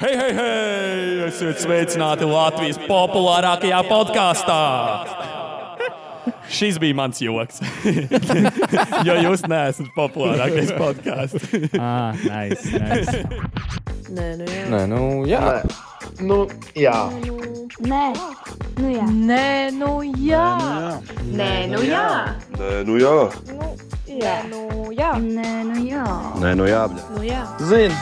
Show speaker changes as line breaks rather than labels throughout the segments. Hei, hei, hei! Esiet sveicināti Latvijas populārākajā podkāstā! Šis bija mans joks. jo jūs neesat populārākais podkāsts.
Ah, nice, nice.
Nē, nu jā.
Nē, nu, jā.
Nu, jā,
Nē, nu jā.
Nē, nu jā. Nē, nu jā.
Nē, nu jā,
Jā, nu jā.
Nē, nu jā.
nē, nu jā.
Nu jā.
Zini,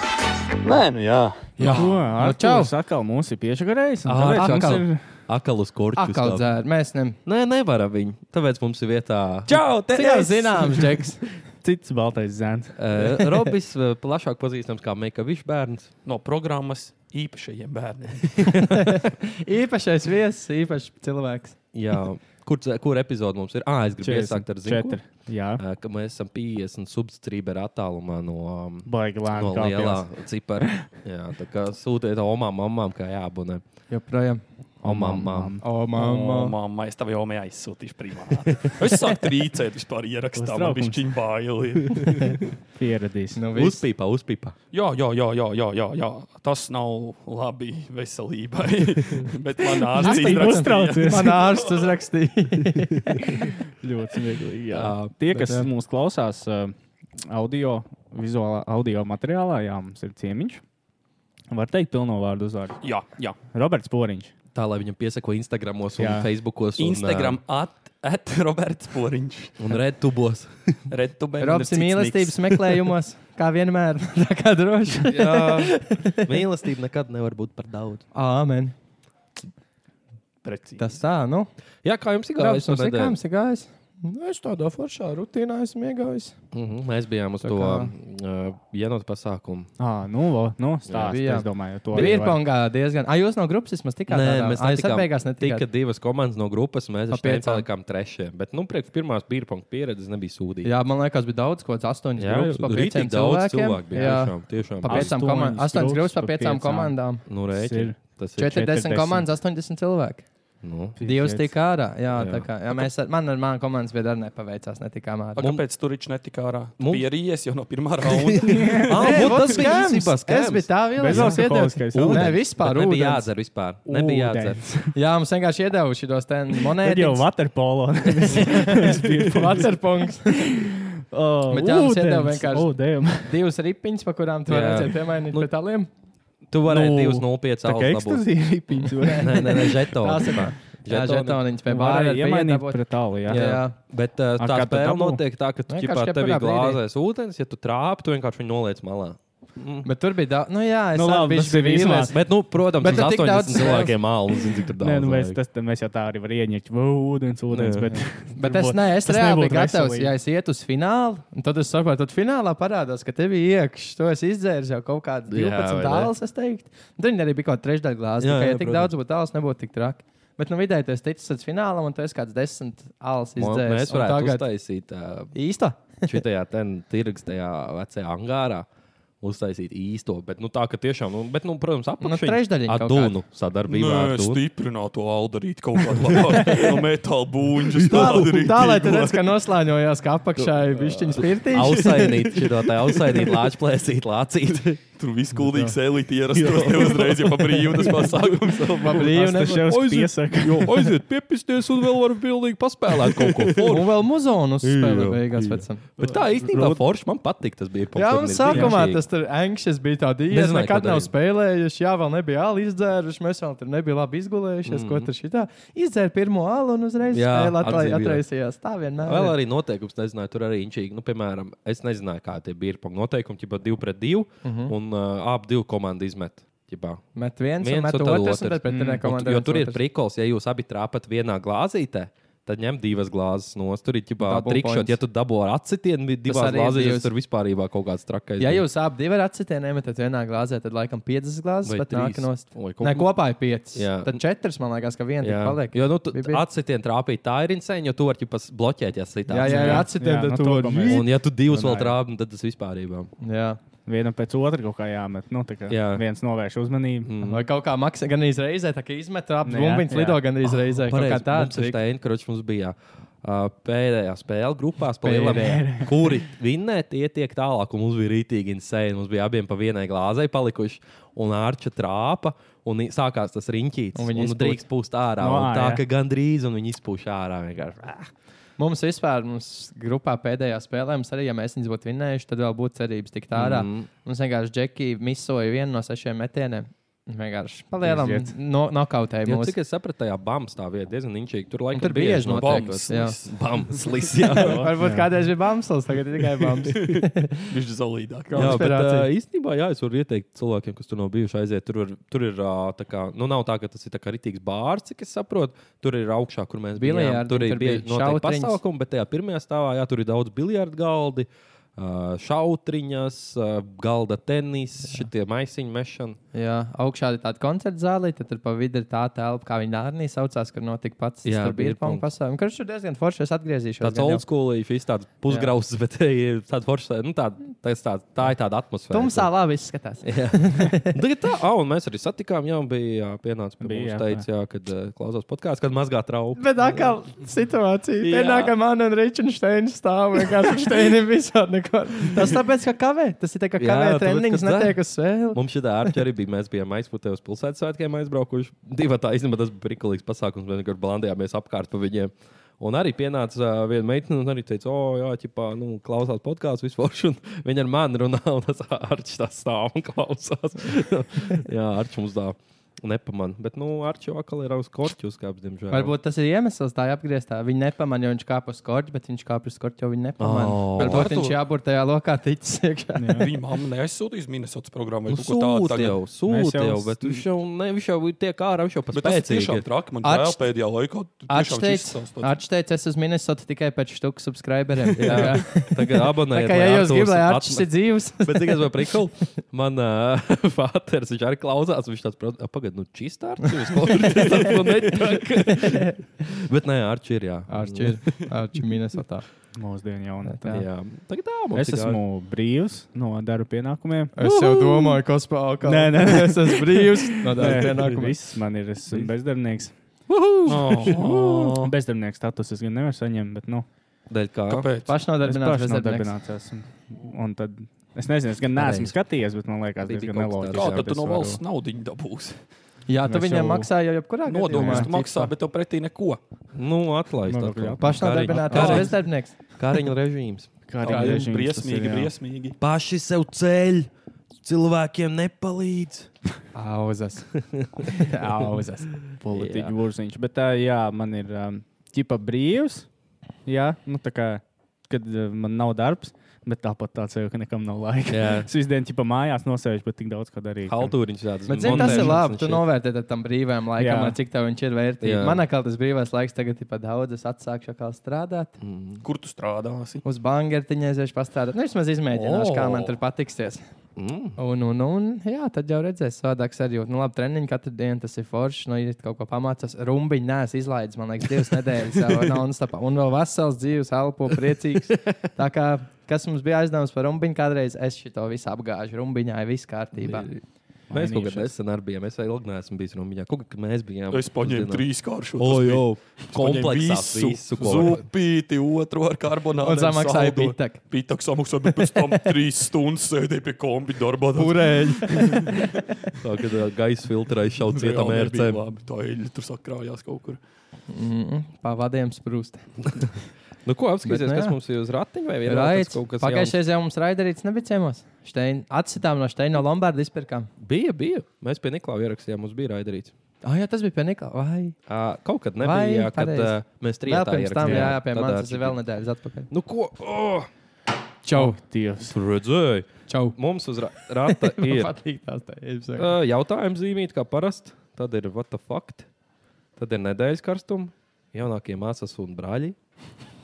nē, nu, jā.
Jā, ko,
nu čau.
Arčūs atkal mūs ir piešagarējis. un
Ā,
tāpēc mums
atkal.
ir-
Akal uz kurķa.
Atkal dzēr, mēs ne, ne, nevaram viņu. Tāpēc mums ir vietā.
Čau, te
Tas jau zināms, Džeks.
Cits baltais zēns.
Uh, Robis uh, plašāk pazīstams kā Meikavičs bērns.
No programmas īpašajiem bērniem.
Īpašais viesis, īpašs cilvēks.
Jā. Kur, dzē- kur epizode mums ir? Ah, es gribu
44.
iesākt ar ziņu.
Jā,
Uh, ka mēs esam 50 substrīberu attālumā no, um,
baigi
no
lēni.
lielā cipara. Jā, tā kā sūtiet omām, mamām, kā jābūnē.
Joprojām.
Omām, mamām.
O,
Mamma,
mamma.
mamma, es tev jau mēju aizsūtīšu primāri. Es sāku trīcēt vispār ierakstā, man
Uztraukums.
bija šķiņ baili.
Pieradīs.
Nu, viss.
Uzpīpā, uzpīpā.
Jā, jā, jā, jā, jā, jā, jā, tas nav labi veselībai. Bet man ārsts izrakstīja.
Uztraucies.
Man ārsts uzrakstīja.
Ļoti smieklīgi. Jā.
Jā,
Tie,
bet
kas
jā.
mūs klausās uh, audio, vizuālā audio materiālā, jā, mums ir ciemiņš. Var teikt pilno vārdu uzvārdu.
Jā, jā.
Roberts Poriņš.
Tā lai viņam piesako Instagramos un
Jā.
jā. Facebookos. Un,
Instagram at, at Roberts Poriņš.
Uh, un Redtubos.
Redtube.
Robs ir mīlestības meklējumos, kā vienmēr. Tā kā droši.
Jā. Mīlestība nekad nevar būt par daudz.
Āmen.
Precīzi.
Tas tā, nu.
Jā, kā jums ir
Robs,
gājis?
mums ir kā jums ir gājis? Nu, Es tādā foršā rutīnā esmu iegājis.
Mm -hmm, mēs bijām uz
Tā
to
kā-
uh, vienotu pasākumu.
Ah, nu, vo, nu, stāsts.
bija, jā.
Es domāju, to arī
Bija
var.
pongā diezgan. Ai, jūs no grupas vismaz tikāt? tādā?
Nē, mēs
Ai, es
netikām.
beigās
Tika
netikāt.
divas komandas no grupas, un mēs
Pa
ar tām
piecām.
palikām trešie. Bet, nu, priekš pirmās pīrāna pieredzes nebija sūdīga.
Jā, man liekas, bija daudz, ko astoņas grupas, pa pieciem
rītīgi daudz
cilvēkiem.
cilvēku bija.
Jā.
Tiešām, tiešām.
Pa
bija.
piecām
Astoņas
komandām. Astoņas
grupas
grupas, pa
pa
piecām
piecām.
komandām.
Nu,
Tas ir.
reiķi. Tas ir.
40
40
komandas, 80 cilvēki.
Nu.
Divas tika ārā. Jā,
Jā.
tā kā jā, mēs ar, man ar mani komandas biedru arī nepaveicās. Netikām ārā.
Mums... Kāpēc tur viņš netika ārā?
Mums-
Mums bija rījies jau no pirmā raunda.
Ah, nu, tas bija īstenībā
Es biju
skams.
tā vilnis.
Bez
kas iedeva- Ūdens.
alkoholiskais
Nē,
ūdens.
Bet
vispār
Nebija
rūdens.
jādzer vispār. Nebija jādzer.
Jā, mums vienkārši iedeva šos te
Tad jau
monētas.
waterpolo.
Vacerpunkts.
Oh,
Bet jā, mums iedeva vienkārši-
Oh, damn.
Divas ripiņas, pa kurām tu
Jā.
varēji piemainīt
Nu,
pie tāliem.
Tu varēji
Nu,
2,05
Tā kā
alus dabūt.
ekstazīja ripiņš.
Nē, nē, nē, žetonu.
Tās ir tā. Jā,
Žetoni.
žetoniņas pie bāra.
Vārā iemainīt pret tālu, jā.
Jā,
jā.
Jā.
bet uh,
Ar
tā
kā tu
spēle
dabū?
notiek tā, ka tu
Vienkārši
ķipā tev
jebkurā
ir glāzēs ūdens, ja tu trāpi, tu vienkārši viņu noliec malā.
Bet tur bija daudz. Nu, jā, es
Nu, labi,
biju
tas bija
vīlies.
vismaz.
Bet, nu, protams,
Bet
bet
tur tik
80
daudz
daudz cilvēkiem mālu, zini, cik tur daudz.
Nē, nu mēs,
vajag.
tas, tad mēs jau tā arī varam ieņemt. Vau, Ūdens, ūdens.
Jā,
Bet,
Bet es, nē, es
Tas
reāli
nebūtu
biju gatavs.
veselīgi.
Ja es ietu uz finālu, un tad es saprotu, tad finālā parādās, ka tev bija iekšā. To es izdzēru jau kaut kādas
Jā,
12
vai ne?
tālas, es teiktu. Un Tur viņi arī bija kaut kāda trešdaļa glāze. Tā
Jā,
kā,
jā,
Ja tik
protams.
daudz būtu tālas, nebūtu tik traki. Bet nu vidēji tu esi ticis līdz finālam, un tu esi kāds desmit alas
Mo-
izdzēris.
Mēs
Un
varētu
tagad-
uztaisīt uh,
Īsta?
šitajā ten tirgs, tajā vecajā angārā. Uztaisīt īsto, bet nu, tā, ka tiešām, nu, bet, nu, protams, apakšā
trešdaļiņa
ar
kaut
dūnu sadarbībā.
Nē,
ar Dunu.
stiprinātu aldarīt kaut kādu labāku no metāla būņģa.
tā, lai tu redzētu, ka noslēņojās, ka apakšā ir pišķiņas pirtīša.
Ausainīt, šitā tā ausainīt, lāčplēsīt, lācīt.
Tur viss kuldīgs elite ierastos tev uzreiz, ja pa brīvu tas pasākums.
Brīvi,
Tas jau
Oi,
ir
zini,
piesaka.
Jo aiziet piepisties un vēl var pilnīgi paspēlēt kaut ko
Un
formu.
vēl muzonu spēlē
Jā,
beigās
jā.
pēc tam.
Bet tā īstenībā forši man patīk. Tas bija
Jā, un
popturnīrs,
sākumā
vienkārši.
tas tur anxious bija tāds īņķis. Es
Nezināju,
nekad
ko
nav
darīt.
spēlējuši, jā, vēl nebija alu izdzēruši, mēs vēl tur nebijām labi izgulējušies. Mm -hmm. Ko tur šitā? Izdzēra pirmo alu un uzreiz
Mhm. Jā,
spēle atla-
atdzīvināja.
atraisījās. Tā vienmēr.
Vēl
ir.
arī noteikums, nezināju, tur arī inčīgi. Nu, piemēram, es nezināju, kā tie bija punk noteikumi, ja divi pret divi uh -huh. un uh, ap divu komandu izmet. Ķipā.
Met Mhm. viens, viens
Viens
un met
un tad
otrs, un
otrs. Mm,
tad pretinieka
Un,
komanda.
jo tur ir prikols, ja jūs abi trāpat vienā glāzītē. Tad ņem divas glāzes no stūra. Tur ir jau
Double
trikšķi,
points.
ja tu dabū ar atsitienu, tad divās
arī ir
glāzēs
divas.
jūs tur vispār kaut kāds trakais.
Ja jūs abi divi ar acīm nemetat vienā glāzē, tad laikam piecas glāzes,
Vai
bet nāk
trīs?
nost.
Vai kaut
Nē,
ko-
kopā ir piecas.
Jā.
Tad četras, man liekas, ka viena tik
Jā,
paliek.
jo nu, tu-
Bija- bija.
atsitienu trāpīt, tā ir insēņa, jo tu vari ķipa bloķēt, ja sitā.
Jā, jā, jā,
Jā, jā,
acīm
nu
tad tu
to, ko mēs-
vari.
Un ja tu divus vēl
Runāju.
trāpi, tad tas vispār ir.
Jā.
Vienam pēc otra kaut kā jāmet. Nu, tā kā jā.
Jā.
viens novērš uzmanību. Mm.
Vai kaut kā maksā gan reizē, tā kā izmet,
Nu, Jā,
apgūlis
jā.
lido gan reizē.
Pareizi,
Kā
mums
tāds
ir Steinkročs, mums bija ā, Pēdējā spēlē grupā spēlējām, kuri vinnē, tie tiek tālāk. Un mums bija rītīgi insēni. Mums bija abiem pa vienai glāzē palikuši, un ārča trāpa, un i- sākās tas riņķis.
Un
Un
viņi
viņi
izpūš.
drīkst pūst ārā.
No
No, un tā
ārā.
kā gandrīz, un viņi izpūš ārā vienkārši.
Mums vispār, mums grupā pēdējā spēlē, mums arī, ja mēs viņus būtu vinnējuši, tad vēl būtu cerības tikt ārā. Mm.
Mhm.
Mums vienkārši Džekija misoja vienu no sešiem metieniem. Vienkārši palielam,
Iziet.
no, nokautēja
Jo,
mūs.
Nu, cik es sapratu, tajā bumbuļs tā vieta diezgan inčīga. Tur laikam
tur bieži notiek.
Bams,
jā.
Bumbuļs, jā.
Varbūt kādreiz bija bamslis, tagad ir tikai bamslis.
Viņš ir zelīdāk.
Jā, bet
Konspirācija.
uh, īstenībā jā, es varu ieteikt cilvēkiem, kas tur nav bijuši, aiziet. Tur, var, tur ir uh, tā kā, nu, nav tā, ka tas ir tā kā rītīgs bārs, cik es saprotu. Tur ir augšā, kur mēs bijām.
Biliardi,
Tur ir
tur bija
bieži notiek
šautriņas.
pasākumi, bet tajā pirmajā stāvā jā, tur ir daudz biljardu galdi, uh, šautriņas, uh, galda tenis, šitie maisiņu mešana.
Jā, augšā ir tāda koncerta zāle, tad tur pa vidu ir tā telpa, kā viņa arī saucās, kur notika pats
Jā,
bija
beerpong.
pasākums. Kurš tur diezgan forši, es atgriezīšos.
Tāds old school, viņš ir tāds pusgrauds, bet ir tāds foršs, nu, tā, tā, tā, tā ir tāda atmosfēra.
Tumsā labi izskatās.
Tagad tā, ah, un mēs arī satikām, jau bija jā, pienācis pie
Bija,
mums,
jā,
teica, jā, kad eh, klausās podkāstu, kad mazgā trauku.
Bet atkal situācija.
Jā.
Pienākā man un Ričardsteina stāv vienkārši Steinim visādi neko. Tas tāpēc, ka kavē. Tas ir tā kā
Jā,
kavē
tāpēc, ka
treniņš
tā.
netiek uz spēli.
Mums šī ārķa arī bija. Mēs bijām aizpūtē uz pilsētas svētkiem aizbraukuši. Divi tā īstenībā tas bija prikulīgs pasākums. Mēs vienkārši blandījāmies apkārt pa viņiem. Un arī pienāca uh, viena meitene, un arī teica, o, jā, ķipā, nu, klausās podkāstu vispār. un Viņa ar mani runā, un tas ārķis tā stāv un klausās. jā, ārķis mums tā nepamanā. Bet, nu, ārķis jau atkal ir uz korķu uzkāpis, diemžēl.
Varbūt tas ir iemesls tā apgrieztā. Viņa nepamanīja, jo viņš kāpa uz skurķi, bet viņš kāpa uz skurķi, jo viņa nepamanīja.
Oh.
Varbūt viņš jābūt tajā lokā ticis iekšā.
Viņa mamma nesūtīs Minnesotas programmu.
Nu,
vai kaut ko
sūta
tādu.
jau,
Mēs
sūta
jau-
jau, bet viņš jau, ne, viņš jau tiek ārā, viņš jau pat
Bet tas ir tiešām
spēcīgi. ir.
traki. Man
Atšķ-
liekas, pēdējā laikā tiešām šis savs tāds-
Atšķirīts, es uz Minnesota tikai pēc štuku subscriberiem. Jā, jā.
Tagad
Tā
abonējiet.
kā
lai
ja jūs
Arturs
gribat, lai
atma-
Arčs ir dzīvs.
Bet tikai par priklu. Man uh, fāters, viņš arī klausās. Viņš tāds - pagaidi, nu, čistārs. Viņš to netāk. Bet nē, Arči ir, jā.
Arčs ir Arčs Minnesotā.
Mūsdienu jaunatne.
jā.
Jā. Tagad tā, mums Nu,
Es
ir gājuši.
esmu brīvs no darba pienākumiem.
Es jau domāju, kas pāri
Nē, nē, nē.
es esmu brīvs. No
Nē,
tādas pienākumas.
Viss man ir, es esmu bezdarbnieks.
Oh.
Bezdarbnieks status es gan nevaru saņemt, bet nu,
Dēļ kā?
Kāpēc?
es
Pašnodarbināts
pašs
bezdarbnieks.
nodarbināts esmu. Un tad, es nezinu, es gan neesmu
Pareizi.
skatījies, bet man liekas,
Bija
diezgan
kaut kas
neloģiski.
tāds,
Jā,
jā,
tad tu
es
no
varu-
valsts naudu dabūsi.
Jā, tu
Mēs
viņam
jau-
maksā jau jebkurā
Nodomus tu
gadījumā.
maksā, bet tev pretī neko.
Nu, atlaist.
Nodokļu
atkal.
atmaksā.
Pašnodarbināts
Kariņ-
bezdarbnieks.
Kariņu režīms.
Kā
Tā ir
režīms tas ir,
briesmīgi,
jā.
briesmīgi.
Paši sev ceļ. Cilvēkiem nepalīdz.
Auzas. Auzas.
politiķu burziņš. Bet, tā, jā, man ir um, ķipa brīvs. Jā, nu, tā kā, kad uh, man nav darbs, bet tāpat tāds jau, ka nekam nav laika.
Jā.
Es visu dienu ķipa mājās nosēžu, bet tik daudz ko darīju. ka-
Haltūriņš tāds.
Bet, zini, tas ir
montēšanas
labi.
un
Tu
šit.
novērtē tad tam brīvajam laikam,
Jā.
lai cik tev viņš ir vērtīgs.
Jā.
Manā kā tas brīvais laiks tagad ir pat daudz. Es atsākšu atkal strādāt.
Mm,
Kur tu strādāsi?
Uz bangertiņa aiziešu pastāvēt. Nu, vismaz izmēģināšu, kā
O.
man tur patiksies.
Mm.
Un, un, un jā, tad jau redzēs, savādāks arī jūt. Nu, labi, treniņi katru dienu tas ir forši. Nu, ir kaut ko pamācās. Rumbiņš nes izlaidis, man liekas, divas nedēļas jau non-stopā. Un vēl vesels dzīves, elpo priecīgs. Tā kā kas mums bija aizdevums par rumbiņu, kādreiz es šo visu apgāžu. Rumbiņā ir viss kārtībā.
Mēs kaut kādā
Mainījušies.
nesen arī bijām. Es vēl ilgi neesmu bijis Rumānijā. Kaut kā mēs bijām.
Es paņēmu
pusdienās.
trīs kāršu.
O, jā, kompleksā
Kompleksā
visu, ko var.
Zupīti, otru ar karbonātu.
Un samaksāja pitak.
Pitak samaksāja, bet pēc tam trīs stundas sēdēja pie kombi darbā.
Urēļi.
Tā kā tā gaisa filtrā izšauc
Reāli
vietā
nebija
mērķē.
labi. Tā eļļa tur sakrājās kaut kur.
Pavadiem Mhm, sprūst.
Nu, ko apskatīsies,
Bet, nu,
kas
jā.
mums ir uz ratiņa vai vienā
Raids.
kaut kas
Pagājušajā reizē jau mums raidarīts nebija ciemos. Štein, atsitām no Steina no Lombarda izpirkām.
jauns? Bija, bija. Mēs pie Niklausa ierakstījām, mums bija raidarīts.
Ah, jā, tas bija pie Niklaus. Vai?
Uh, kaut kad
Vai,
nebija, jā, kad
pareizi.
uh, mēs
Vēl
trijotā
pirms tam,
ierakstījām.
jā, jā pie
Tad
manis
ar
tas ir
Čipi.
vēl nedēļas atpakaļ.
Nu, ko? Oh,
Čau!
Oh, Dievs.
tur redzēju.
Čau!
Mums uz ra rata ir uh,
patīk tās tēmas.
jautājums zīmīt, kā parasti. Tad ir what the fuck. Tad ir nedēļas karstums, jaunākie māsas un brāļi.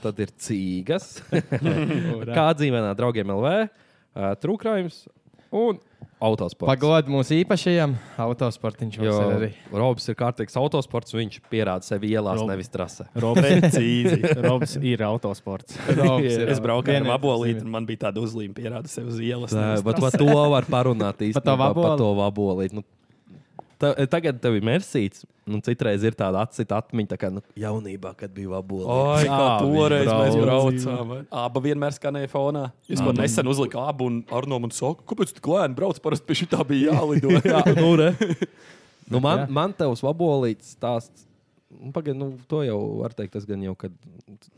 Tad ir cīgas. Kā dzīvēnā draugiem LV, uh, trūkrājums un autosports.
Pagod mūsu īpašajam autosportiņš
Jo
jau ir arī.
Robs ir kārtīgs autosports, un viņš pierāda sevi ielās,
Rob.
Rob. nevis trasē.
Robs, Robs ir autosports.
Es braucu ar abolīti, un man bija tāda uzlīme, pierāda sev uz ielas.
Bet
nevis
par to var parunāt īstenībā.
vaboli?
par to vabolīt. Nu, ta, tagad tev ir mērsīts, un citreiz ir tāda atsita atmiņa, tā kā nu, jaunībā, kad bija vabola.
Ai, kā
Ā, viņi
toreiz mēs
brauc.
braucām. eh? Abas vienmēr skanēja fonā. Es pat nesen uzliku abu un ar no mums saku, kāpēc tu klēni brauc, parasti pie šī tā bija jālido.
Jā, nu, re. nu, man,
jā.
man tavs vabolīts stāsts. nu, Pagaid, nu, to jau var teikt, tas gan jau, kad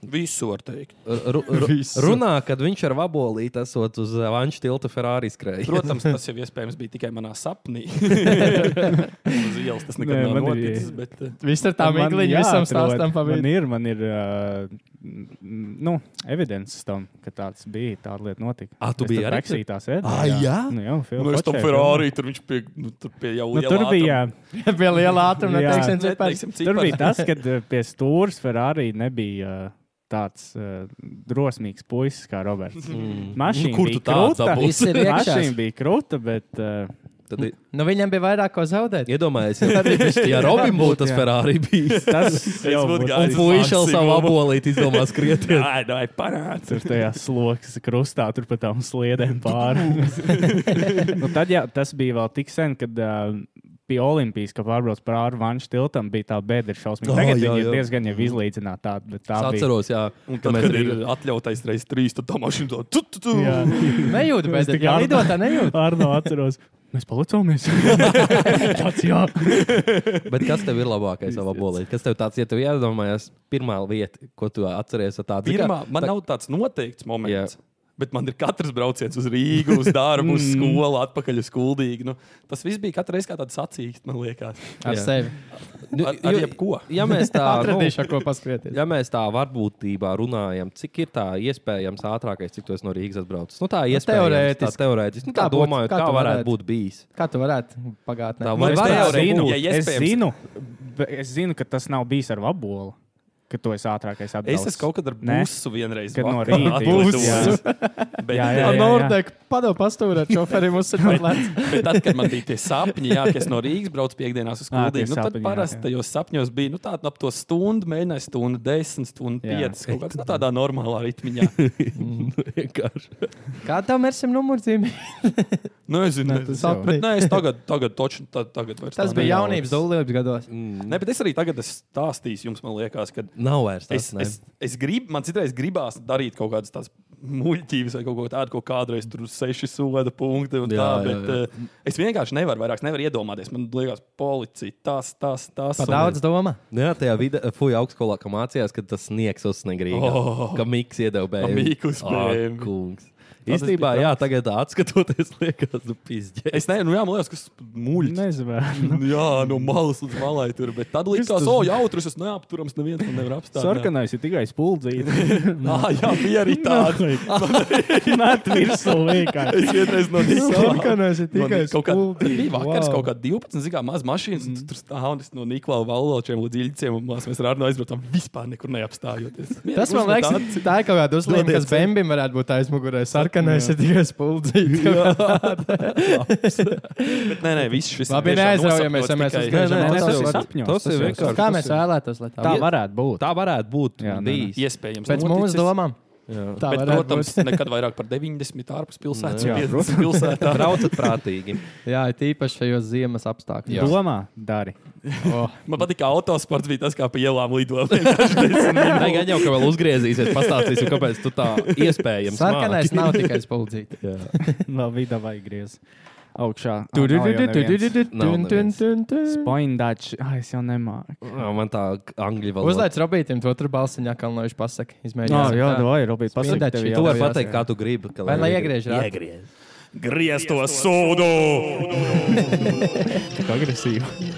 Visu var teikt.
ru, ru, runā, kad viņš ar vabolīti esot uz eh, vanšu tilta Ferrari skrēja.
Protams, tas jau iespējams bija tikai manā sapnī. Uz ielas tas nekad
Nē,
nav
man ir-
noticis. Bet, eh,
Viss ar tām
Man
igliņām, visam
jāatrod.
stāstam pa
Man
vidu.
ir, man ir uh, nu, evidence tam, ka tāds bija, tāda lieta notika.
Ā, Ah, tu
Es
biji
tur
arī
taksī tā sēdēju.
Ā, jā?
Nu, jā, Phil
Nu, es tam
Fotšē,
Ferrari tur viņš pie, nu, tur pie jau
Nu, tur bija,
Pie liela ātruma,
Jā.
neteiksim,
Nē,
cipars.
teiksim,
tur
cipars.
bija tas, kad eh, pie stūres Ferrari nebija eh, tāds eh, drosmīgs puisis kā Roberts. Mašīna
Mm. Nu, Kur
bija
tu tāds
krūta.
dabūsi?
Viss ir iekšā.
Mašīna bija krūta, bet eh,
Tad i-
Nu, viņam bija vairāk ko zaudēt.
iedomājies, ja, ja Robim būtu tas
jā.
Ferrari bijis.
tas jau
būtu
būtu-
gājis.
Un puiši jau savu vabolīti izdomā skrietties.
Nē, nē, nu, parāds.
Tur tajā slokas krustā, tur pat tām sliedēm pāri. nu, tad jā, tas bija vēl tik sen, kad uh, pie Olimpijas, kad pārbrauc pāri Vanšu tiltam, bija tā bedra šausmīga.
Ah, jā,
Tagad viņi ir
jā.
diezgan jau izlīdzināti tādi, bet tā
Es
bija.
atceros, jā,
Un
ka
tad,
mēs
kad ir
arī
atļautais reizes trīs, tad tā mašīna to tu, tu, tu.
Jā.
Nejūtu,
Es
bet
tikai
tā
Arno-
lidotā nejūtu.
Arno atceros. Mēs palicāmies. Tāds jā.
Bet kas tev ir labākais savā bolīdē? Kas tev tāds, ja tev jādomājas, pirmā lieta, ko tu atceries, ir tā
Pirmā, man
tā,
nav tāds noteikts moments.
Jā.
Jā. Bet man ir katrs brauciens uz Rīgu, uz darbu,
Mm.
uz skolu, atpakaļ uz skuldīgu. Nu, tas viss bija katru reizi kā tāds sacīksts, man liekas.
Ar
Jā.
sevi.
Nu,
Ar- ar
jo-
jebko.
Ja mēs tā nu.
Atradīšu, ar ko paskrieties.
Ja mēs tā varbūtībā runājam, cik ir tā iespējams ātrākais, cik tas no Rīgas atbraucis? Nu, tā ir
teorētiski.
Teorētiski. Nu, tā
Kā būtu-
domājot,
kā
kā
tu
varētu
varētu?
būt bijis.
Kā tu varētu pagātnē?
Tā
Nu,
Vai
es,
varētu
zinu,
būt? Ja
es,
iespējams-
zinu, be- es zinu, ka tas nav bijis ar vabolu, ka tu esi ātrākais atbraucis.
Es esmu kaut kad ar
Nē.
busu vienreiz
Kad no
vakarā
rīta
atlidojis.
būs,
Bet,
Jā, jā,
Ar
jā.
Nordeku padomu pastūrēt šoferim uz sirds.
bet tad, kad man bija tie sapņi, jā, ka es no Rīgas braucu piekdienās uz
Ā, Ah, tie
skuldīgu, nu, tad
sapņi, jā,
parasti
jā.
tajos sapņos bija nu, tāda ap to stundu, mēģināja stundu, desmit, stundu,
Jā. Mm.
piecas. Kaut kāds nu, tādā normālā ritmiņā.
Vienkārši.
Kā tam ir simt numurzīme?
Nu, es zinu,
Nē,
ne,
tas
tas
jau.
bet, nē, es tagad, tagad, toču, tad, tagad vairs
Tas
tā
bija
nevēlos.
jaunības dolības gados.
Mm.
Ne, bet es arī tagad es stāstīšu jums, man liekas, ka
Nav vairs
es,
tas. ne?
es, es gribu, man citreiz gribās darīt kaut kādas tādas muļķības vai kaut ko tādu, ko kādreiz tur bija seši soda punkti. un
Jā,
Tā,
jā,
bet
jā.
eh, es vienkārši nevaru vairāk, es nevaru iedomāties. Man liekas, policija, tas, tas, tas.
Par daudz domā.
Nu Jā, tajā vidē, fuja augstskolā, ka mācījās, ka tas sniegs uzsnegrīgi.
Oh.
Ka miks iedeva bērnu.
miks bēbi.
kungs.
tas
Īstībā,
bija
jā, tagad atskatoties, liekas, nu, pizdzē.
Es nezinu, nu, jā, man liekas, kas muļķis.
Nezinu.
Jā, no malas līdz malai tur. Bet tad likās,
tas-
o, jautrs, es neapturams, neviens man nevar apstāties.
Sarkanais ir tikai spuldzīts.
Ah, jā, bija arī tāda.
Nē, Nu, virsū vienkārši.
Es vienreiz no viņas
Sarkanais ir tikai
kaut kāda. Tur
spuldzīts,
bija vakars,
wow. Mhm.
kaut kāda 12 zigā maza mašīna. Mm. Tur stāv un es no Niklaus Valočiem līdz Ilģiem. Mēs ar Arnu aizbraucām vispār nekur neapstājoties.
Tas man
Uzmet
liekas,
aci.
tā ir kaut kāda uzlīme, kas Bembim varētu būt aizmugurē. Sarkanais ir tikai spuldzīts.
Bet, nē, nē, viss šis
Labi,
tiešām
neaizraujamies,
nosapņots
ja mēs
tikai-
uzgriežam
Nē, nē, nē,
acis. tas ir
sapņos,
tas ir vienkārši.
Kā
tas
mēs
ir-
vēlētos, lai tā
Tā
būtu?
varētu būt.
Tā varētu būt
Jā, nē, nē.
bijis.
Iespējams,
Pēc mūsu
noticis.
domām.
Jā.
Tā
Bet,
varētu
protams,
būt.
nekad vairāk par 90 ārpus pilsētas.
Jā,
Jā, pilsētā.
Braucat prātīgi.
Jā, ir tīpaši šajos ziemas apstākļos.
Domā, dari.
Man patīk, ka autosports bija tas, kā pa ielām lido. Vienkārši desmit minūtes.
Nē, gan jau, ka vēl uzgriezīsies, pastāstīsim, kāpēc tu tā iespējams.
Sarkanais nav tikai spuldzīts.
Labi, davai griez. Augšā. Ah,
Tur ir
Nav neviens.
tur.
Spoindāč, ah, es jau nemāku.
Jā, man tā angļu valoda.
Uzlaic robītiem, to tur balsiņā, kā lai viņš pasaka.
Jā,
Izmēģinās.
jā, davai, Robīt, pasaki
Spindači.
tev
Tu
jau.
vari pateikt, kā tu gribi. ka
Vai lai iegriež rādu?
Iegriež.
Griez to sūdu!
Tik agresīvi.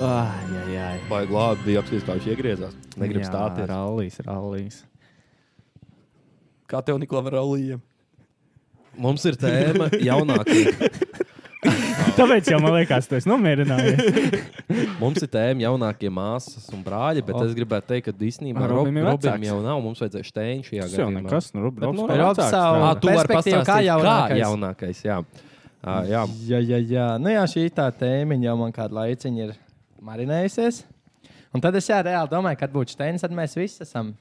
Ah, jā, jā.
Baigi labi bija apskatīt, kā viņš iegriezās. Negribu
Jā,
stāties.
Rallīs, rallīs.
Kā tev, Niklaus, ar Alīju?
Mums ir tēma jaunākie.
Tāpēc jau man liekas, tas nomierinājies.
Mums ir tēma jaunākie māsas un brāļi, bet
O.
es gribētu teikt, ka īstenībā
Ar
Rob-
Robim ir
Robim
vecāks.
jau nav. Mums vajadzēja steņu šajā
Tas jau
gadījumā.
nekas, nu, Rob-
Bet,
Robs
nu,
par
Rob-
vecāks tev.
savu-
Ā, tu vari
Perspektīvu,
pastāstīt,
kā
kā jaunākais.
jaunākais.
Kā jaunākais jā. Ā, jā.
Jā, jā, jā. Nu, jā, šī tā tēma jau man kādu laiku ir marinējusies. Un tad es jā, reāli domāju, kad būtu Steins, tad mēs visi esam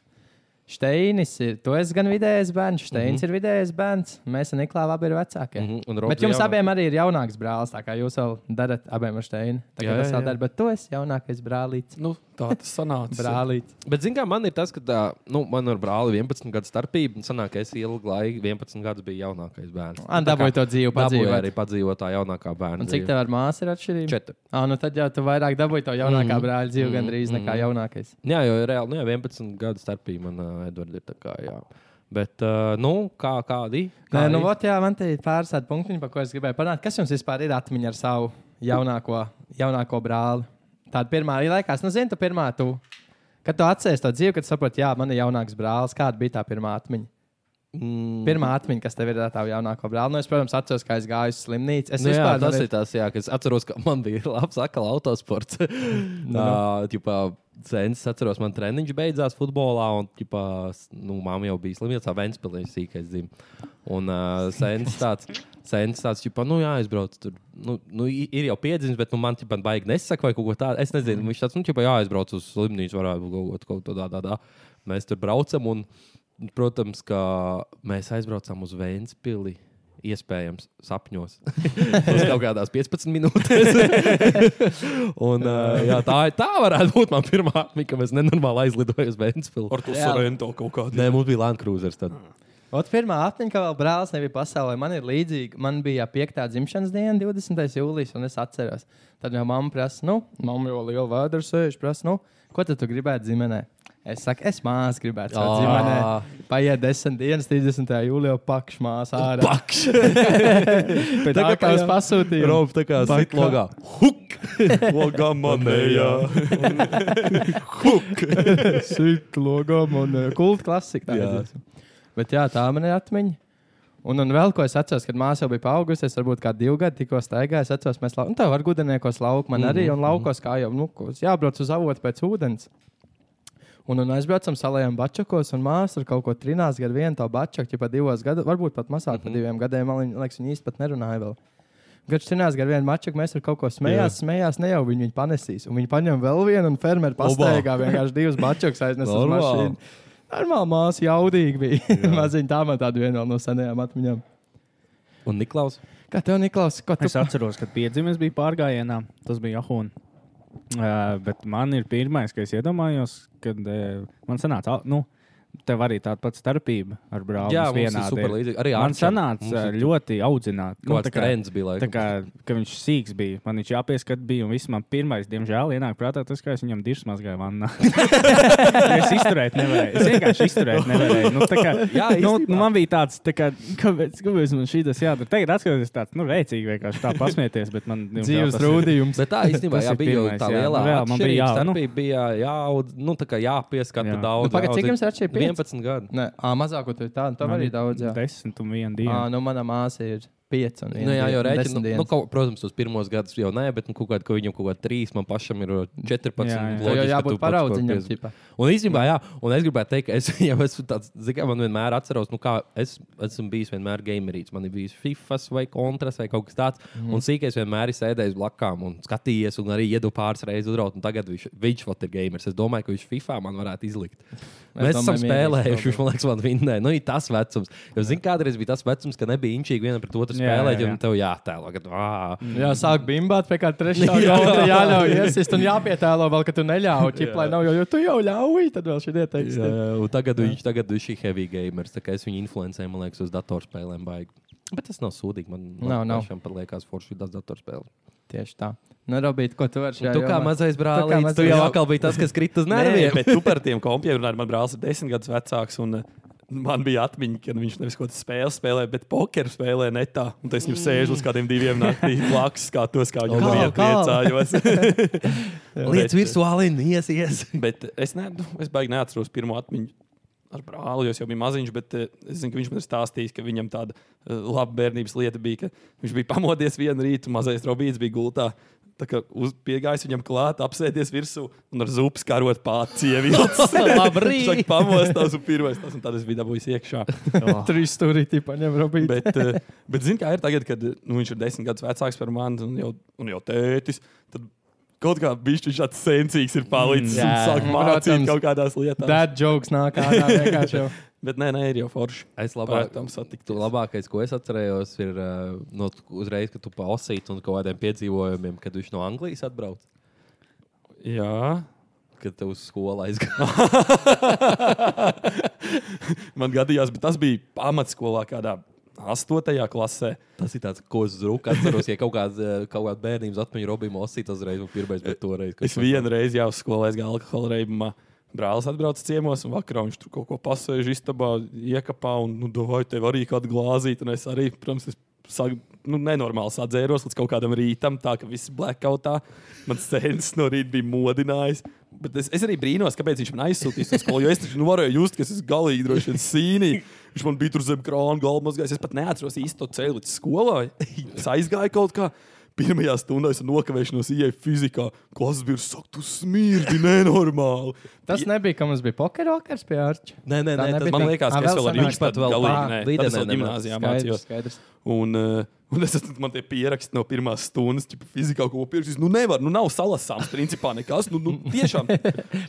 Steinis ir. Tu esi gan vidējais bērns, Steins mm -hmm. ir vidējais bērns. Mēs ar Niklāvu abi ir vecāki. Mm
Mhm, un
-hmm.
Robs
Bet
ir
jums
jaunāks.
abiem arī ir jaunāks brālis. Tā kā jūs vēl darat abiem ar Steinu. Tā
Jā,
kā tas
jā,
vēl
jā.
dara, bet tu esi jaunākais brālīts.
Nu, tā tas sanāca.
Brālīts.
Bet, zinām, man ir tas, ka tā, nu, man ar brāli 11 gadu starpība. un Sanāk, ka es ilgu laiku, 11 gadus, biju jaunākais bērns.
Un dabūju to dzīvu
Dabūju arī
padzīvot.
padzīvotā jaunākā bērna.
Un cik tev ar māsu ir atšķirība?
Četri.
Ah, nu tad jau tu vairāk dabūji to jaunākā mm. brāļa dzīvi mm. gandrīz nekā
mhm.
jaunākais.
Jā, jo reāli, nu, jā, 11 gadu starpība man uh, Edvards ir tā kā, jā. Bet, uh, nu, kā, kādi?
Nē,
kādi?
nu, ot, jā, man te ir pāris tādi punktiņi, par ko es gribēju parunāt. Kas jums vispār ir atmiņa ar savu jaunāko, jaunāko brāli? Tāda pirmā arī laikās, nu, zini, tu pirmā, tu, kad tu atceries to dzīvi, kad saproti, jā, man ir jaunāks brālis. Kāda bija tā pirmā atmiņa?
Mm.
Pirmā atmiņa, kas tev ir ar tavu jaunāko brāli? Nu, es, protams, atceros, kā es gāju uz slimnīcu. Es
Nu, jā,
vispār
tas
nevar-
ir tas, jā, kas atceros, ka man bija labs akla autosports.
Nu.
Nu, Tāpat cens, atceros, man treniņš beidzās futbolā, un ģipā, nu, mamma jau bija slimnīcā, Vēnspēlē sīkais dzimis. Un uh, sens tāds, sens tāds, ģipā, nu jā, aizbrauc tur. Nu, nu, i- ir jau piedzimis, bet nu, man ģipā baigi nesaka vai kaut ko tādu. Es nezinu,
Mm.
viņš tāds, nu, ģipā, jā, aizbrauc uz slimnīcu, varētu būt kaut- kaut ko tādu. Tā, tā. Mēs tur braucam, un, protams, ka mēs aizbraucām uz Vēnspili. Iespējams, sapņos. Uz kaut kādās 15 minūtēs. un, uh, jā, tā, tā varētu būt mana pirmā atmiņa, ka mēs nenormāli aizlidojām uz Vēnspili.
Ar to sorento kaut kādu.
Nē, mums bija Land Cruisers. Tad.
Ot, pirmā atmiņa, ka vēl brālis nebija pasaulē, man ir līdzīga. Man bija piekta dzimšanas diena, 20. jūlijas, un es atceros. Tad jau mamma prasa, nu, mamma jau liela vēdra sēž, prasa, nu, ko tad tu gribētu ģimenē? Es saku, es māsu gribētu savā
Ā.
ģimenē. Paiet desmit dienas, 30. jūlijā pakšmās ārā.
Pakš!
Pēc tā, kā es pasūtīju.
Rob, tā kā sit logā. Huk!
Logā manējā.
Sīt logā man kult klasika.
Jā.
Jā. Bet jā, tā man ir atmiņa. Un, un vēl ko es atceros, kad māsa jau bija paaugusies, varbūt kā divi gadi tikko staigāja. Es atceros, mēs lau... nu, tā var gudriniekos laukā, man arī, un laukos kā jau, nu, ko- jābrauc uz avotu pēc ūdens. Un, un aizbraucam salējām bačakos, un māsa ar kaut ko trinās gar vienu to bačaku, jau pat divos gados, varbūt pat mazāk
Mhm.
par diviem gadiem. Man li- liekas, viņi īsti pat nerunāja vēl. Kad trinās gar vienu mačaku, mēs ar kaut ko smējāmies, smējās, ne jau viņi viņu panesīs. Un viņi paņem vēl vienu, un fermeri pastaigā vienkārši divus bačakus aiznes uz
Normāli.
mašīnu. Normāli māsa jaudīgi bija. Maziņa tā man tāda viena vēl no senajām atmiņām.
Un Niklaus.
Kā tev, Niklaus, ko tu
Es atceros, kad piedzimis bija pārgājienā. Tas bija Jahūna. Uh, bet man ir pirmais, kas iedomājos, kad uh, man sanāca, al- nu, tev arī tāda pati starpība ar brāli.
Jā, mums
mums
ir
vienāda
super
ir.
līdzīga. Arī
man
Arčam
sanāca
mums
uh,
ir
ļoti audzināt. nu,
Kaut kāds trends bija
Tā
laikam.
kā ka viņš sīgs bija. Man viņš jāpieskat bija. Un viss man pirmais, diemžēl, ienāk prātā tas, kā es viņam dišs mazgāju vannā. es izturēt nevarēju. Es vienkārši izturēt nevarēju. Nu, tā kā,
Jā,
nu,
īstenībā.
nu, man bija tāds, tā kā, kāpēc, kāpēc man šī tas jādara. Tagad atskatās tāds, nu, rēcīgi vienkārši tā pasmieties, bet man diemžēl,
dzīves
tas ir-
rūdījums?
Bet tā īstenībā
Tas
jā,
ir
bija jau
pirmais,
tā
jā.
lielā
Nu, reāli man bija jā, nu.
atšķirība. Tā bija jāaudz, nu, tā kā jāpieskata
Jā.
daudz.
Nu, pagad, cik
jāaudz.
jums ir atšķirība?
11 gadi.
Nē, ā, mazāk, ko tu ir tāda. Tev
Man
arī
ir
daudz. Jā,
Desmit un viena
ā,
diena.
nu, mana māsa ir pieci un
Nu, jā, jau rēķinu. Nu,
Nu,
kaut- protams, tos pirmos gadus jau nē, bet nu, kaut kādā viņam kaut kādā 3, man pašam ir 14.
Jā,
Tev
jā.
jau
loģiski, ka tu
jābūt
pats par
paraudziņam,
15.
tipa.
Un īstenībā, jā, un es gribēju teikt, ka es jau esmu tāds, zināmā mērā, man vienmēr atceros, nu, kā es esmu bijis vienmēr gamerīts. Man ir bijis FIFA vai kontras vai kaut kas tāds.
Mhm.
Mm. Un sīkais vienmēr ir sēdējis blakām un skatījies, un arī iedu pāris reizes uzraut. un Tagad viņš, viņš vēl ir gamers. Es domāju, ka viņš FIFA man varētu izlikt. Mēs
domāju,
esam
mierīgi
spēlējuši,
šobrīd.
viņš man liekas, man vinnē. Nu, ir tas vecums. Jo, zini, kādreiz bija tas vecums, ka nebija inčīgi viena pret otru
Jā, jā,
spēlēt,
jā.
un tev jātēlo. Kad, ā,
Jā, sāk bimbāt, pie kā trešā gada jāļauj iesist un jāpietēlo vēl, ka tu neļauj. Ķip, lai nav, jo, jo tu jau ļauj, tad vēl šī
Jā,
ieteikta.
jā, un tagad viņš tagad viņš ir heavy gamers. tā kā Es viņu influencēju, man liekas, uz datorspēlēm. Baigi. Bet tas nav sūdīgi. Man, man
Nav, nav.
pašam pat liekas, forši tas datorspēle.
Tieši tā. Nu, Robīt, ko tu vari šajā?
Tu kā
jomā?
mazais
Tu kā
brālis, tu
mazais-
jau atkal biji tas, kas krīt uz
Nē,
nerviem.
bet tu par tiem kompiem runāji. Man brālis ir desmit gadus vecāks. Un, eh, Man bija atmiņa, ka viņš nevis kaut kādas spēles spēlē, bet pokeru spēlē netā. Un tas viņam sēž uz kādiem diviem naktī blakus, kā tos kā jau
Kā,
bija
kā?
priecājos.
Lietas virsū, alīni, iesies.
Bet es, ne, nu, es baigi neatceros pirmo atmiņu. Ar brāli jo es jau bija maziņš, bet eh, es zinu, ka viņš man ir stādījis, ka viņam tāda eh, laba bērnības lieta bija, ka viņš bija pamodies vienu rītu, mazais robīts bija gultā. Tā kā uz- Piegājis viņam klāt, apsēties virsū un ar zupu skarot pārciņu.
Labrīt!
Viņš pamostās un pirmais tas, un tad es biju dabūjis iekšā.
Trīs stūrītī paņem Robīt.
Bet, eh, bet zini, kā ir tagad, kad nu, viņš ir desmit gadus vecāks par mani un jau, un jau tētis. Tad kaut kā bijis tāds sensīgs, ir palicis.
Mm. Jā.
Viņš sāk mācīt
Protams.
kaut kādās lietās.
Dad jokes nāk ārā vienkārši jau.
Bet nē, nē, ir jau forši.
Es labāk,
Protams, satiktu
Tu
labi.
labākais, ko es atcerējos, ir uh, no t- uzreiz, kad tu palasīji un kaut kādiem piedzīvojumiem, kad viņš no Anglijas atbrauc,
Jā.
kad tev uz skolu aizgāja.
Man gadījās, bet tas bija pamatskolā kādā astotajā klasē.
Tas ir tāds, ko es zruku atceros, ja kaut kāds, eh, kaut kāds bērnības atmiņu Robīnu Osītu uzreiz, un pirmais, bet toreiz.
Es vienu reizi jau skolēju, gāju alkohola reibumā. Brālis atbrauca ciemos, un vakarā viņš tur kaut ko pasēž istabā, iekapā, un, nu, domāju, tev arī kāda glāzīta. Un es arī, protams, es sag, nu, nenormāli sadzēros līdz kaut kādam rītam, tā ka viss blackoutā. Man sēnes no rīta bija modinājis. Bet es, es arī brīnos, kāpēc viņš man aizsūtīja to skolu. Jo es taču nu, varēju just, ka es esmu galīgi droši vien sīnī. Viņš man bija tur zem krāna, galvā mazgājis. Es pat neatceros īsto ceļu līdz skolai. Es aizgāju kaut kā. Pirmajā stundā es ar nokavēšanos ienāku fizikā. Klases bija, saka, tu smirdi nenormāli.
Tas nebija, ka mums bija pokerokers pie Arča.
Nē, nē,
Tā
nē tas
nebija
man
tik-
liekas,
Ā,
ka es
vēl
vēl
senāk.
viņš pat vēl
Ā,
galīgi nē,
līdenē
tas vēl
nemāc.
gimnāzijā
Skaidrs,
mācījos.
skaidrs.
Un, eh, un es esmu man tie pieraksti no pirmās stundas, ka fizikā kaut ko pierakstījis. Nu, nevar, nu, nav salasāms, principā nekas. Nu, nu tiešām.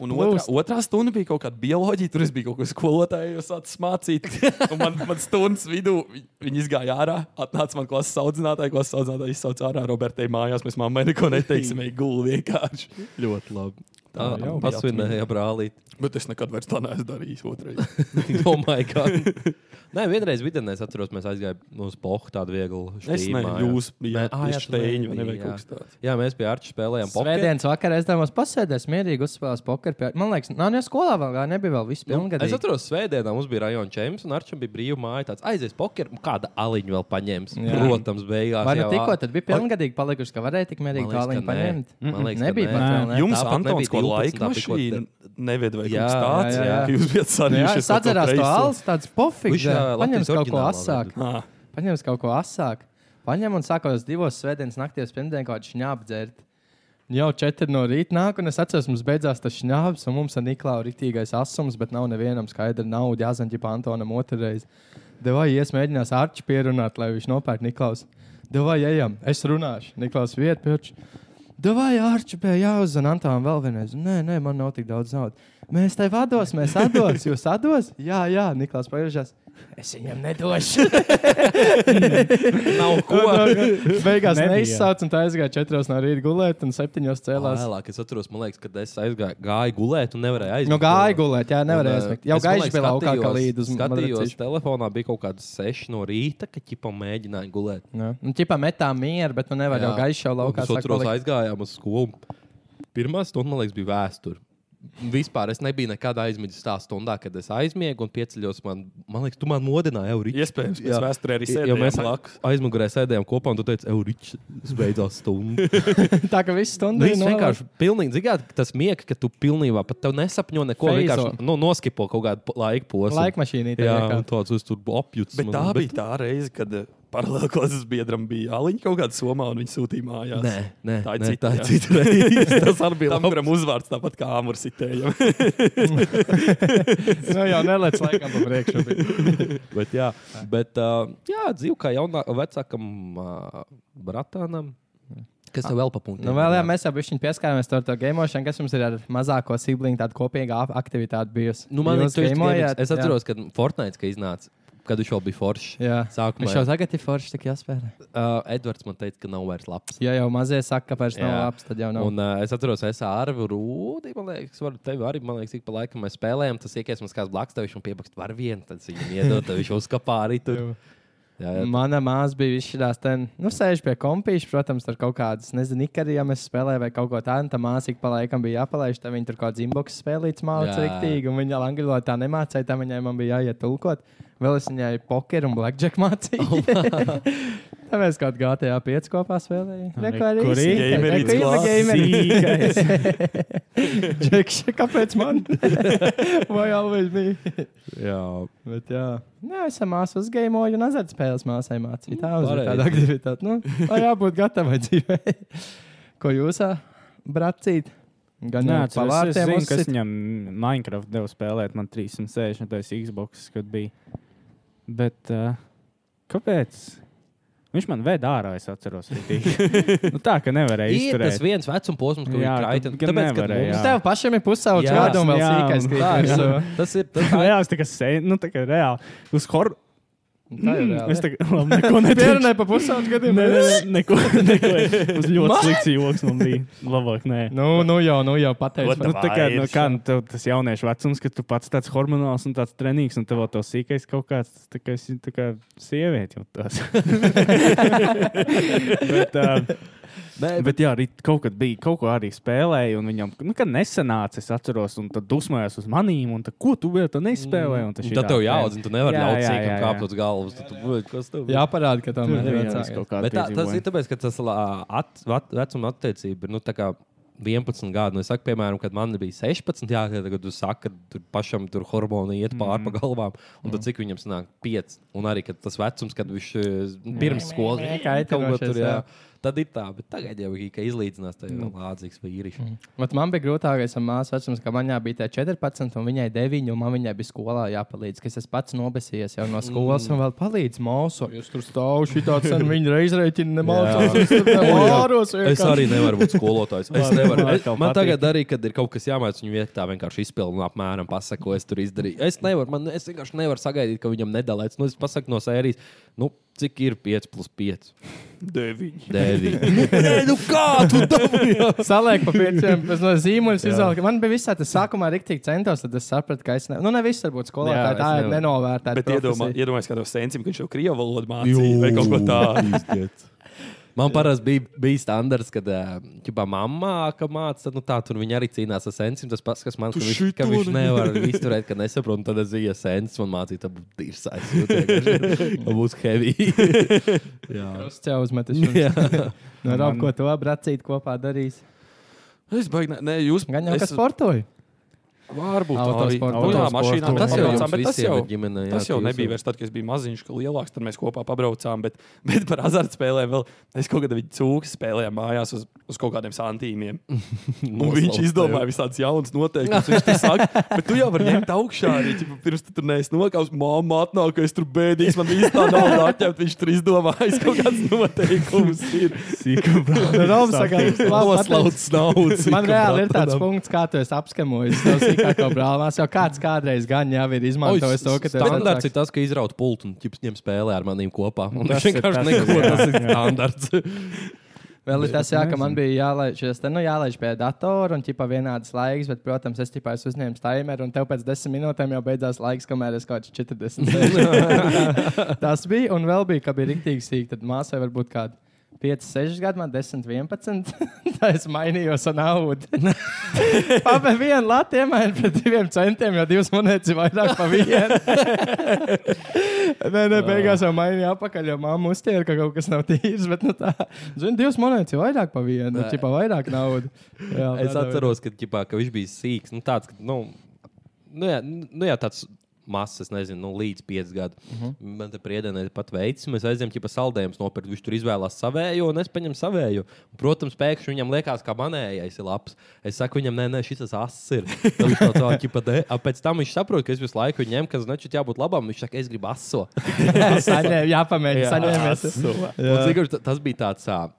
Un otrā,
Plūst.
otrā stunda bija kaut kāda bioloģija, tur es biju kaut ko skolotāju, jau sācis mācīt. Un man, man stundas vidū vi- viņi izgāja ārā, atnāca man klases audzinātāja, klases audzinātāja izsauca ārā Robertai mājās. Mēs mammai neko neteiksim, ej gulēt vienkārši.
ļoti labi.
Tā
Tā jau
jau bija
pasvinēja brālīt.
Bet es nekad vairs tā neesmu darījis otrreiz.
Domāju, ka. Nē, vienreiz vidienē es atceros, mēs aizgājām uz pohu tādu vieglu
Es
štīmā, jā.
nezinu, jūs bijāt
Ā, jā, tu
steiņi vai ne, vai
nebiji,
kaut kas
jā.
tāds.
Jā, mēs pie Arča spēlējām pokeru.
Svētdienas vakarā es domāju, pasēdēs mierīgi, uzspēlēs pokeru. Pie... Man liekas, nā, ne skolā vēl gāja, nebija vēl viss
Nu, Es
pilngadīgs.
atceros, svētdienā mums bija rajona čempions, un Arčam bija brīva māja. Tāds aizies pokeru, un kāda aliņa vēl paņēmis.
Jā.
Protams, beigās.
Vai nu
jau-
tikko tad bija pilngadīgi palikuši, ka varēja tik mierīgi
Man liekas,
tālu
ka nē.
paņemt?
Man liekas, ka
nebija
nē.
pat vēl,
Nē.
ne?
Jums,
tāpat
Antons,
nebija
ko
12,
laika
tāpat ko
mašīna neved vai
Jā, Nu
kaut kas tāds,
jā,
jā,
jā.
ka jūs bijat
Nu Jā,
sarījušies.
es atceros to alus, tāds
Viņš,
pofīgs.
ā,
Paņems
Latvijas
kaut ko
oriģinālā
asāk.
Ah,
Paņems kaut ko asāk. Paņem un sākos divos svētdienas naktīs, pirmdien kaut kā šņābdzert. Jau četri no rīta nāk, un es atceros, mums beidzās tas šņābs, un mums ar Niklausu ir rītīgais asums, bet nav nevienam skaidra nauda. Jāzaņģi pa Antonam otrreiz. Devai ies mēģinās Arču pierunāt, lai viņš nopērk Niklausu. Devai ejam, es runāšu, Niklaus vietu pirču. Davai, Arčs, bija jāuzzina Antām vēl vienreiz. Nē, nē, man nav tik daudz naudas. Mēs te vados, mēs atdos, jūs atdos. Jā, jā, Niklaus pagriežās. Es viņam nedošu.
Nav ko.
Beigās
Nebija.
neizsācis, un tā aizgāja četros no rīta gulēt, un septiņos cēlās.
Vēlāk es atceros, man liekas, kad es aizgāju, gāju gulēt un nevarēju aizmigt.
Nu, gāja gulēt, jā,
Un,
nevarēja
eh,
aizmigt. Jau
es, man
gaiši
liekas,
bija laukā, kā
skatījos-
līdus.
Skatījos, telefonā bija kaut kāds 6 no rīta, kad ķipa mēģināja gulēt.
Nu, ķipā metā mieru, bet nu nevar jau
Jā.
gaiši jau laukā.
Mēs otros aizgājām uz skolu. Pirmā stunda, man liekas, bija vēsture. Vispār es nebiju nekad aizmidzis tā stundā, kad es aizmiegu un pieceļos. Man, man liekas, tu man modināji, jau rītā.
Iespējams, mēs vēsturē arī
Jo
sēdējām
mēs
blakus.
aizmugurē sēdējām kopā, un tu teici, Euričs, beidzās stunda.
Tā kā viss stundas
Viņš vienkārši pilnīgi zigāja, tas miegs, ka tu pilnībā pat tev nesapņo neko.
Feizo.
Vienkārši nu, noskipo kaut kādu po- laika posmu.
Laikmašīnī tā
Jā,
vienkārši.
un tāds es tur nu, apjūts.
Bet tā bija tā reize, kad eh, paralēli klases biedram bija aliņa kaut kādā somā, un viņš sūtīja mājās.
Nē, nē,
Tā ir
nē,
cita,
tā
jā.
ir cita reize. Tas arī bija
Tam,
labi.
kuram uzvārds tāpat kā amursitējiem.
Nu, jau nelēc laikam pa priekšu. bija.
Bet, jā, bet, uh, jā dzīvo kā jaunā, vecākam uh, bratānam. Kas tev Ah. vēl papunktē?
Nu, vēl jā, mēs jau bišķiņ pieskārāmies to, to gameošanu, kas mums ir ar mazāko siblingu tāda kopīga ap- aktivitāte bijusi.
Nu, man
Jūs
liekas, tas bija.
gamojāt?
Es atceros, kad Fortnite ka iznāca. Kad viņš vēl bija foršs.
Jā.
Sākumā
Viņš jau tagad ir foršs, tik jāspēlē.
uh, Edvards man teica, ka nav vairs labs.
Ja jau mazie saka, ka vairs nav
Jā.
labs, tad jau nav.
Un, uh, es atceros, es ar Rūdu, man liekas, varu tevi arī, man liekas, ik pa laikam mēs spēlējām. Tas iekais mums kāds blakus, tev viņš piebakst var vienu, tad viņš viņam iedod, tad viņš uzkapā arī tur.
Jā.
Jā, jā.
Mana māsa bija izšķirās, ten, nu, sēž pie kompīša, protams, tur kaut kādas, nezinu, ikarī, ja mēs spēlējām vai kaut ko tādu, tā māsa ik pa laikam bija jāpalaiž, tad viņa tur kaut kāds inbox spēlīts māca
Jā.
riktīgi, un viņa angļu valodā tā nemācīja, tā viņai man bija jāiet tulkot. Vēl es viņai pokeru un blackjack mācīju. tā mēs kaut kā GTA 5 kopā spēlējām. Rekorī.
Rekurī.
Gamerīts klāts.
Čekši, kāpēc man? Vai alveiz bija?
jā.
Bet, jā, jā es esmu māsas uzgājēju, un azartspēles māsai mācīju. Tā jau ir
pareizi.
tāda aktivitāte. Nu, lai jābūt gatavai dzīvē. Ko jūs ā, bracīt? Gan
Nē,
jau
tas
pa
ir
vārtiem
klients, kas
uzsit.
viņam Minecraft deva spēlēt. Man 360 Xbox, kad bija. Bet uh, eh, kāpēc? Viņš man veda ārā, es atceros. ritīgi. nu, tā ka nevarēja
Ir tas
izturēt.
viens vecuma posms, kur
Jā,
ir
ka-
kraitina.
ka
Tāpēc, ka
nevarēja,
mums
jā.
Tev pašam ir pusauģis
Jā,
gada un vēl
jā,
sīkais.
un
tā ir.
krītājs,
tā-
so-
Tas ir tas, kā
Reāls, tā kā sen, nu, tā kā reāli. Uz hor...
Tā ir
Mm,
reāli.
es tā kā labi, neko neteikšu.
Pierunāju pa pusauģu
Nē,
gadiem.
nē, nē, neko, neko. Uz ļoti slikts joks man bija. Labāk, nē.
Nu, nu jau, nu jau pateicu.
Nu, tā kā, nu, kā nu, tev tas jauniešu vecums, kad tu pats tāds hormonāls un tāds trenīgs, un tev vēl tas sīkais kaut kāds, tas tā kā esi tā kā sieviete jau tās. bet, uh, bet jā, arī kaut kad bija, kaut ko arī spēlēja, un viņam, nu, kad nesanāca, es atceros, un tad dusmojās uz manīm, un tad, ko tu vēl tā nespēlēji? Un
Tad tev jāatzīst, tu nevari
Jā,
ļaut
jā, jā,
sīkam
jā.
kāpt uz galvas. Tad tu būsi kas tev.
Jā, parāda, ka tomēr ir
Tas
vecāks.
kaut kā
Bet tā, tas ir
piedzīvoja.
tāpēc, ka tas lā, at, at, vecuma attiecība ir nu, tā kā 11 gadi. Nu, es saku, piemēram, kad man bija 16, jā, tad, kad tu saki, ka tur pašam tur hormoni iet pāri
Mhm.
pa galvām, un tad cik viņam sanāk 5. Un arī kad tas vecums, kad viņš eh, pirms skolas
Kaitinošais, jā.
Tad ir tā, bet tagad jau ir kā izlīdzinās tā
Nu.
jau lādzīgs vīrišķis.
Bet man bija grūtākais ar māsu vecumu, ka manā bija tā 14, un viņai 9, un man viņai bija skolā jāpalīdz. ka Es esmu pats nobesies jau no skolas,
Mm.
un vēl palīdz māsu. Jūs tur stāvat šitā sen, viņa reizreitina nemācās. Es tur nemāros.
Es arī nevaru būt skolotājs. Es nevaru.
man
Es,
atkal
man
patīk.
tagad arī, kad ir kaut kas jāmācās, viņa vietā vienkārši izpildīja un apmēram pasaka, ko es tur izdarīju. Es nevaru, man, es vienkārši nevaru sagaidīt, ka viņam nedalēts. Nu, es pasaku no sērijas, nu, cik ir 5 plus 5.
Deviņi.
9. Nē, nu kā tu dabūji?
Saliek pa pieciem, es no zīmola izvēlu. Man bija visā tas sākumā rīktīgi centos, tad es sapratu, ka es ne... Nu, ne viss varbūt
Jā,
skolā, tā,
es
tā ir
nevaru.
nenovērtēta.
Bet iedomā,
profesija.
iedomājieties, kā tev sencim, ka viņš jau krievu valodu mācīja vai kaut ko tādu.
Man parasti bija, bija standarts, kad ģipā, mamma ka mācīja, tad nu, tā tur viņa arī cīnās ar sensiem. Tas pats, kas man teica, ka viņš nevar izturēt, ka nesaprot, un tad es zinu, sens man mācīja, tad būs tīrsais. Būs heavy. Jā.
Es tev uzmetīšu.
Jā.
No Rob, Nu, ko tu abi racīt kopā darīs?
Es baigi, ne, jūs
Gan jau, ka
es-
sportoju.
Varbūt tā arī
Autosports.
Nu jā, mašīnā. mēs
Autosports.
Tas
pabraucām,
jau jums
bet tas
visiem
jau
ir ģimenē, jā,
Tas jau
ka jūs
nebija
jau-
vairs tad, kad es biju maziņš, kad lielāks, tad mēs kopā pabraucām. Bet, bet par azartspēlēm vēl es kaut kādā veidā cūku spēlēju mājās uz, uz kaut kādiem santīmiem. Un nu, viņš
Noslauc
izdomāja visādas jaunas noteikumus. Viņš tur saka, bet tu jau vari ņemt augšā arī, ja pirms tu tur neesi nokaus. Māma atnāk, ka es tur bēdīgs, man bija tā nauda atņemt. Viņš tur izdomājis kaut kāds noteikums. Ir.
Sīkā brāļa.
Rob, saka,
Noslaucis naudas.
Man reāli ir tāds punkts, kā tu esi apskamojis to sīkāko brālās. Jau kāds kādreiz gan jau ir izmantojis to, ka tev
Standarts ir tas, ka izraut pultu un ķips ņem spēlē ar maniem kopā. Un
Tas
tas
ir
vienkārši
tas,
neko.
jā.
Tas ir
Jā.
standarts.
Vēl ir tas, jā, ka man bija jālaiž, šis te, nu, jālaiž pie datora un tipā vienādas laiks, bet, protams, es tipā esmu uzņēmis timeru un tev pēc desmit minūtēm jau beidzās laiks, kamēr es kaut kāds 40. sēžu. tas bija, un vēl bija, ka bija riktīgi sīk, tad māsai varbūt kādi 5, 6 gadi, man 10, 11. tā es mainījos ar naudu. Papa vienu lati iemainīja pret diviem centiem, jo divas monētas ir vairāk par vienu. Nē, nē, beigās jau mainīja apakaļ, jo mamma uztēra, ka kaut kas nav tīrs. Bet, nu, tā, zini, divas monētas ir vairāk par vienu, nu, tipā vairāk naudas. Jā,
Es
tādā
atceros, ka, ķipā, ka viņš bija sīgs. Nu, tāds, ka, nu, nu, jā, nu, jā, tāds mazs, es nezinu, nu, līdz 5 gadiem. Uh -huh. Man te priedēnē pat veids, mēs aizējām, ja saldējumus nopirkt. Viņš tur izvēlās savējo, un es paņēmu savējo. Un, protams, pēkšņi viņam liekas, ka manējais ir labs. Es saku viņam, nē, nē, šis tas ass ir. Tad viņš no tā, ķipa, "Nē." A, Pēc tam viņš saprot, ka es visu laiku viņu ņemu, ka značit jābūt labam. Viņš saka, es gribu aso.
veidā. Saņēm- Jāpamēģina, saņēmies.
Un, cik, ir ta- tas bija tāds. ā,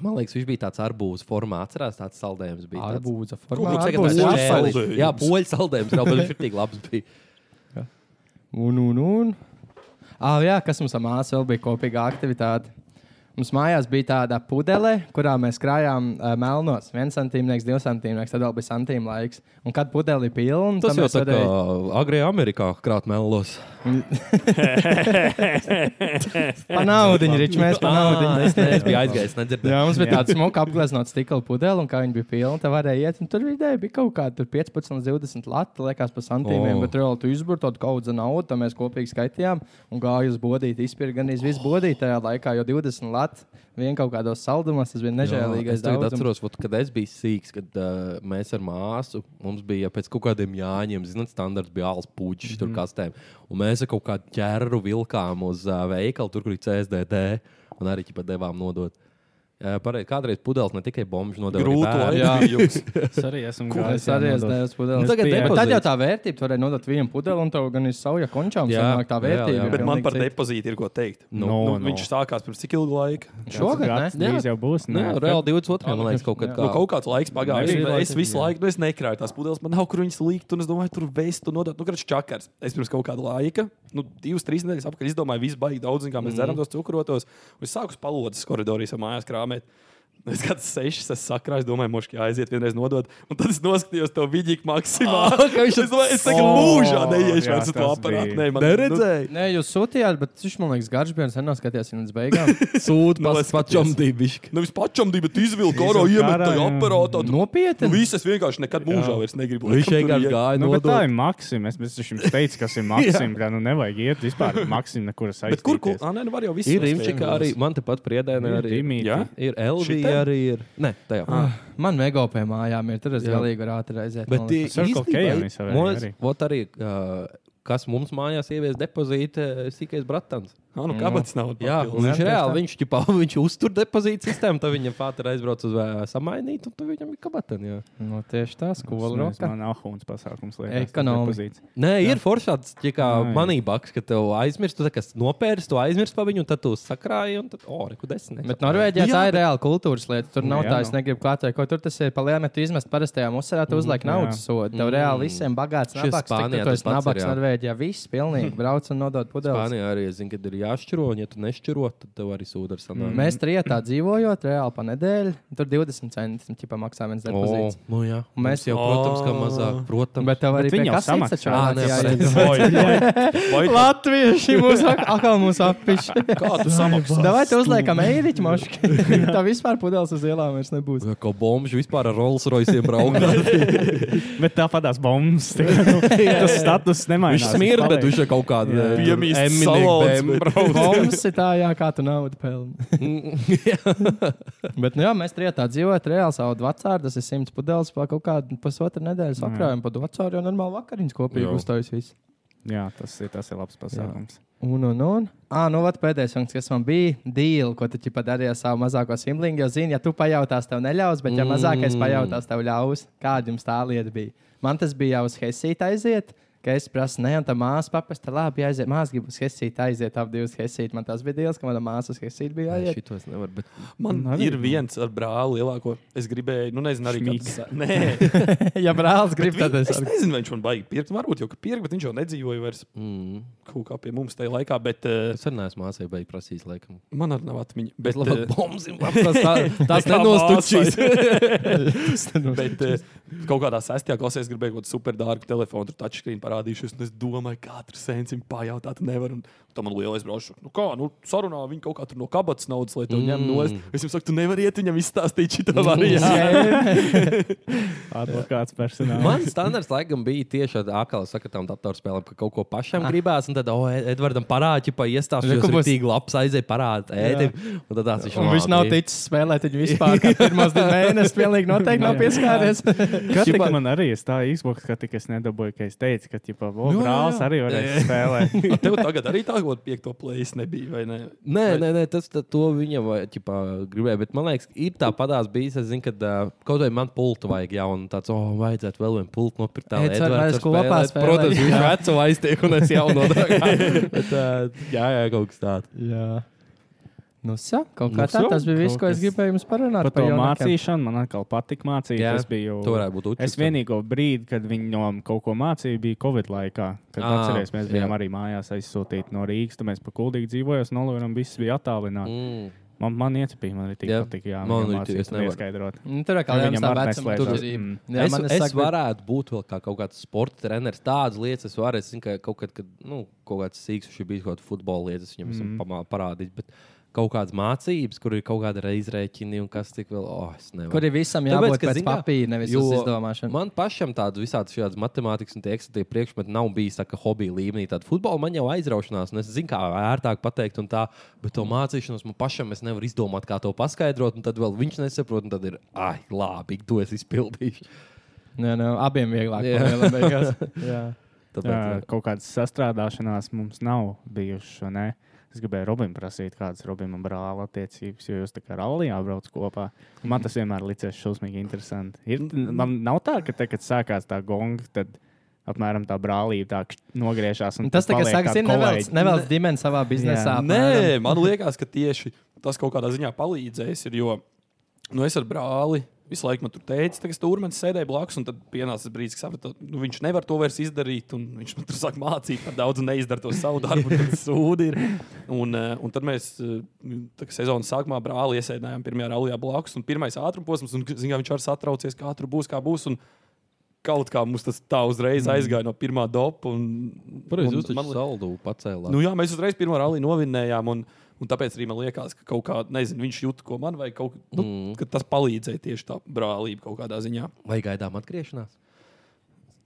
Man liekas, viņš bija tāds arbūza formā. Atcerās, tāds saldējums bija. tāds.
Arbūza
Varbūt
formā.
tagad tāds
Arbūza.
saldējums.
čēlis. Jā, poļu saldējums. Jā, bet viņš ir tik labs. Bija.
Un, un, un. Ah, jā, kas mums ar māsu vēl bija kopīga aktivitāte? Mums mājās bija tāda pudele, kurā mēs krājām uh, melnos. viens santīmnieks, divi santīmnieks, tad vēl bija santīm laiks. Un kad pudeli bija pilna,
Tas
tad
jau
mēs
tā kā
varēja-
agrīnā Amerikā krāt melos.
pa naudiņu, rič, mēs pa naudiņu.
Ah, Es biju aizgājis, nedzirdēju.
Jā, mums bija tāda smuka apgleznots stikla pudele, un kā viņa bija pilna, tad varēja iet. un Tur vidēji bija kaut kāda tur 15 līdz 20 lati, liekas, par santīmiem,
O.
oh. bet reāli tu izburtot kaut kādu naudu, tad mēs kopīgi skaitījām un gāju uz bodīti. Izpirka gan izvis bodīti tajā laikā, jo 20 lati vien kaut kādos saldumos, tas bija
Jā, es
nežēlīgais.
tagad
daudzums.
atceros, vot, kad es biju sīgs, kad uh, mēs ar māsu, mums bija pēc kaut kādiem jāņem, zinot, standarts bija alus puķis, mm.
Mhm.
tur kastēm. Un mēs ar kaut kādu ķēru vilkām uz uh, veikalu, tur, kur ir CSDD, un arī pat devām nodot. Uh, pareiz, kādreiz pudeles ne tikai bombas nodeva. arī
Grūti
bērni.
laika bijums.
Es arī esmu
Es
gājis. jā,
arī
nodot.
esmu uz pudeles.
Nu, tagad
bija-
Bet tad jau
depozīts.
tā vērtība, tu varēji nodot vienu pudeli un tev gan ir sauja končām,
Jā,
sanāk tā
jā, jā.
vērtība. ir
Bet man
pilnīgi
par
cita.
depozītu ir ko teikt.
Nu,
No,
nu,
no.
Viņš sākās pirms cik ilga laika?
Šogad,
Gads
ne?
drīz jau būs.
Nē,
Nē,
reāli 22. man liekas, kaut kad.
Jā.
Nu,
kā-
kaut kāds laiks pagājis.
Nebija
un Es
laika,
visu
jā.
laiku nu, es nekrāju tās pudeles. Man nav, kur viņas likt. Un es domāju, tur vēst, tur nodot. Nu, kāds čakars. Es pirms kaut kāda laika, nu, divas, trīs nedēļas apakaļ izdomāju, visu baigi daudz, un kā mēs dzeram tos cukrotos. Un es sāku uz palodzes koridorā savā mājās krāmēt. Es kāds sešas, es sakrāju, es domāju, moški jāaiziet, vienreiz nodot. Un tad es noskatījos to vidīku maksimāli. Oh, es domāju, es tagad
Oh,
mūžā neiešu
jā,
vairs uz to
tas
aparātu.
bija.
Nē, man neredzēju.
Nē, jūs sūtījāt, bet viņš man liekas garš, bija un sen nav skatījies viņa līdz beigām.
sūta
Nu,
pas-
es skaties.
pačamdībišķi.
Nevis pačam nu, divi, bet izvilka garo iemetu tajā
jā.
aparātā. Nu,
Nopietni!
Viss es vienkārši nekad mūžā vairs negribu.
Viņš
laikam tur
vienkārši
iet.
gāja
Nu, bet
nodot.
tā ir Maksim. Es es jums teicu, kas ir Maksim. tā nu nevajag iet vispār Maksim nekur
Bet kur? kur?
saistīt.
Ah, nē, nu var jau viss.
Ir
rast
Rimčika
vienkārši.
arī, man tepat priedēnē arī.
Jā?
Ir LV
Šitam?
arī. Ir. Nē, tajā.
Man mega pie mājām ir, tad es
Jā.
galīgi varētu aizēt.
Bet
man
tie
liekas.
Circle K
īstenībā-
arī savai
Man
arī.
liekas, vot arī, uh, kas mums mājās ievies depozīta, sīkais bratans.
Ah, nu, kāpēc nav?
Jā, un viņš reāli, viņš, ķipā, viņš uztur depozīta sistēmu, tad viņam pāter aizbrauc uz uh, samainīt, un tad viņam ir kabatani.
Nu, tieši tā, skola
Nezinu,
roka.
Man nav huns pasākums. liekas, tas
Ekonomi.
depozīts.
Nē, ir foršāds, ja kā
Ai.
manībaks, ka tev aizmirst, tu tā kā nopērci, tu aizmirsti pa viņu, un tad tu sakrāji, un tad, o, reku desmit.
Bet Norvēģijā
Jā,
tā ir reāla kultūras lieta. Tur nav
Jā,
tā,
nu.
es negribu klātēt, ko tur tas ir. Palieliniet, izmest parastajā musarā, tu uzliek naudas sodu. Tev reāli visiem bagāts,
Mm, Šis
nabaks, tik
Spānijā
tu esi
tas pats ir,
nabaks
jā.
Norvēģijā. Viss pilnīgi brauc un nodod pudeles.
Spānijā arī zina, kad ir jāšķiro, un ja tu nešķiro, tad tev arī sūta ar sanām.
Mēs trietā dzīvojot, reāli pa nedēļu, tur 20 centus ķipa, maksā viens depozīts.
nu, jā.
Un mēs-
Mums jau, protams, kā mazāk. Protams,
Bet tev arī
viņi jau
pie kases
samaksā.
taču
Ā, nē,
jāiet.
pareizi.
Latvieši mums ak- atkal mums appiši.
Kā tu samaksā?
Davai te uzliekam eiriķu mašķi. Tā vispār pudeles uz ielām vairs nebūs.
Jā, kā bombži vispār ar Rolls Royce braukt.
Bet tāpatās bombas. tā kā, nu, Tas status nemainās.
Viņš smirda, bet
paliek.
viņš ir kaut kāda eh,
Jā.
Piemīst salons, bet-
Mums ir tā, jā, kā tu naudu pelni. Bet, nu jā, mēs trietā dzīvojam, reāli savu vecāru, tas ir simts pudeles, pa kaut kādu pusotru nedēļu sakrājam, pa vecāru jau normāli vakariņas kopīgi
Jā.
uzstājas viss.
Jā, tas ir, tas ir labs pasākums.
Un, un, un. Ah, nu, vat pēdējais punkts, kas man bija, deal, ko tu pat dari ar savu mazāko simlingu. Jo, zini, ja tu pajautās, tev neļaus, bet, ja mazākais pajautās, tev ļaus, kāda jums tā lieta bija. Man tas bija jau uz Helsīta aiziet, ka es prasu, ne, un tā māsa papasta, labi, aiziet, māsa grib uz Helsīta aiziet, ap divas Helsīta. Man tas bija deals, ka mana māsa uz Helsīta bija jāiet.
Šito es nevaru. Bet...
Man
Nav
ir
arī.
viens ar brāli lielāko. Es gribēju, nu, nezinu, arī
Šmīk.
kāds. Nē,
ja brālis grib,
vi-
tad es
es nezinu, vai viņš man baigi pirkt. Varbūt jau, ka pirkt, bet viņš jau nedzīvoja vairs
Mm.
kaut kā pie mums tajā laikā. Bet uh,
Es arī neesmu māsai beigts prasījis, laikam.
man arī nav atmiņa. Bet,
Bet labi,
eh,
bombs ir labs. Tas
Nekā
nenostučīs.
Bet eh, kaut kādā sestajā klasē es gribēju kaut kādu superdārgu telefonu, tur touchscreen parādīšos. un Es domāju, ka katru sensim pajautāt nevaru. un Tam man lielais brālis, nu kā, nu sarunā viņi kaut kā tur no kabatas naudas, lai to mm. ņemtu nost. Es viņam saku, tu nevari iet viņam izstāstīt šitā variantā.
Advokāts personāls.
Man standarts laikam bija tieši ar akālu sakatām datorspēlēm, ka kaut ko pašam gribās, un tad, o, Ed- Edvardam parādi, pa iestāšos,
Reku
ka
būs-
būs tik labs aizēja parādi, Edim, un tad tāds viņš
Un viņš nav ticis spēlēt, viņa vispār kā pirmos divus mēnešus pilnīgi noteikti nav pieskāries.
Kā tik man arī ir tā Xbox, ka tik es nedabūju, ka es teicu, ka ģipā, o,
jā,
brālis
jā.
arī varēs spēlēt.
A Tev tagad arī tā gada piekto plēsis nebija, vai ne?
Nē, nē, nē, tas tā, to viņam vai, ķipā, gribēja. Bet man liekas, ir tā padās bijis. Es zinu, ka uh, kaut vai man pultu vajag jaunu. Tāds, oh, vajadzētu vēl vienu pultu nopirkt. Tā
Edvards varēs kopā spēlēt.
Protams, viņš
Jā.
veco aiztiek un es jaunu. bet, uh, jā, jā, kaut kas tāds.
Jā. Nu, sa, kaut
Nu,
kā tā,
sa,
tas bija viss,
kaut
ko es
kas.
gribēju jums parunāt.
Par to
jaunākiem.
mācīšanu man atkal patika mācīt.
Jā,
es biju.
to varētu būt
Es
ucis, tad.
vienīgo brīdi, kad viņi no kaut ko mācīja, bija Covid laikā. Kad
Ā,
atceries, mēs bijām
Ah, jā.
arī mājās aizsūtīti no Rīgas, tad mēs pa kuldīgi dzīvojām, nolūrām, viss bija attālināti.
Mm.
Man, man iecipīja, man arī tik
Jā.
patika, jā,
Man
viņiem
arī tik- es
mācīt un
nevaru.
ieskaidrot.
Nu, tur kā
Ja
jau
viņam
tā
ar
vecuma
neslēdzas.
turība.
Mm.
Jā,
es
man
es, es varētu būt vēl kā kaut kāds sporta treneris. Tādas lietas es varu. Es zinu, ka kaut, kad, kad, nu, kaut kāds sīgs viņš ir bijis kaut kāda futbola lietas, viņam mm. esmu parādījis. Bet kaut kādas mācības, kur ir kaut kāda reizrēķina un kas tik vēl. Oh, es nevaru.
Kur ir visam
Tāpēc,
jābūt
ka,
pēc
zini kā,
papīra, nevis
jo
uz izdomāšanu.
Man pašam tādas visādas šādas matemātikas un tie ekstremitāte priekšmeti nav bijis tā, ka hobija līmenī tāda futbola man jau aizraušanās, un es zinu, kā ērtāk pateikt, un tā, bet to mācīšanos man pašam es nevaru izdomāt, kā to paskaidrot, un tad vēl viņš nesaprot, un tad ir, ah, labi, to es izpildīšu.
Jā, nu, abiem vieglāk.
Jā.
man liekas, beigās. Jā.
Tāpēc,
Jā, kaut kādas sastrādāšanās mums nav bijušas. vai ne? Es gribēju Robinam prasīt, kādas Robinam brāla attiecības, jo jūs tā kā rallija brauc kopā. Un Man tas vienmēr likās šausmīgi interesanti. Ir,
Mm.
man nav tā, ka te, kad sākās tā gonga, tad apmēram tā brālība tā kš- nogriežās. un
Un tas
tu
tā kā
paliek
sākas
kā
ir nevēlas,
kolēģi.
nevēlas dimens savā biznesā.
Nē,
apmēram.
man liekas, ka tieši tas kaut kādā ziņā palīdzēs. Ir, jo nu, es ar brāli visu laiku man tur teicu, ka stūrmenis sēdēja blakus, un tad pienāca tas brīdis, kad sapratu, nu, viņš nevar to vairs izdarīt. un Viņš man tur sāk mācīt par daudz un neizdara to savu darbu, un tad sūdi ir. Un, eh, un tad mēs eh, tā kā sezonas sākumā brāli iesēdinājām pirmajā rallija blakus, un pirmais ātruma posms, un zin, kā viņš ar satraucies, kā ātrāk būs, kā būs. Un, Kaut kā mums tas tā uzreiz aizgāja no pirmā dopa. un-
Pareizi,
un
jūs taču
man li-
saldu pacēlāt.
Nu, jā, mēs uzreiz pirmo rallī novinējām, un, un tāpēc arī man liekas, ka kaut kā, nezinu, viņš jūt, ko man vajag. Kaut, nu, mm. ka Tas palīdzēja tieši tā brālība kaut kādā ziņā.
Vai gaidām atgriešanās?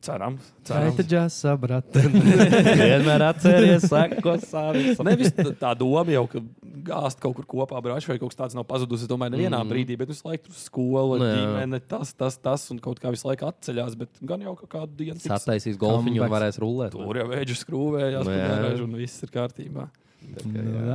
Cerams,
Cita
cerams.
džasa, brat.
Vienmēr atcerieties, ko sāpēs.
Nevis tā- tā doma jau, ka gāzt kaut kur kopā brāļš vai kaut kas tāds nav pazudus. Es domāju, nevienā mm. brīdī, bet visu laiku tur skola,
Nu, jā.
ģimene, tas, tas, tas, un kaut kā visu laiku atceļās. Bet gan jau ka kādu dienu tiks-
Sataisīs golfiņu un
Comebacks.
varēs rullēt.
Tur jau vēģis skrūvējās,
Nu,
tur
jā.
jau un viss ir kārtībā.
Nu,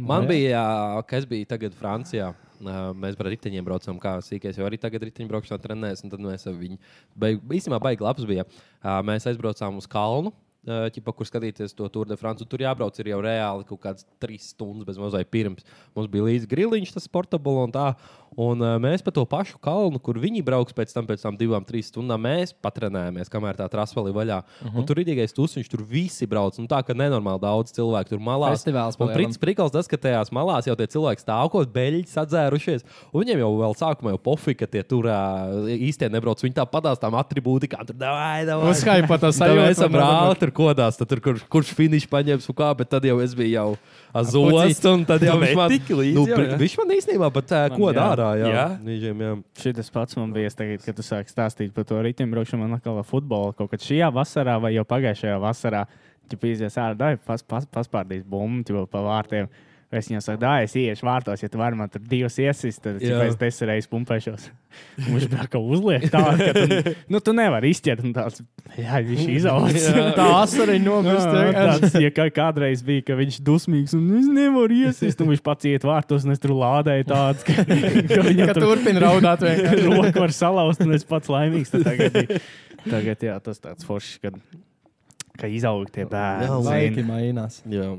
Man bija, ā, kas bija tagad Francijā. ā, Mēs par riteņiem braucām, kā sīkais. Jau arī tagad riteņbraukšanā trenējamies. Tad mēs ar viņu beig- īstenībā baigi labs bija. Ā, Mēs aizbraucām uz kalnu. Ķipa, kur skatīties to Tour de France, un tur jābrauc ir jau reāli kaut kādas trīs stundas, bez mazliet pirms. Mums bija līdzi griliņš, tas portabls un tā. Un ā, mēs pa to pašu kalnu, kur viņi brauks pēc tam, pēc tam divām, trīs stundām, mēs patrenējāmies, kamēr tā trasa vēl ir vaļā. Uh -huh. Un tur ir īgais tusniņš, tur visi brauc. Nu, tā kā nenormāli daudz cilvēku tur malā.
Festivāls
Un
palielam.
principā Prikals tas, ka tajās malās jau tie cilvēki stāv kaut kādā beļķis atzērušies. un Viņiem jau vēl sākumā jau pofī, ka tie tur ā, īstenībā nebrauc. Viņi tā padās tām atribūtikām, tur davai, davai.
Uzkāpa tā
Tad jau
sajūta.
esam brāli, tur kodās, tad tur, kurš, kurš finišu paņems un kā, bet tad jau es biju jau azots, un tad jau
Tu
viņš man
metiki līdzi
nu,
jau,
pri-
jā?
viņš man īstenībā pat uh,
Man,
kodā
jā.
ārā, jā.
Jā?
Viņiem, jā.
Šis pats man bija, es tagad, kad tu sāki stāstīt par to riteņbraukšanu, man atkal ir futbola kaut kad šajā vasarā vai jau pagājušajā vasarā. Tur pīzies ārā, dai, pas, pas, paspārdīs bumbu ķipa, pa vārtiem. Es viņam saku, dai, es iešu vārtos, ja tu vari man tur divas iesis, tad
Jā.
ķipa, es desmit reizes pumpēšos. Un Viņš man kā uzliek tā, ka tu, nu, tu nevari izķert. un Tāds, jā, viņš izaugs.
Tā asariņa nomirst.
Tas, ja kā, kādreiz bija, ka viņš dusmīgs un viņš nevar iesist, un viņš pats iet vārtos, un es tur lādēju tāds, ka, ka viņam
Ka turpina raudāt vienkārši.
roku var salauzt, un es pats laimīgs. Tad Tagad, ir- tagad jā, tas tāds foršs, kad, ka izaug tie
Jā,
bērni.
Laiki
zini.
mainās.
jā.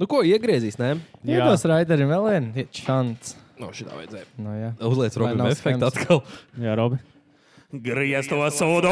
Nu, ko iegriezīs, nē?
Jā.
Iedos raiderim vēl vienu šāns.
No šitā vajadzēja.
Nu, jā.
Uzliec
Lai
robim
nav
efektu
skams.
atkal.
Jā, Robi.
Griez to sodu!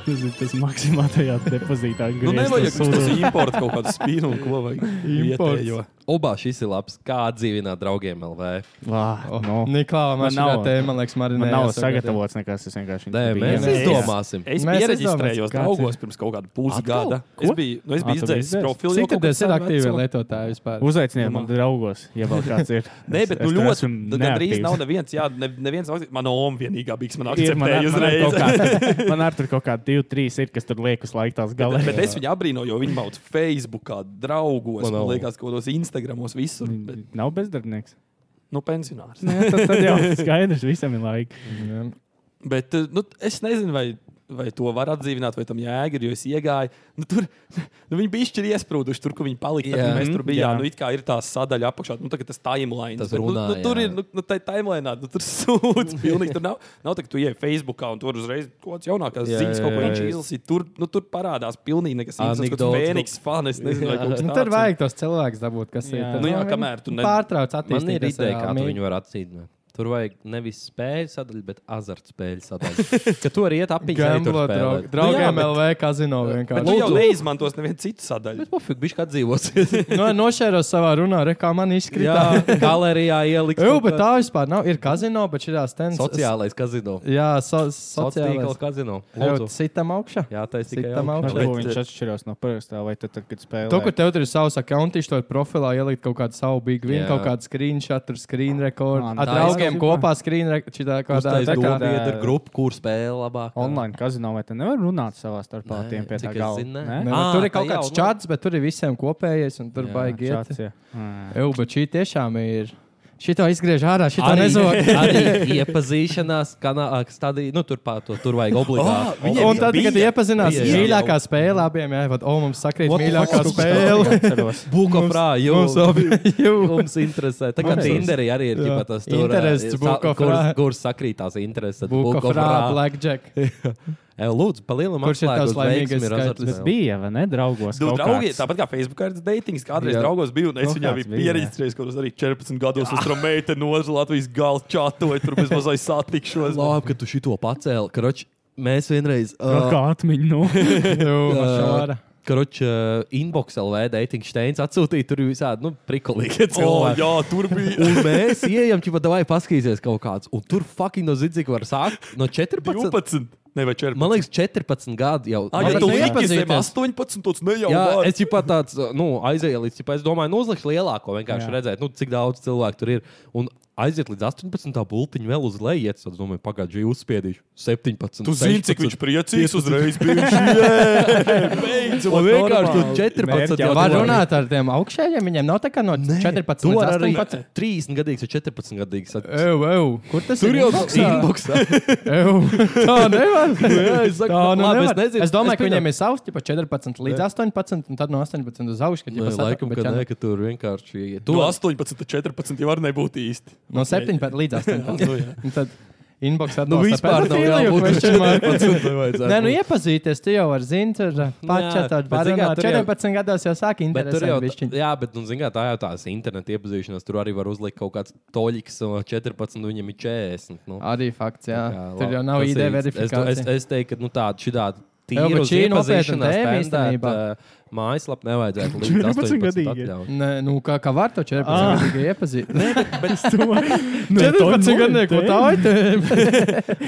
Tas ir tas maksimāls tajā depozītā.
Nu,
grieztas
nevajag mums
sūdu.
tas imports kaut kādu spīnu un ko vajag.
Imports.
vietējo.
Obā šis ir labs. Kā dzīvināt draugiem LV?
Vā, no.
Niklā, man
Man nav-
šī tēma, man liekas, marinē.
Man nav sagatavots nekas, es vienkārši.
Nē, mēs
jā.
izdomāsim.
Es
Mēs
pierakstījos
izdomāsim, kāds
draugos pirms kaut kāda pusgada.
Atkal?
Es
Ko?
biju, nu, es
Ā,
biju
tu
izdzēsis
biji
profilu. jau
Cik
kaut
tad
kādu
es ir
senu
aktīvi
vecumu.
lietotāji vispār?
Uzaiciniet man draugos, ja vēl kāds ir.
Nē, bet nu,
Es- es tur
ļoti.
esmu
nu, Gan drīz
neaktīvs.
nav neviens. Jā, ne, neviens. akti- Mana oma vienīgā bija, kas man
Ir, Man ar-
akceptēja
man ar kaut
uzreiz.
kāda- man ar tur kaut kāda divi, trīs ir, kas tur liekas laikā tās galā.
Bet es viņu abrīnoju, jo viņi bauda Facebookā, draugos,
Man
man
nav.
liekas, kaut kādos Instagramos, visur. Bet,
Nav bezdarbnieks.
nu, pensionārs.
Nē, tad, tad jau skaidrs, visam ir laika.
Jā.
Bet eh, nu, es nezinu, vai, vai to var atdzīvināt, vai tam jēga ir. Jo es iegāju, nu, tur nu, viņi bija izšķirti iesprūduši, tur, kur viņi palika. Tad,
Jā.
kad mēs tur bijām.
Jā.
Nu, it kā ir tā sadaļa apakšā, nu, tagad tas timeline.
Tas
Bet,
runā,
nu, nu, tur
jā.
ir, nu, nu tā timeline, nu, tur sūds pilnīgi. Tur nav, nav tā, ka tu ej Facebookā un tur uzreiz kaut kāds jaunākās
Jā,
ziņas,
jā,
kaut ko
jā,
viņš
jā.
izlasīja. Tur, nu, tur parādās pilnīgi nekas
Anekdotes
tāds, kāds
kaut-
Fēniks fans. Es nezinu, vai kaut kas
Nu,
tāds
tur
ir.
vajag tos cilvēkus dabūt, kas ir.
Jā.
Tad,
Nu jā,
viņi
kamēr tu ne-
Pārtrauc
Man ir
attīstīties.
ideja, kā tu
reāli.
viņu var atcīmēt. Tur vajag nevis spēļu sadaļu, bet azartspēļu sadaļu. Ka tur iet apiņķi arī tur
Gamblo draug,
spēlēt. Nu
draugiem
bet-
LV kazino
Bet tu
vienkārši.
jau
Lūdzu.
neizmantos nevienu citu sadaļu.
Bet pofīgi, bišķi atdzīvosies.
Nu, nošēros savā runā, re, kā man
Jā,
izkrita.
galerijā ielikt.
Jā, bet tā vispār nav. Ir kazino, bet šī tās
Sociālais kazino.
Jā, so,
Sociālais
sociālais.
kazino.
Jau
Lūdzu.
citam augšā.
Jā, tā ir tikai
Citam
augšā.
augšā.
Varbūt
Bet,
viņš
eh,
atšķirās no parastā, vai tad, tad kad spēlē.
To, kur tev tur ir savs akkounts, to ir profilā ielikt kaut kādu savu big win,
Jā.
kaut kādu screenshot, tur screen record.
Man
Ar
tā
draugiem
ir-
kopā screen record. Šitā kādā
Uztais
tā kā
domā.
dombiet ir grupa, kur spēle labāk.
Online kazino, vai te nevar runāt savā starpā tiem pie tā
cik es
galva?
zinu, nē.
Ne,
Nē,
nu,
Ā,
tur ir kaut
Ah, tā jā,
kāds
un-
čats, bet tur ir visiem kopējais, un tur
Jā,
baigi iet.
Šāds, jā. Mm.
Eju, bet šī tiešām ir. Šito izgriež ārā, šito nezog.
arī iepazīšanās, kanālā, stadijā. Nu, tur, pā, to, tur vajag obligāti.
Oh, viņiem
Un tad, kad
bija.
iepazinās
Bija.
mīļākā spēle abiem, jā, vad, o, mums sakrīt
What the
mīļākā
fuck?
spēle.
Buļbuļsakā jau
mums abi.
mums interesē. Tā kā
Mums
Tinderī arī ir
Jā.
ģipā tas tur,
Interests,
eh, sa-
Book of
kur-
Ra.
Kur sakrītās intereses?
Book of Ra, Blackjack.
Ej, Lūdzu, palielinām
Kurš ir tavs laimīgais skaitlis?
Tas bija, vai ne, draugos?
Nu,
kaut
draugi,
kāds.
tāpat kā Facebookā ir datings, kādreiz
Jā.
draugos biju, un es
Kaut
viņā
kāds
biju
bija, jā.
pieregistrējies, kurus arī 14 gados uz tromēta nozaga Latvijas gala čatoju, tur bez mazais satikšos.
Labi, ka tu šito pacēli. Kroč, mēs vienreiz. Uh,
Kaut kā atmiņu. Nu.
Jū, mašāra.
Kroč, uh, inbox LV, dating steins atsūtīja tur bija visādi, nu, prikolīgi
Oh,
cilvēki.
jā, tur bija.
Un mēs ienākam, jau tādā veidā paskatīsimies kaut kāds. Un tur fucking no zidzīga var sākt no 14.
12. Ne, vai 14.
Man liekas, 14 gadi jau.
Ah, ja
Man
tu
liekas,
lieki zem
iepazīties.
18, tad ne jau
Jā,
var.
es jau tāds, nu, aizēju līdz, tipā, es domāju, nu, uzlikšu lielāko, vienkārši
Jā.
jā. redzēt, nu, cik daudz cilvēku tur ir. Un aiziet līdz 18. bultiņam, vēl uz leju, iet, tad domāju, pagaidzi, jau uzspiedīšu 17.
Tu zini, cik viņš priecīgs uzreiz bija.
ir. Un Nu, vienkārši tu 14.
Mērķi
jau
jau
Var
tu vari-
runāt ar tiem augšējiem, viņiem nav tā kā no
Nē,
14
tu vari
līdz
arī
18.
30 gadīgs vai 14
E,
gadīgs.
Ew, ew. Kur tas
Tur
ir?
jau
Inboxā?
inboxā.
Ew. Tā nevar.
Jā, es saku,
Tā
nu,
nu
labi,
nevar.
es nezinu.
es domāju,
Es
ka
pieņemu.
viņiem ir savs, tipā 14 līdz 18, un tad no 18 uz augšu. kad ģipa
Nē,
sata-
laikam,
bet
ka
jā,
nē, ka tur vienkārši.
Tu
Tu
18, 14 jau var nebūt īsti.
No 17 līdz 18.
Nu, jā.
Un Tad inboxā
Nu, vispār nav jābūt 14. vajadzētu
Nē, nu
būt.
iepazīties, tu jau vari zināt, tur pačatāt,
bet zini, kā,
parunāt.
tur jau-
14 gados jau sāk
Bet tur jau tā,
interesēt.
jā, bet, nu, zin kā, tā jau tādas interneta iepazīšanās, tur arī var uzlikt kaut kāds toļiks, no 14, un viņam ir 40. Nu.
Arī fakts, jā.
kā,
Tur
labi,
jau nav
tas
ID
ir-
verifikācija.
Es, es, es teiktu, ka nu, tāda šī tāda
Jā, bet
tīra
šī ir nopietna
iepazīšanās
tēma
standarta
īstenībā.
mājaslapa nevajadzētu līdz
14
18
gadīgi.
atļaut.
Nē, nu, kā, kā var to
Ah.
14 gadu iepazīt?
Nu, to nu, te-
aitēm.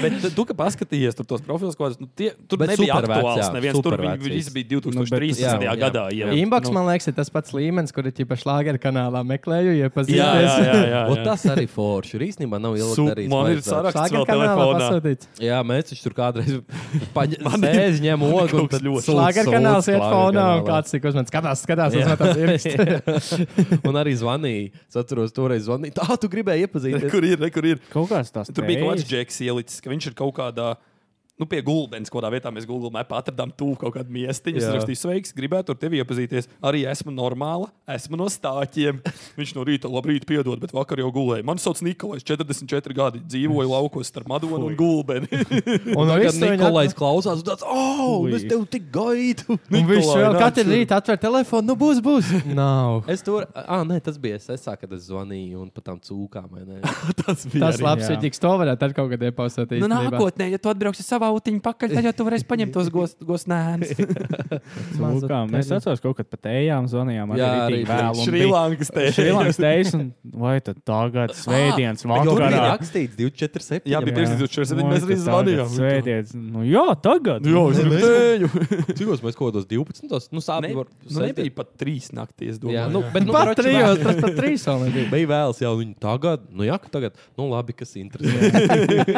Bet tu, tu, ka paskatījies tur tos profilus, ko tas nu, tie- tur
Bet
nebija
supervecs,
aktuāls.
jā,
Neviens tur
supervecs
viņi visi
viss.
bija
Nu,
2013.
bet- jā, jā.
gadā. jau.
Inbox,
Nu,
man liekas, ir tas pats līmenis, kur ir tieši šāda kanālā meklēju,
Jā, jā,
iepazīties.
jā, jā,
Un
jā.
tas arī forši. Ir īstenībā nav ilgi
Su-
darīts.
man ir
vajadzētu.
saraksts. raksts
Šāda
vēl
kanālā
telefonā.
pasūtīts.
Jā, mēs taču tur kādreiz
Man ir-
paņēmām ogu.
kaut kas ļoti-
Šāda kanāls iet fonā, un kāds tik uzmanīgs skatās, skatās,
Jā.
uzmetās iekšā.
un arī zvanīja. Es atceros, toreiz zvanīja. Tā, tu gribēji
Re,
iepazīties.
Kur ir, re, kur ir?
Kaut kāds tas
Tur bija kaut kāds džeks ielicis, ka viņš ir kaut kādā. Nu, pie gulbens, kādā vietā mēs Google mapā atradām tuvu kaut kādu miestiņu. Es
Jā.
rakstīju, sveiks, gribētu ar tevi iepazīties. Arī esmu normāla, esmu no stāķiem. Viņš no rīta, labrīt, piedod, bet vakar jau gulēja. Mani sauc Nikolais, 44 gadi, dzīvoju laukos starp Madonu un Gulbeni.
Un
Kad
viss
Nikolais klausās, tad tāds - oh,
Ui.
es tev tik gaidu!
Nu.
Un viņš
Nikolai,
vēl
nāc
katru
šurp.
rītu atver telefonu, nu būs, būs. Nav.
Es tur, ah, nē, tas bija es, kad es zvanīju un par tām cūkām. vai ne?
Tas bija
Tas
arī.
labs
jā.
ir, tiks to varētu ar kaut kādā pausēties.
Nu, nākotnē, ja tu atbrauksi savā autiņā pakaļ, tad jau tu varēsi paņemt tos gosnēnus.
Lūkā, mēs atceramies, kaut kad pat ejām, zvanījām.
Jā,
Jā, arī
arī
vēl. un bija-
Šrilankas tēma.
Šrilankas teiks, un vai tad tagad svētdienas
Bet jau tur bija
vakarā?
rakstīts 24,
Jā, bija
Jā.
547, mēs
Vai
arī
tad tagad
zvanījām.
Svētdienas, nu jā, tagad.
Jā, es
Nē, mēs-
gribēju.
Cikos mēs kaut kādos 12. Nu,
Ne,
sāpīgi var.
nu, nebija pat trīs naktīs.
Jā,
Domāju,
nu, bet nu,
Pat
karoči,
trijos,
vēl-
tas pat trīs vēl nebija.
Bija vēls, jau viņi tagad, nu jā, ka tagad, nu labi, kas interesē.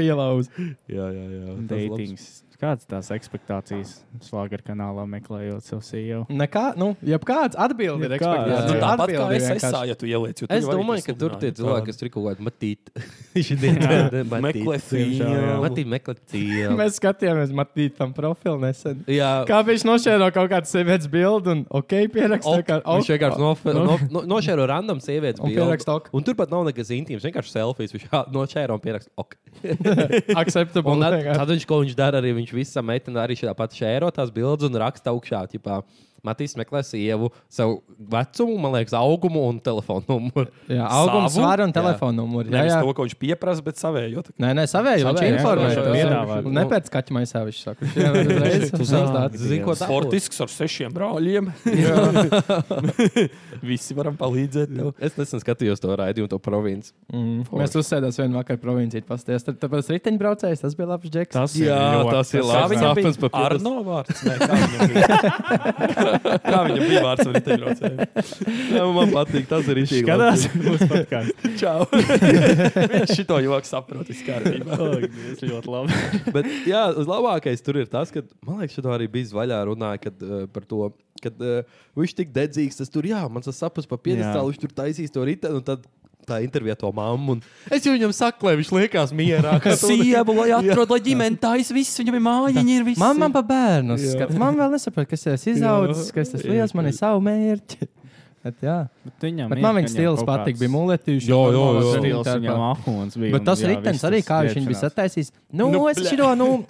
Pielauz.
jā, jā, jā. tas labs.
Datings. Kādas tās expectācijas slāņa kanālā meklējot savu E sievu?
Nekā, nu, jebkāds atbildi ir
Jebkāds.
ekspektēts.
Jā,
nu,
jā.
tāpat kā
Atbildi
es
vienkārši.
esmu, ja tu ieliec. jo tu
Es
jau arī
domāju, ka tur tie
sludināji.
cilvēki, kas tur kaut kādā matīt, viņi
Meklē
jā.
filmu.
Matīt, meklē cīņu.
Mēs skatījāmies Matītam profilu nesen.
Jā,
Kā viņš nošēro kaut kādu sievietes bildi un ok, pierakstīja,
Ok,
ka
Viņš vienkārši nof- nof- no- nošēro random sievietes
Un pieraksta ok.
bildi. Un turpat nav nekas intīms, vienkārši selfijas. Viņš ā, nošēro un pieraksta ok.
nu, akceptable.
Un tad,
vienkārši.
tad viņš, ko viņš dara, arī viņš visam meitenei arī šādi pat šēro tās bildes un raksta augšā. Ķipā. Matīs meklē sievu, savu vecumu, man liekas, augumu un telefonu numuru.
Jā, augums,
Savu?
svāra un
Jā.
telefonu numuru. Jā,
Nevis
jā.
to, ko viņš pieprasa, bet savējo. tā kā.
Nē, nē, savēju, viņš
Savēju, jā,
informē.
jā, jā,
tev.
piedāvā.
Un Ne pēc kaķa maisā viņš saka. Viņš jau uzreiz uzreiz dāts.
Zini, ko tā
Sportisks ar sešiem brāļiem. Visi varam palīdzēt. Tev.
Es nesen skatījos to raidījumu, to provinci.
Mm, Mēs uzsēdās vienā vakarā provincijā, pasties. Tad tas riteņbraucējs, tas bija labs džeks.
Tas ir ļoti-
Kā viņam bija
sapnis papildus.
Arno vārds? Nē, kā viņam bija? kā viņam bija vārds? ar riteņbraucēju?
Man patīk, tas ir īsi.
Skatās, mūsu podkāstā.
Čau. Viņš šito joku saprot viskārtībā.
Ļoti labi.
Bet jā, labākais tur ir tas, ka man liekas, šeit arī bija zvaigžā runāja kad, uh, par to. eh, Kad uh, viņš tik dedzīgs, tas tur, jā, man tas sapnis par piedestālu,
Jā.
viņš tur taisīs to rītu, un tad tā intervija to mammu. un Es jau viņam saku, lai viņš liekas mierā. ka tu-
Sievu, lai atrod, lai ģimene taisa viss, viņam ir mājiņa, ir viss.
Mamma pa bērnu
Jā.
skats. Man vēl nesaprot, kas tas izaugs, kas tas liels, man ir savu mērķi. Bet, jā.
Bet viņam
Bet
ir,
man
ka
viņa stils
kaut
patīk,
kāds
bija muletīši.
Jā, jā, jā.
Stils viņam ahūns bija.
Bet
un
tas
jā,
ritenis
viss
arī,
tas
kā viņš viņu bija
skriešanās.
sataisījis. Nu,
Nu,
nu es
blē.
širo, nu,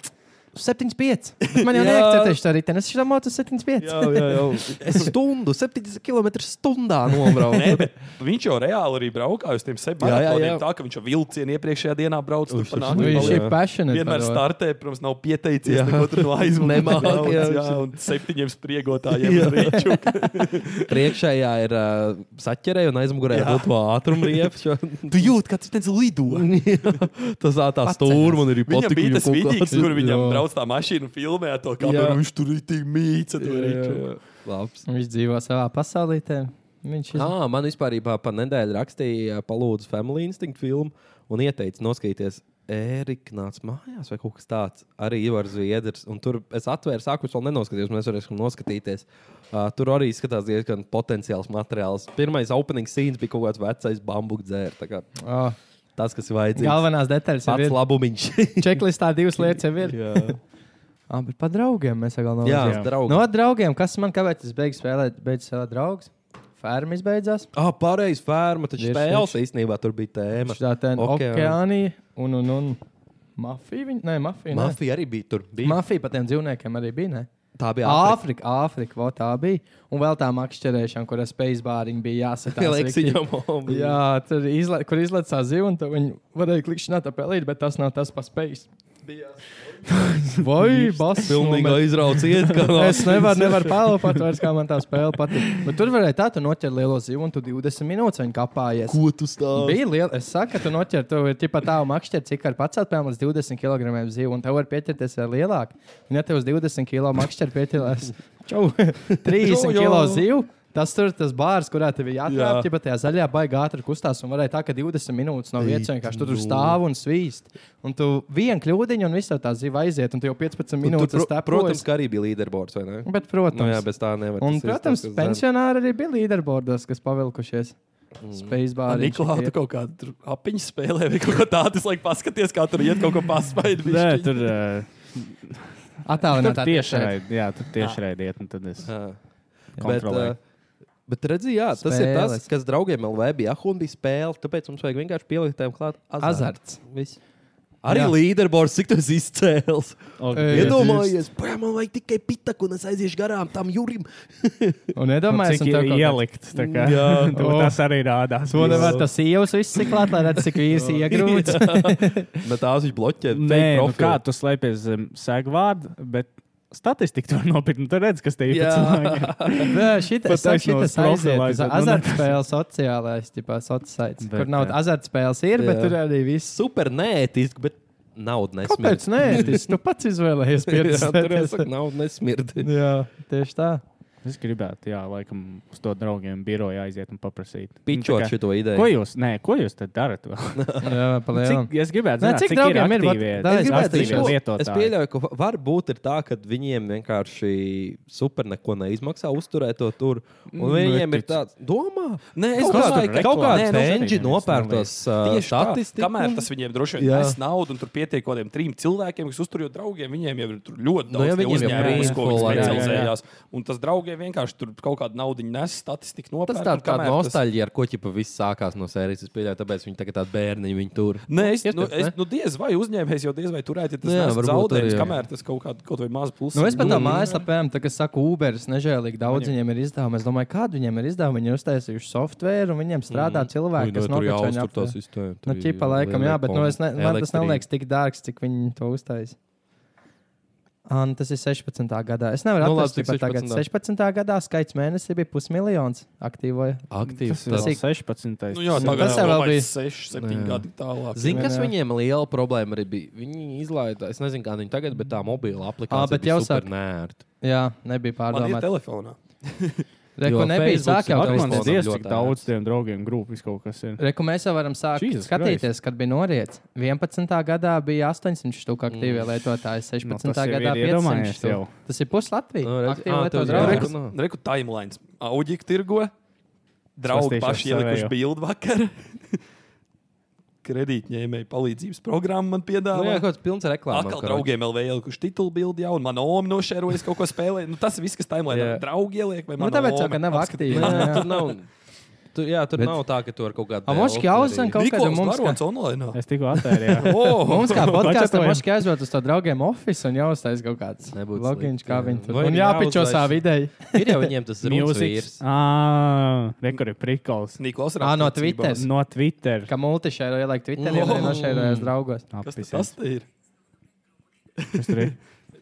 7,5. Bet Man jau
Jā.
neakceptēšu tā riteni. Es širo motu 7,5.
Jā, jā, jā. Es stundu, 70 km stundā nobraucu.
Nē, bet viņš jau reāli arī braukā uz tiem
Jā, jā,
septiņiem.
jā.
Tā ka viņš jau vilcienu iepriekšējā dienā brauc uz
Uz- uz-
Panāku.
uz-
Nu, Viņš
jā.
ir passionate. par
Vienmēr
to.
startē, protams, nav pieteicies.
Jā.
Neko tur no aizmugures
Nemāk,
brauc,
jā,
jā,
viņš-
un septiņiem spriegotājiem ir rīču.
Priekšējā ir uh, saķerē un aizmugurē
Jā.
būtu ātrumriepa.
Tu jūti, ka tas tens lido.
Tas tā tā
Paceļas.
stūra man ir
Viņam bija
patīkami.
tas vidīgs, kur viņam brauc tā mašīna un filmē to
Jā.
kameru. Viņš tur ir tik mīts, to rīču.
Labs.
Viņš dzīvo savā pasaulītē. Viņš ir.
Ah, man vispār bija pa nedēļu rakstīja, palūdzu, Family Instinct filmu un ieteica noskatīties. Erika nāca mājās, vai kaut kas tāds arī var zviedrs. Un tur es atvēru, sākumā vēl nenoskatījos, mēs varēsim noskatīties. Uh, tur arī izskatās diezgan potenciāls materiāls. Pirmais opening scenes bija kaut kāds vecais bambuļs dzērs. tā kā
Oh,
Tas, kas ir vajadzīgs.
galvenās detaļas jau
Pats
ir.
labumiņš.
Čeklistā divas lietas jau ir.
jā,
Ah, bet par draugiem mēs vēl nav.
jā,
Jā.
draugs.
No
No...
draugiem, kas man kāpēc es beigšu spēlēt, beidzu savā draugs? Fermis beidzās.
Ah, pareizi, ferma. Taču
Tieši
spēles īstenībā tur bija tēma.
Šitā tā ir
Okeāni.
okeānija un, un, un mafija. Viņa, nē, mafija. Nē.
Mafija arī bija tur. Bija.
Mafija par tiem dzīvniekiem arī bija. Ne?
Tā bija Āfrika.
Āfrika, Āfrika, vo, tā bija. Un vēl tā makšķerēšana, kur ar spēcbāriņu bija jāsaka.
Liekas, viņam bija.
Jā, tur izla, kur izlaižā zivs, un tur viņi varēja klikšķināt apelīt, bet tas nav tas paspējis. Vai bas,
Pilnīgi
nu,
izrauciet, ka
bet Es nevaru, nevaru palūpāt, vairs kā man tā spēle patīk. Bet tur varēja tā, tu noķer lielo zivu, un tu 20 minūtes viņa kapājies.
Ko tu stāvi?
Bija liela. Es saku, ka tu noķer to tipā tā makšķer, cik var pacelt piemēram līdz 20 kg zivu, un tev var pieķerties vēl lielāk. Un ja tev uz 20 kg makšķer pieķerties 30
Čau,
kg
jā.
zivu, tas tur tas bārs, kurā tev ir
Jā.
jāatrāp, tipā tajā zaļajā baigā ātri kustās, un varēja tā, ka 20 minūtes no vietas vienkārši tu tur stāv un svīst. Un tu vien kļūdiņu, un viss tev tā ziva aiziet, un tu jau 15 minūtes
Pro,
stāvi.
protams, ka arī bija līderbords, vai ne?
Bet, protams,
Nu, jā, bez tā nevar.
un,
Tas ir
protams
tas, kas
pensionāri arī bija līderbordos, kas pavilkušies.
Mm.
Spaceball.
Niklaus, tu kaut kādu apiņu spēlē vai kaut ko tādu. Es laikam paskaties, kā tur iet kaut ko paspaidu.
Nē, tur ā, tur
Atālināti.
tieši raidīt. Jā, tur tieši raidīt. Un tad es
Jā. Bet,
kontrolēju.
uh, bet redzi, jā, tas ir tas,
Spēles.
kas draugiem LV bija ahūna bija spēle. Tāpēc mums vajag vienkārši pielikt tam klāt azartu.
Azarts.
Viss. Arī
Jā.
līderbords, cik tas izcēlās.
Ej,
Iedomājies, "Pā, man vajag tikai pitaku, un es aiziešu garām tam jūrim.
Un iedomājieties,
Cik
ka
ir
tas ir ielikt.
ielikt. tā kā.
Jā.
Tu
Oh.
Tas arī rādās.
To nevar tas ielas viss cik klāt, lai redz, cik vīrs iegrūts.
Bet tās viņš bloķē.
Nē, nu kā tu slēpies zem segvārda, bet statistiku tu vari nopirkt. Tur redz, kas te ir.
Jā.
Nē, šitā-
Pat
es saku,
taisnos
šitas aiziet
profilā
uz
aiziet, nu,
azartspēles sociālais, tipā sociālais,
Bet,
kur nav
jā.
azartspēles ir, bet
Jā.
tur arī viss.
super neētiski, bet naudu nesmird.
Kāpēc nē? Tas tu pats izvēlējies
Jā, tur jau saka,
pieredzēt.
Naudu nesmird.
Jā, tieši tā.
Es gribētu, jā, laikam, uz to draugiem biroju aiziet un paprasīt. Nu, tā
Pičot
kā,
šo ideju.
Ko jūs, nē, ko jūs tad darat? vēl?
Jā, palielam.
Cik, es gribētu,
Nē,
zināt,
cik
cik
draugiem ir,
ir
vat,
aktīvie,
tā
Es gribētu
Aktīvi
teikt, ko-
lietotāji.
es pieļauju, ka var būt ir tā, ka viņiem vienkārši super neko neizmaksā uzturēt to tur.
Mm,
Un viņiem ir
Neticu.
tāds, domā,
Nē, es
kaut
domāju,
kāds-
ka
kaut kāds
Nē, nu,
enģi
neviens
nopērtos uh,
Tieši tā.
statistiku.
Kamēr tas viņiem droši vien
Jā.
nes naudu, un tur pietiek kaut kādiem trim cilvēkiem, kas uztur jau draugiem, viņiem jau ir tur ļoti
Nu,
daudz
ja
no,
viņiem jau
uzņēmumu, ko viņi
brīnkola, jā, jā, jā.
specializējās. Un tas draugiem vienkārši tur kaut kādu naudu nes, statistiku
Tas
nopērk. un
tāds kā
kamēr tas-
nostalģija, ar ko ķipa viss sākās no sērijas. Es pieļauju, tāpēc viņi tagad tādi bērni viņu tur.
Nē, es, nu,
Iespējams,
es
ne?
nu, diez vai uzņēmējs jau diez vai turēt, ja tas
Jā,
ir
varbūt
zaudējums,
arī, jā.
kamēr tas kaut kāda kaut vai maza plusa.
Nu, es pat tā mājaslapēm, tā, kas saka, Uberis nežēlīgi daudz viņiem ir izdevumi. Es domāju, kādu viņiem ir izdevumi. Viņi ir uztaisījuši software, un viņiem strādā mm. cilvēki, kas
nu, tur
nopirka viņu
jāuztur tā
aptver.
sistēma.
Nu, ķipa laikam, jā, bet nu, es ne, man tas neliekas tik dārgs, cik viņi to uztais. Un tas ir 16. gadā. Es nevaru
Nu, labi,
atrast,
cik
cik tas tagad
16.
16. gadā skaits mēnesī bija pusmiljons aktīvo.
Aktīvs.
Tas
tāds-
ir 16.
Nu, jā,
Nu,
tagad
tas
jau
jau vēl
bija
bija-
6, 7
Jā.
gadi tālāk.
Zini, kas
Jā.
viņiem liela problēma arī bija? Viņi izlaida, es nezinu, kā viņi tagad, bet tā mobila
Ā,
aplikācija
bet
bija
jau
super
sāk-
nērta.
Jā, nebija
Man ir
pārdomāta.
telefonā.
Jo
Reku nebija
Facebooks
sāk jau
ir
tā
telefons
Man
telefonam
diez,
ļoti
cik
ērts.
daudz tiem draugiem grupis kaut kas ir.
Reku mēs jau varam sākt
Jesus
Jesus skatīties, Christ. kad bija noriets. 11. gadā bija 800 stūku aktīvie mm. lietotāji, 16. No,
Nu, tas jau
gadā
ir,
bija 500
iedomājies
stūku.
jau.
Tas ir puslatvijas.
Nu,
No,
redz, ā,
aktīvi
tev
lietotāji
Jā.
Reku,
draugiem.
Jā.
reku timelines. Auģika tirgo. draugi
Sastīšos
paši
savējo.
ielikuši bildi vakar. Kredītņēmēji palīdzības programmu man
Nu, jā,
piedāvāja.
kaut kāds pilns reklāmas.
Atkal draugiem LV ielikuši titulu bildi, jau, un man oma nošērojas kaut ko spēlēt. Nu, tas viss, kas tajā monētā
Jā.
ir. Draugi ieliek, vai
Nu,
man
tāpēc jau, ka nav aktīvi.
Jā,
Jā,
jā.
jā.
Tur nav, tur, jā, tur
Bet-
Bet... nav tā, ka tur kaut kāda.
A, moški jāuzzina kaut kāda
Niklaus
mums.
Barons online.
Es tikko atvērtu.
Oh,
Mums kā podkāstam
Pačatojam.
moški aizvāc uz to draugiem office un jāuztais kaut kāds
Nebūtu
logiņš,
slikti,
kā
jā.
viņi tur.
Vai
Un
arī
jāpičo
jāuzlaiž.
savā videi.
Ir jau viņiem tas mūzikas.
Ah, rekur ir prikals.
Niklaus
Ā, no
attiecībās.
Twitter.
No Twitter.
Kā multišēro ieliek Twitterī, lai
Mm.
nošērojas draugos.
Kas
Apis,
tad tas te ir?
kas tur ir?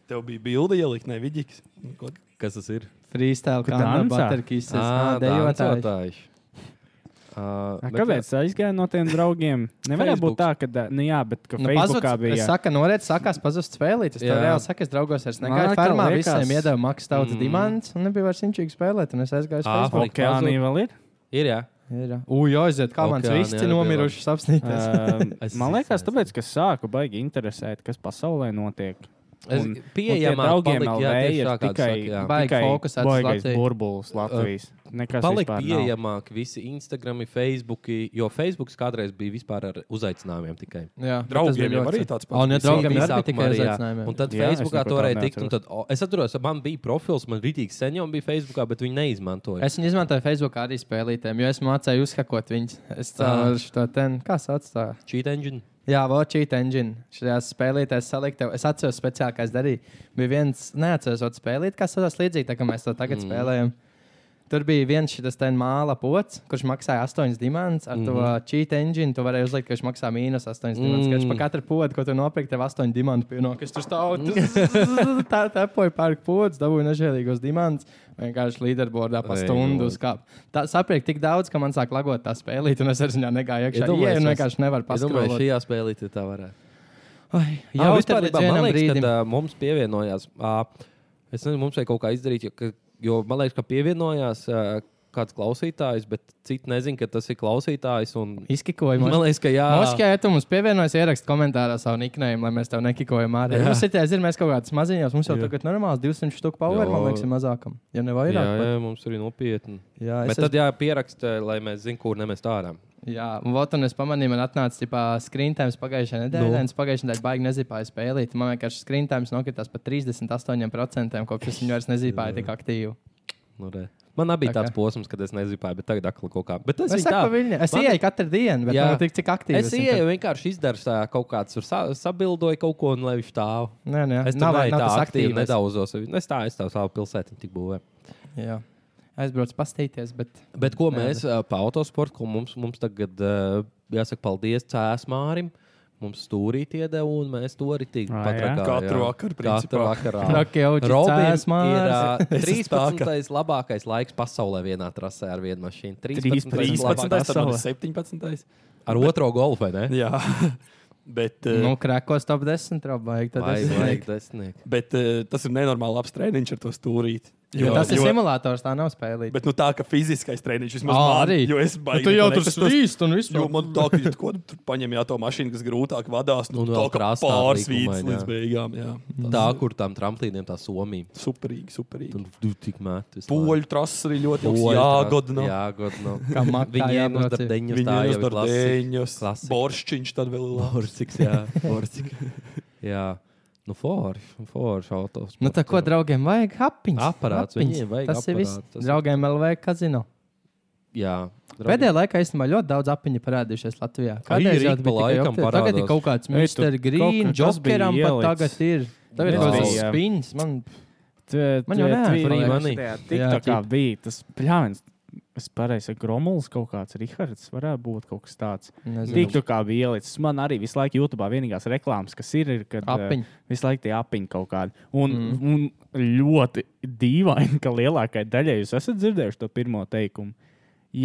Tev bija bildi ielikt, ne vidiks. Ko-
Kas tas ir?
Freestyle,
Kur
kā no
dancā?
Butterkisses.
Ā,
Ā, dejotājs.
dancotājs. Ā,
A,
bet
Kāpēc aizgāja no tiem draugiem? Nevarēja
Facebooks.
būt tā, ka, ā, nu jā, bet ka
Nu,
Facebookā
pazudis, bija...
bija.
Saka, norēt, sākās pazust spēlīt. Es tev
Jā.
reāli saku, es draugos vairs
Man
negāju.
atkal
Farmā
liekas-
visiem iedeva maksas tautas
Mm.
mm. dimants un nebija vairs inčīgi spēlēt. Un es aizgāju uz
Ā,
Facebook.
Okeānija vēl ir.
Ir jā.
Ui, aiziet, kā mans
Okeāni, jā,
visti
nebija
nomiruši sapsnīties.
Ā,
Es
Man liekas,
izsēstu.
tāpēc, ka sāku baigi interesēt, kas pasaulē notiek.
Es
Un- un
pieejamā
tie draugiem
palika, jā,
LV
tieši
ir
tā, kā tu
tikai,
saki, jā.
Baigi
tikai
fokusēts uz
baigais
Latviju.
burbulis Latvijas. Nekas
Palika
vispār nav.
pieejamāk visi Instagram, Facebook, jo Facebook kādreiz bija vispār ar uzaicinājumiem tikai.
Jā, bet tas bija
Draugiem jau
ļoti
arī
cik-
tāds
Un, ja
pats.
draugiem
Bija
jau arī
sākumā
tikai
arī, jā.
uzaicinājumiem.
Un tad
Jā, es
Facebookā
neko
to varēja
tādu
tikt. un Tad, o, es atceros, man bija profils, man rītīgi sen jau bija Facebookā, bet viņi neizmantoja.
Es viņu izmantoju Facebook arī spēlītēm, jo es mācīju uzhakot viņus. Es
Ah.
caur šo ten, kā sauc tā?
Cheat engine.
Jā, Watchit Engine. Šajās spēlētēs salikt, tev- es atceros, speciāli, kā es darīju. Bija viens, neatceros, kāds spēlēt, kas tas līdzīgs, tā kā mēs to tagad mm. spēlējam. Tur bija viens šis ten māla pots, kurš maksāja 8 dimantus. Ar mm -hmm. to cheat engine tu varēji uzlikt, ka viņš maksā mīnus 8 mm. dimantus. Kad viņš par katru podu, ko tu nopirki, tev 8 dimantu pienāk. Es tur stāvu, tu zzz, tā tepoju pāri podus, dabūju nežēlīgos dimantus. Vienkārši līderbordā pa
Ei,
stundu
nu.
uzkāpu. Tā sapriek tik daudz, ka man sāk lagot tā spēlīt, un es ar viņu negāju iekšā.
Iedomājies,
Iedomājies,
es-
vienkārši nevar
Es domāju,
paskrāpēt.
šajā spēlē tā varētu.
Ai,
Jā,
Jā,
vispār
vispār
tā
bija
līnija,
brīdim.
kad uh, mums pievienojās. Uh, es nezinu, mums vajag kaut kā izdarīt, jo, ka, jo man liekas, ka pievienojās uh, kāds klausītājs, bet citi nezina, ka tas ir klausītājs. Un...
Izkikojumos.
Man liekas, ka jā,
Moskijā, ja tu mums pievienojies, ieraksti komentārā savu niknējumu, lai mēs tev nekikojam ārā. Nu, Mums ir tāds, mēs kaut kādas maziņas, mums jau tagad normāls 200 štuku power,
Jā.
man liekas, ir mazākam. Ja ne
jā,
vairāk.
jā, mums arī nopietni.
bet- jā,
Es
es
bet
esmu-
tad jāpieraksta, lai mēs zinām, kur nemest ārā.
Jā, un vot, un es pamanīju, man atnāca tipā skrīntājums pagājušajā nedēļā,
Nu.
un es pagājušajā nedēļā baigi nezīpāju spēlīt. Man vienkārši skrīntājums nokritās par 38%, kopš es viņu vairs nezīpāju tik aktīvi.
Nu, re. Man bija
Tā
tāds
kā.
posms, kad es nezināju, bet tagad atkal kaut kā. Bet tas
Es,
ir
saku, pa
tā.
viņu- es
Man-
ieeju katru dienu, bet
Jā.
man tik cik aktīvi.
Es
esmu.
ieeju, vienkārši izdaru sā- kaut kādu, sa, sabildoju kaut ko, un lai viņš stāv.
Nē, nē,
Es tam
nav,
nav,
nav
tā
tas
aktīvi
aktīvais.
nedaudzos. nu, Es tā, es tā savu pilsētu tik būvēju.
Jā. Aizbraucu pastīties, bet
Bet ko
Jā,
mēs ā, pa autosportu, ko mums, mums tagad ā, jāsaka paldies Cēsmārim. Mums stūrīt iedeva, un mēs to arī tik
Ā,
patrākām.
jā?
Katru vakaru, principā.
Traki auģi Cēsmārs.
ir ā,
Es
13. labākais laiks pasaulē vienā trasē ar vienu mašīnu. 13.
13.
13.
labākais.
tad man ir 17.
ar otro golfu, vai ne?
Jā, bet, eh,
Nu, krākos top 10, jau baigi. Tad
Vai
es
vajag desmit?
bet eh, tas ir nenormāli labs treniņš ar to stūrīt.
Jo, tas ir
jo,
simulators, tā nav spēlīta.
bet nu, tā, ka fiziskais treniņš vismaz
Ā,
man,
arī.
jo es baigi. neko nekustos.
un
Jo man tā kā tur kaut kur paņem jā, to mašīnu, kas grūtāk vadās, nu,
Un
tā
vēl
kā
krastā
pārsvīts
līkumainā.
līdz beigām. Jā,
Tā, kur tam tramplīniem tā Somija.
superīgi, superīgi.
Tur tu tik mētas.
Poļu trases arī ļoti labs. Jā, godināt.
Jā, godināt.
Kā maktā
Viņiem
jābrauc.
uz deņus
Viņa
tā
ir
jau ir klasika.
uzdarbēņos,
Klasika.
boršķiņš tad vēl ir labs.
Porcelāns, jā. Porcelāns. jā. Nu, forši, forši autos.
Nu, tā ko draugiem vajag? Hapiņš.
Aparāts,
Hapiņš.
viņiem vajag
Tas ir viss.
aparātu, tas ir-
Draugiem vēl vajag kazino.
Jā.
Pēdējā laikā īstenībā ļoti daudz apiņu parādījušies Latvijā. jau
ir ik pa
bija tikai
laikam
opti- Tagad ir
parādās.
kaut kāds
Ei, tu,
Mr. Green,
kaut kas bija
Jokeram pat
ielicis.
tagad ir. Tagad ir
Jā.
kaut kāds
Jā.
spins. Man Man
Man
jau nē,
free money.
Tik
Jā,
tā kā
tip.
bija tas pļāvens. Es pareizi saku, Gromuls kaut kāds, Rihards varētu būt kaut kas tāds. Tik
nezinu.
tu kā bija ielicis. Man arī visu laiku YouTube vienīgās reklāmas, kas ir, ir kad eh,
Apiņi.
visu laiku tie apiņi kaut kādi. Un, mm. un ļoti dīvaini, ka lielākajai daļai jūs esat dzirdējuši to pirmo teikumu.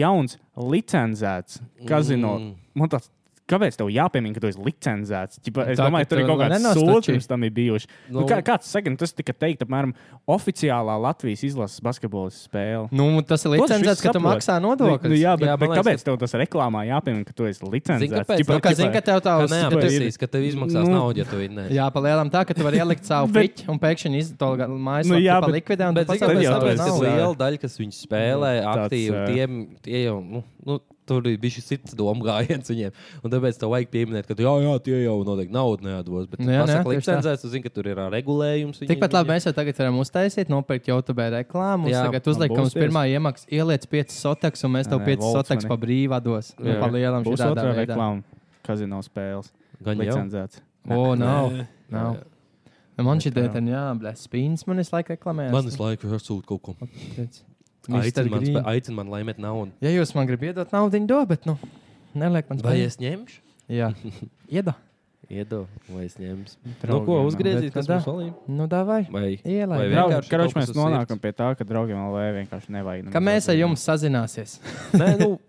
Jauns, licencēts kazino.
Mm.
Mm. Man tāds, Kāpēc tev jāpiemina, ka tu esi licencēts? Ķipa, es
Tā,
tā,
ka
domāju, tur ir
tu
kaut kāds
nenostači.
sūds pirms tam ir bijuši. Nu,
Nu.
kā, kāds saka, nu, tas tika teikt, apmēram, oficiālā Latvijas izlases basketbola spēle.
Nu, tas ir
To tas
licencēts,
viss
ka tu
saprot.
maksā
Nu,
nodokļus.
jā, bet, jā,
Jā, man
bet
liekas,
kāpēc tev tas reklāmā jāpiemina, ka tu esi licencēts?
Zini, kāpēc?
Ķipa,
Nu,
Nu, kā
ķipa,
zini, ka tev tā
Kā
uz
neapstāsīs, ka tev izmaksās
Nu.
naudu, ja tu viņu neesi.
Jā, palielam tā, ka tu vari ielikt savu
Bet-
piķi un pēkšņi izdarīt to mājas nu,
Nu jā,
lapu,
bet-
likvidē. un tu
Bet
pats
cik
tad
tādu
saproti,
jau
ka
tādu
tev
tas
tādu
nav.
ir
lielu daļu, kas viņu spēlē
tāds,
aktīvi,
ā,
tiem, tie jau, nu, nu, tur ir bijis cits domu gājiens viņiem. Un tāpēc tev vajag pieminēt, ka, jā, jā, tie jau noteikti naudu neatdos. Bet,
Nu
nu,
jā,
jā,
nē,
pasaka,
tieši tā.
licencēs, tu zini, ka tur ir ā, regulējums. viņiem,
Tikpat labi
viņiem.
mēs jau tagad varam uztaisīt, nopirkt YouTube reklāmu. Mums
Jā,
tagad uzliek, ka mums
būsies.
pirmā iemaksa ieliec 5 sotaks, un mēs tev
Nē,
5
volts
sotaks
man
pa
ir.
brīvā dos. Nu,
Jā.
Pa lielam
Būs
šādā
otrā
veidā.
reklāma. Kazino spēles.
Gan jau.
Licencēts.
O, nav. nav. Nu, Man šī
Bet, jā.
dēļ, jā, blēs, spīns man visu laiku reklamē.
Man visu laiku ir sūta kaut ko.
Mister
Aicinu man,
Green.
spē- aicina man, lai met naudu.
Ja jūs man gribat iedot naudu, viņi dod, bet, nu, neliek man
Vai
spēlēt.
es ņemšu?
Jā, iedod.
Iedo, vai es ņemšu. Nu,
Draugiem,
ko
jā.
uzgriezīs,
Bet,
kas
nu,
mums
dā.
vēl ir?
Nu, tā vai.
Vai
Ielai.
vai
Draugi,
vienkārši
Karoči,
kaut kas
mēs
uz
nonākam
sirds?
pie tā, ka draugiem LV vienkārši nevajag.
Kā mēs ar jums sazināsies?
Nē, nu,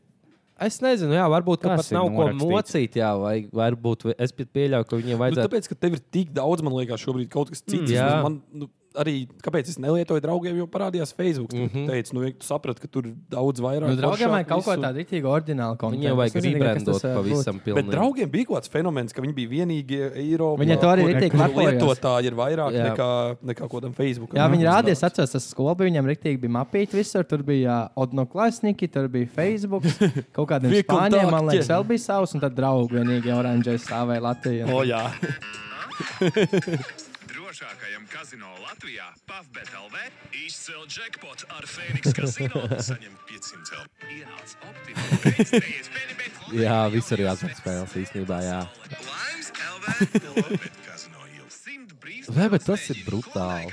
es nezinu, jā, varbūt ka
Tas
pat
ir
nav ko
norakstīts.
mocīt, jā, vai varbūt vi- es pat pieļauju, ka
Nu,
viņiem vajadzētu.
tāpēc, ka tev ir tik daudz, man liekas, šobrīd kaut kas cits.
Mm, jā.
Vismaz Man, nu, arī kāpēc es nelietoju draugiem, jo parādījās Facebook. Mm
Mhm.
-hmm. Teicu, nu, vienkārši sapratu, ka tur ir daudz vairāk.
Nu, draugiem
foršāk
vajag kaut ko
visu.
tādu rītīgu, oriģinālu kontekstu.
Viņiem vajag rebrandot
eh,
pavisam
Bet
pilnīgi.
draugiem bija kaut kāds fenomens, ka viņi bija vienīgie Eiropā.
Viņi to arī
kur-
ritīgi
kur
lepojas.
Lietotāji ir vairāk
Jā.
nekā, nekā kaut kādam Facebook.
Jā,
Mhm.
viņi rādījās, atceros, tas skola bija. Viņam rīktīgi bija mapīti visur. Tur bija odnoklāsniki, tur bija Facebook, kaut kādiem
Bija
spāņiem, man
kontakti.
liekas, vēl bija savs, un tad draugi vienīgi oranžais stāvēja Latvijā.
O, jā.
Drošākajam kazino Latvijā, Pafbet LV, izcēl jackpot ar Fēniks kazino, saņem 500 eiro. Ienāc optimāli.
Jā, visur ir atspēles īstenībā, jā.
Laimes LV, kazino jau 100 brīvs.
Vai, bet tas ir brutāli.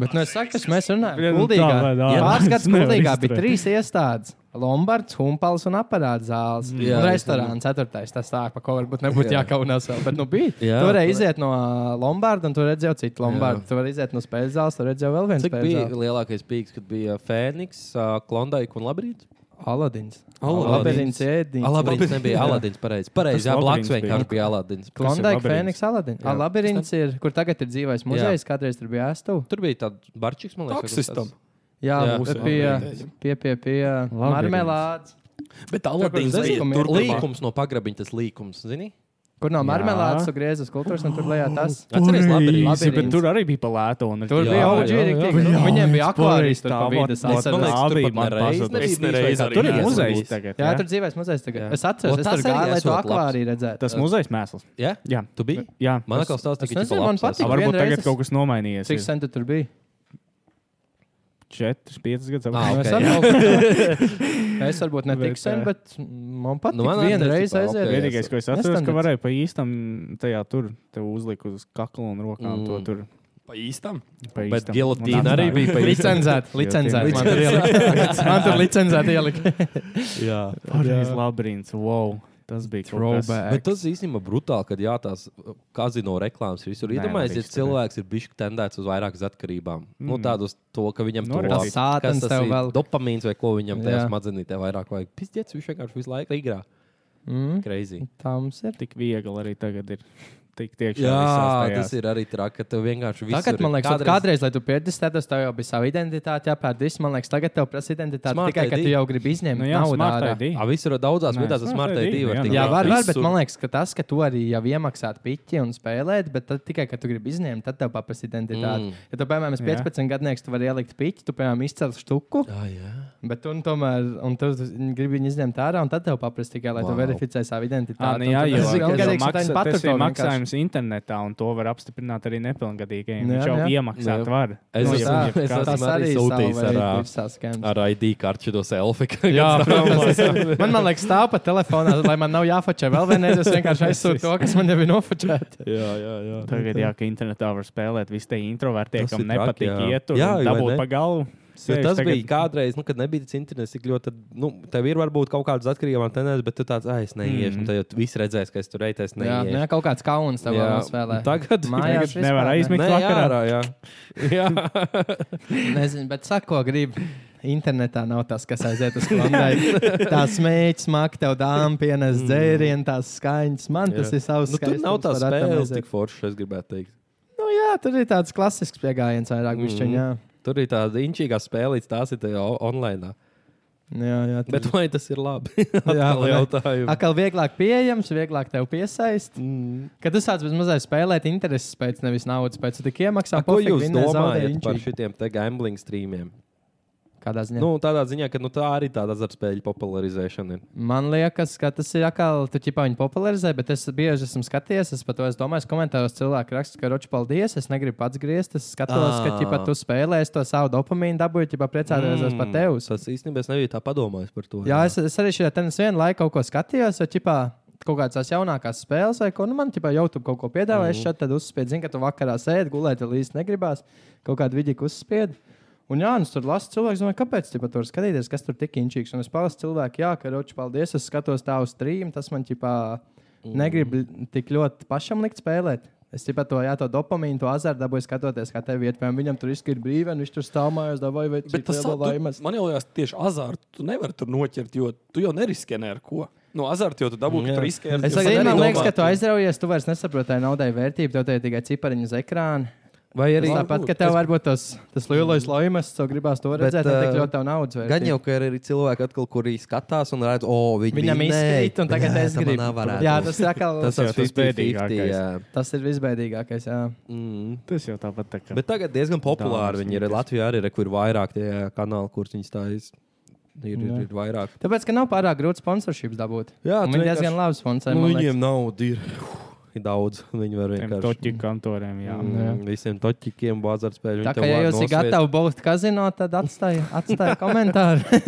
Bet, nu, es saku, kas mēs runājam,
Jā, nu,
Kuldīgā.
tā vai tā.
Jā,
Jā,
pāris
es
gadus
nevaru
Kuldīgā bija
izturēt.
trīs iestādes. Lombards, Humpals un aparāts zāles.
Jā,
Jā, un restorāns, ceturtais. Tas tā, pa ko varbūt nebūtu
Jā.
jākaunās vēl. Bet, nu, bija.
Jā.
Jā, tu varēji iziet no uh, Lombarda, un tu redzēji citu Lombardu. Tu vari iziet no spēļu zāles, tu redzēji vēl vienu
Cik
spēļu
bija
zāli.
lielākais pīks, kad bija Fēniks, Klondaika un Labrīt?
Aladins.
Aladins.
Aladins ēdīns.
Aladins nebija Aladins, pareizi. Pareizi, jā,
Tas
blakus
Labirints
vienkārši
bija.
bija Aladins.
Klondai,
labirints?
Fēniks, Aladins. Aladins ir, kur tagad ir dzīvais muzejs, kādreiz tur bija ēstuve.
Tur bija tāds barčiks, man liekas. kaut kas
Taksistam.
tāds.
Jā,
Jā,
būs
jā.
pie, pie, pie, pie marmelādes.
Bet Aladins
kur
bija
līkumi-
tur līkums.
Līkums no pagrabiņa, tas līkums, zini?
Kur nav
Jā.
marmelādes, tu griezes kultūras, un tur lejā tas.
Atceries, labirints?
Pareizi, bet
Labirints.
tur arī bija palēto. un-
Tur
Jā,
bija
jā,
auģēri,
jā.
viņiem bija
es
akvārijas
pareizi
tur
tā
pa vidas atceros.
Man
vārdu-
liekas, tur
Labi,
pat
man
nereiz
pazuda.
nebija
Es
bijis
nereiz
vai kā
arī
Tur ir
Jā,
neesmu
muzejs
bijis.
tagad.
Jā,
jā.
tur dzīvēs muzejs
Jā.
tagad. Es atceros,
O,
es
tas
tur
arī
gāju, lai to
esot labs.
akvāriju redzētu.
Tas muzejs mēsls.
Jā?
Jā.
Tu biji?
Jā,
Man
es-
liekas, tas
es
tika
nezinu, man
A,
patīk.
varbūt
vienreiz
tagad
es-
kaut kas nomainījies.
Cik
ir
sen tu tur bija?
4, 5 gadus
Ah,
Nu,
apmēram.
es
ok.
atbraucu. Es varbūt ne tik
Bet, jā.
sen, bet man
Nu, man
patīk. Vienu
atceros,
reizi
tipā, ok.
aiziet.
Vienīgais, ko es atceros, ka varēju pa īstam tajā tur te uzlikt uz kakla un rokām to tur
Pa īstam.
pa
Bet
īstam. Un
gilotīna arī
atstāju.
bija pavisam.
Licencēt, licencēt. Man tur ielika. Man tur licencēt ielika.
Jā.
Pareizi, labirints. Wow. Tas bija kaut kas.
Bet tas īstenībā brutāli, kad jā, tās uh, kazino reklāmas visur.
Nē,
Iedomājieties, ja
nedrīkst,
cilvēks ir bijis tendēts uz vairākas atkarībām. Mm. Nu, tādus to, ka viņam tur
Norakstīt.
Sātans tev vēl.
dopamīns vai ko viņam tajā
Jā.
smadzenītē vairāk vajag. Pizdiets, viņš vienkārši visu laiku igrā.
Mm.
Crazy.
Tā mums ir.
Tik viegli arī tagad ir. Tik tiekšā
Jā,
visās tajās.
tas ir arī traki, ka tev vienkārši viss
Tagad, man liekas, kādreiz, kādreiz lai tu pieredzējies, tev jau bija sava identitāte, jāpērk viss. Man liekas, tagad tev prasa identitāte
Smart
tikai, ka
ID.
tu jau gribi izņemt
Nu, jā,
naudu.
smart
ārā.
ID.
Ah, visur daudzās
Nē,
vietās tas
smart
smartai
ID,
divi
jā,
var tikt.
Jā,
galā.
var, var, bet
Visur.
man liekas, ka tas, ka tu arī jau iemaksāti piķi un spēlēt, bet tad tikai, ka tu gribi izņemt, tad tev paprasa identitāti.
Mm.
Mm. Ja tu, piemēram, esi
Jā.
15 gadnieks, tu vari ielikt piķi, tu, piemēram, izcēli štuku,
Ah, jā.
bet tu nu, tomēr un tu gribi viņu izņemt ārā, un tad tev paprasa tikai, lai wow. tu
Wow.
verificē savu
Tā,
identitāti.
nu, jā,
Un tad tas
jau
ir
tādā
ilggadīgs, un tad viņi
mazā
patur to
nelielā
vienkārši.
maksājumā internetā, un to var apstiprināt arī nepilngadīgajiem.
Nu, jā,
Viņš jau
nu, jā.
Nu, jā.
iemaksāt var.
Es
Nu,
esmu-
ja-
es
ja
esmu-
kāds-
Tas
arī
arī
sūtīs
sūtīs
ar,
ar
ā,
skēmu.
Ar ID kartu to selfiju. kad
Jā,
stāv-
protams. man, man liekas, tā pa telefonā, lai man nav jāfačē vēl vienreiz. Es vienkārši aizsūtu to, kas man jau ir nofačēts.
jā, jā, jā.
Tagad, jā, ka internetā var spēlēt, visi tie introverti,
Tas
kam
ir traki,
nepatīk
jā.
iet tur,
Jā,
un
vai
dabūt
ne?
pa galvu.
Jo
Sēž
tas
tagad-
tagad... bija kādreiz, nu, kad nebija tas internets, tik ļoti. Tad, nu, tev ir varbūt kaut kādas atkarības, tendences, bet tu tāds, ah, es neiešu. Mm. Tad jau viss redzēs, ka es tur reitēs
Mhm. Jā,
neiešu.
jā, kaut kāds kauns tev
Jā,
vēl spēlē.
tagad-
mājās
tagad nevar
vispār ne.
aizmigt.
Nē,
Miks vakarā.
ārā, jā. jā.
Nezinu, bet sako, gribi. internetā nav tas, kas aiziet uz klondaiku. Tās smēķis, maka, tev dāmas, pienes dzērienu, tās skaņas. Man tas
Mm. Jā.
ir savs.
Nu, tur nav
skaistums,
tā
var atam
spēle,
aiziet.
tik forša, es gribētu teikt.
Nu, jā, tur ir tāds klasisks pieejams, vairāk mm. višķiņā. Jā.
Tur ir tāda inčīgā spēle, tās ir tajā o- online.
Jā, jā, tur-
Bet vai tas ir labi? Jā,
vai ne?
jautājumu.
Atkal vieglāk pieejams, vieglāk tev piesaist. Mm. Kad tu sāc mazliet spēlēt, intereses pēc, nevis naudas pēc, tu tik
A,
iemaksā,
Ko
pofik,
jūs
vinnē, zaudē,
domājat par
inčīgi.
šiem gambling streamiem?
Kādā ziņā?
Nu, tādā ziņā, ka nu, tā arī tāda azartspēļu popularizēšana ir.
Man liekas, ka tas ir atkal, tu ķipā viņu popularizē, bet es bieži esmu skatījies, es par to es domāju, es komentāros cilvēku rakstu, ka roči paldies, es negribu pats griezt, es skatos,
Ā.
ka ķipā tu spēlēsi to savu dopamīnu dabūju, ķipā priecājos par tevi.
Tas īstenībā es nebiju tā padomājis par to.
Jā, es, es arī šajā tenis vienu laiku kaut ko skatījos, vai ķipā kaut kādas tās jaunākās spēles, vai ko, nu man ķipā jau tur kaut ko piedāvāja, es šeit tad uzspiedu, zinu, ka tu vakarā sēdi, gulēt, tad īsti negribās, kaut kādu vidiku uzspiedu. Un jā, nu es tur lasu cilvēku, domāju, kāpēc ķipā, tur skatīties, kas tur tik inčīgs. Un es palasu cilvēku, jā, ka roči, paldies, es skatos tavu streamu, tas man ķipā negrib tik ļoti pašam likt spēlēt. Es tikai to, jā, to dopamīnu, to azartu dabūju skatoties, kā tev ir. Viņam tur izskriet brīvi, un viņš tur stāv mājās, dabūj, vai
Bet tas
ir
tu, man jau liekas, tieši azartu tu nevari tur noķert, jo tu jau neriskē ne ar ko. No azarta jau tu dabūji, ka
Jā.
tu riskē ar
Es
jo tu
domāju, man
nedomā,
liekas, ka tu aizraujies, tu vairs nesaproti tā naudai vērtību, tev te ir tikai cipariņu uz ekrāna.
Vai
Arī
arī
tāpat, ka tev varbūt tas, tas lielais laimes, ko gribās to redzēt,
Bet,
bet, tik
ā,
ļoti tev naudas vērtība.
Gan jau, ka ir arī cilvēki, atkal, kuri skatās un redz, o, viņi
Viņam izkrīt, un tagad es gribu. Jā, tas ir atkal,
tas
tas,
jau
ir
tas
50-50.
bēdīgākais.
jā.
tas ir visbēdīgākais. Jā.
Mm.
Tas jau tāpat tā kā.
Bet tagad diezgan populāri
Daudz
viņi ir.
snikas.
Latvijā arī ir, kur ir vairāk tie kanāli, kurus viņi stājas. Ir, ir, ir vairāk.
Tāpēc, ka nav pārāk grūti sponsorships dabūt.
Jā,
viņi
tu vienkārši-
diezgan labi sponsē.
Nu,
man liekas.
viņiem nauda ir, ir daudz. Viņi var
Tiem
vienkārši
toķu kantoriem, jā.
Mm, Visiem toķiem, bazarspēļiem.
Tā kā ja jūs esat gatavi būt kazino, tad atstājiet atstāj komentāru.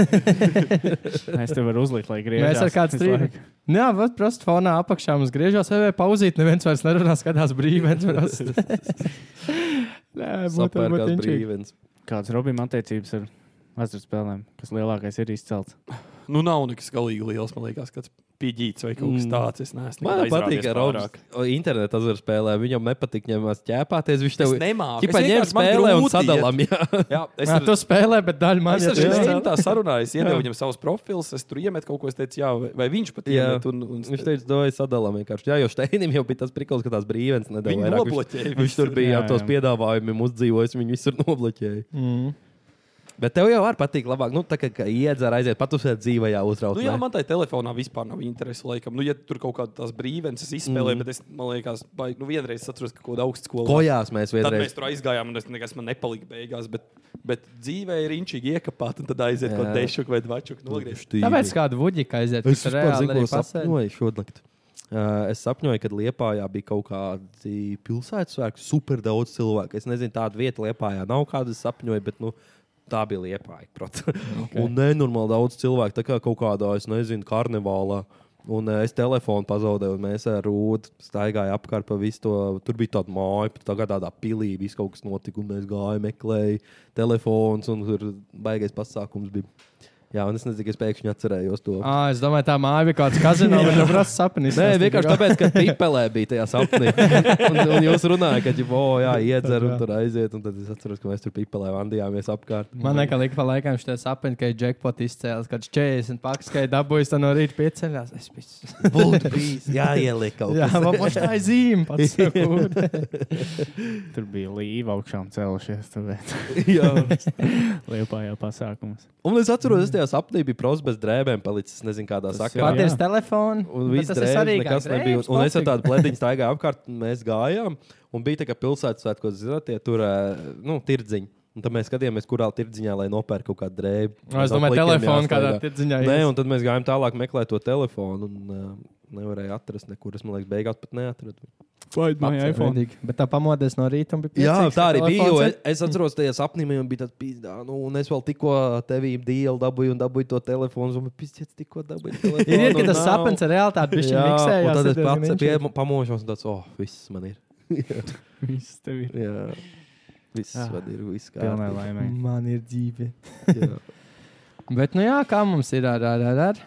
Es te varu uzlikt, lai griežos.
Mēs ar kādu strīdu. Nu Jā, bet prasa fonā apakšā mums griežās, vai, vai pauzīt. Neviens vairs nerunā, skatās brīvi. viens prasa. Nē, būtu
Sapērkās
brīvi.
brīvens.
Kāds Robim attiecības ar azartspēlēm, kas lielākais ir izcelts?
Nu, nav nekas galīgi liels, man liekas, kāds pigīts vai kaut kas
Mm.
tāds. Es neesmu
Man
nekad
patīk, ka
aizrāvies
Robs
pārāk.
internetā spēlē. Viņam nepatīk ņemās ķēpāties. Viņš
Es
tev
nemāku.
Ķipa ņem spēlē un sadalām. jā.
Jā, es
Jā,
ar
tu spēlē, bet daļa man
Es
ir.
ar viņu
Jā.
tā sarunāju, es iedevu viņam savus profilus, es tur iemetu kaut ko, es teicu, jā, vai- vai viņš pat
Jā.
iemet. Un, un,
Viņš teica, dod, sadalām vienkārši. Jā, jo Steinim jau bija tas prikals, ka tās brīvens nedēļas
Viņi nobloķēja
Viņš, viņš tur
visur.
bija
Jā,
ar tos
jā.
piedāvājumiem uzdzīvojis, viņi visur nobloķēja.
Mm.
Bet tev jau var patikt labāk, nu, tā kā ka iedzer aiziet patusēt dzīvē, jā, uzraut.
Nu, jā,
ne?
man tai telefonā vispār nav interesi. Laikam. Nu, ja tur kaut kāda tās brīvības izspēlē, mm.
Mm.
bet es man liekas, baigi, nu, vienreiz atceros, ka kaut kāda augstskola.
Kojās mēs
Tad
vienreiz.
mēs tur aizgājām, un es nekas man nepalika beigās. Bet, bet dzīvē ir inčīgi iekāpt, un tad aiziet
Jā.
kaut kāda dešuka vai dvačuka nogriezt.
Štīvi.
Tāpēc kādu vuģiku aiziet.
Es
kas
vispār
reāli
zinu, ko
arī pasēdi.
sapņoju šodien. Uh, es sapņoju, kad Lietpājā bija kaut kādi pilsētas svētki, super daudz cilvēku. Es nezinu, tāda vieta Lietpājā nav, kāda es sapņoju, bet nu, tā bija Lietpāja. Okay. Un nenormāli daudz cilvēku, tā kā kaut kādā, es nezinu, karnevālā. Un eh, es telefonu pazaudēju, un mēs ar Rūtu staigājām apkārt pa visu to. Tur bija tāda māja, pat tā kā tādā pilī, viss kaut kas notika, un mēs gājām, meklējām telefons, un tur baigais pasākums bija. Jā, un es nezinu, kas pēkšņi atcerējos to.
Ā, Es domāju, tā māja bija kāds kazino, bet jau prasa sapnis.
Nē, vienkārši tāpēc, ka pipelē bija tajā sapnī. un, un jūs runājat, ka, ģip, oh, jā, iedzer un tur aiziet. Un tad es atceros, ka mēs tur pipelē vandījāmies apkārt.
Man liekas, ka pa laikam šie sapņi, ka ir jackpot izcēlās, kad 40 pakas, ka ir dabūjis, tad no rīta pieceļās. Es biju.
būtu bijis jāieliek kaut
Jā, man pašai tā ir zīme. pats sakot.
Tur bija līva augšām cēlušies, tāpēc
jā.
liepā jau pasākums.
Un es atceros, es tajā sapnī biju pros bez drēbēm palicis, nezinu, kādā sakarā.
Pat
ir-
ir telefons.
Un viss drēbes, nekas nebija. Un, un es ar tādu plēdiņu staigāju apkārt, un mēs gājām. Un bija tā, ka pilsētas svētkos, zināt, tie tur, eh, nu, tirdziņi. Un tad mēs skatījāmies, kurā tirdziņā, lai nopērk kaut kādu drēbi.
Nu, Es
Uz
domāju,
aplikiem
telefonu kādā
jāstaigā.
tirdziņā.
Nē,
ies.
un tad mēs gājām tālāk meklēt to telefonu. Un, uh, Nevarēja atrast nekur. Es domāju, ka beigās pat neatradu.
Fight
Pats redīgi. Bet tā pamodies no rīta un bija
Jā,
priecīgs,
tā
ka
arī bija.
telefons
jo
ir.
Es, es atceros, tajā sapnī man bija tāds pizdā, nu, un es vēl tikko tevī dīlu dabūju un dabūju to telefonu. Un pizdiet, tikko dabūju telefonu.
Ir, ir ka
un
tas
nav.
sapnis ir reāli tāds, bišķi
nu, Jā,
miksējās.
un
ir
tad es
diezgan
pats
inčīgi.
pie- pamošos un tāds, oh, viss man ir.
Viss tev ir
Jā. Viss
Ah,
man ir, viss
pilnē
kā.
laimē.
Man ir dzīve.
Jā.
Bet, nu jā, kā mums ir ar, ar, ar, ar.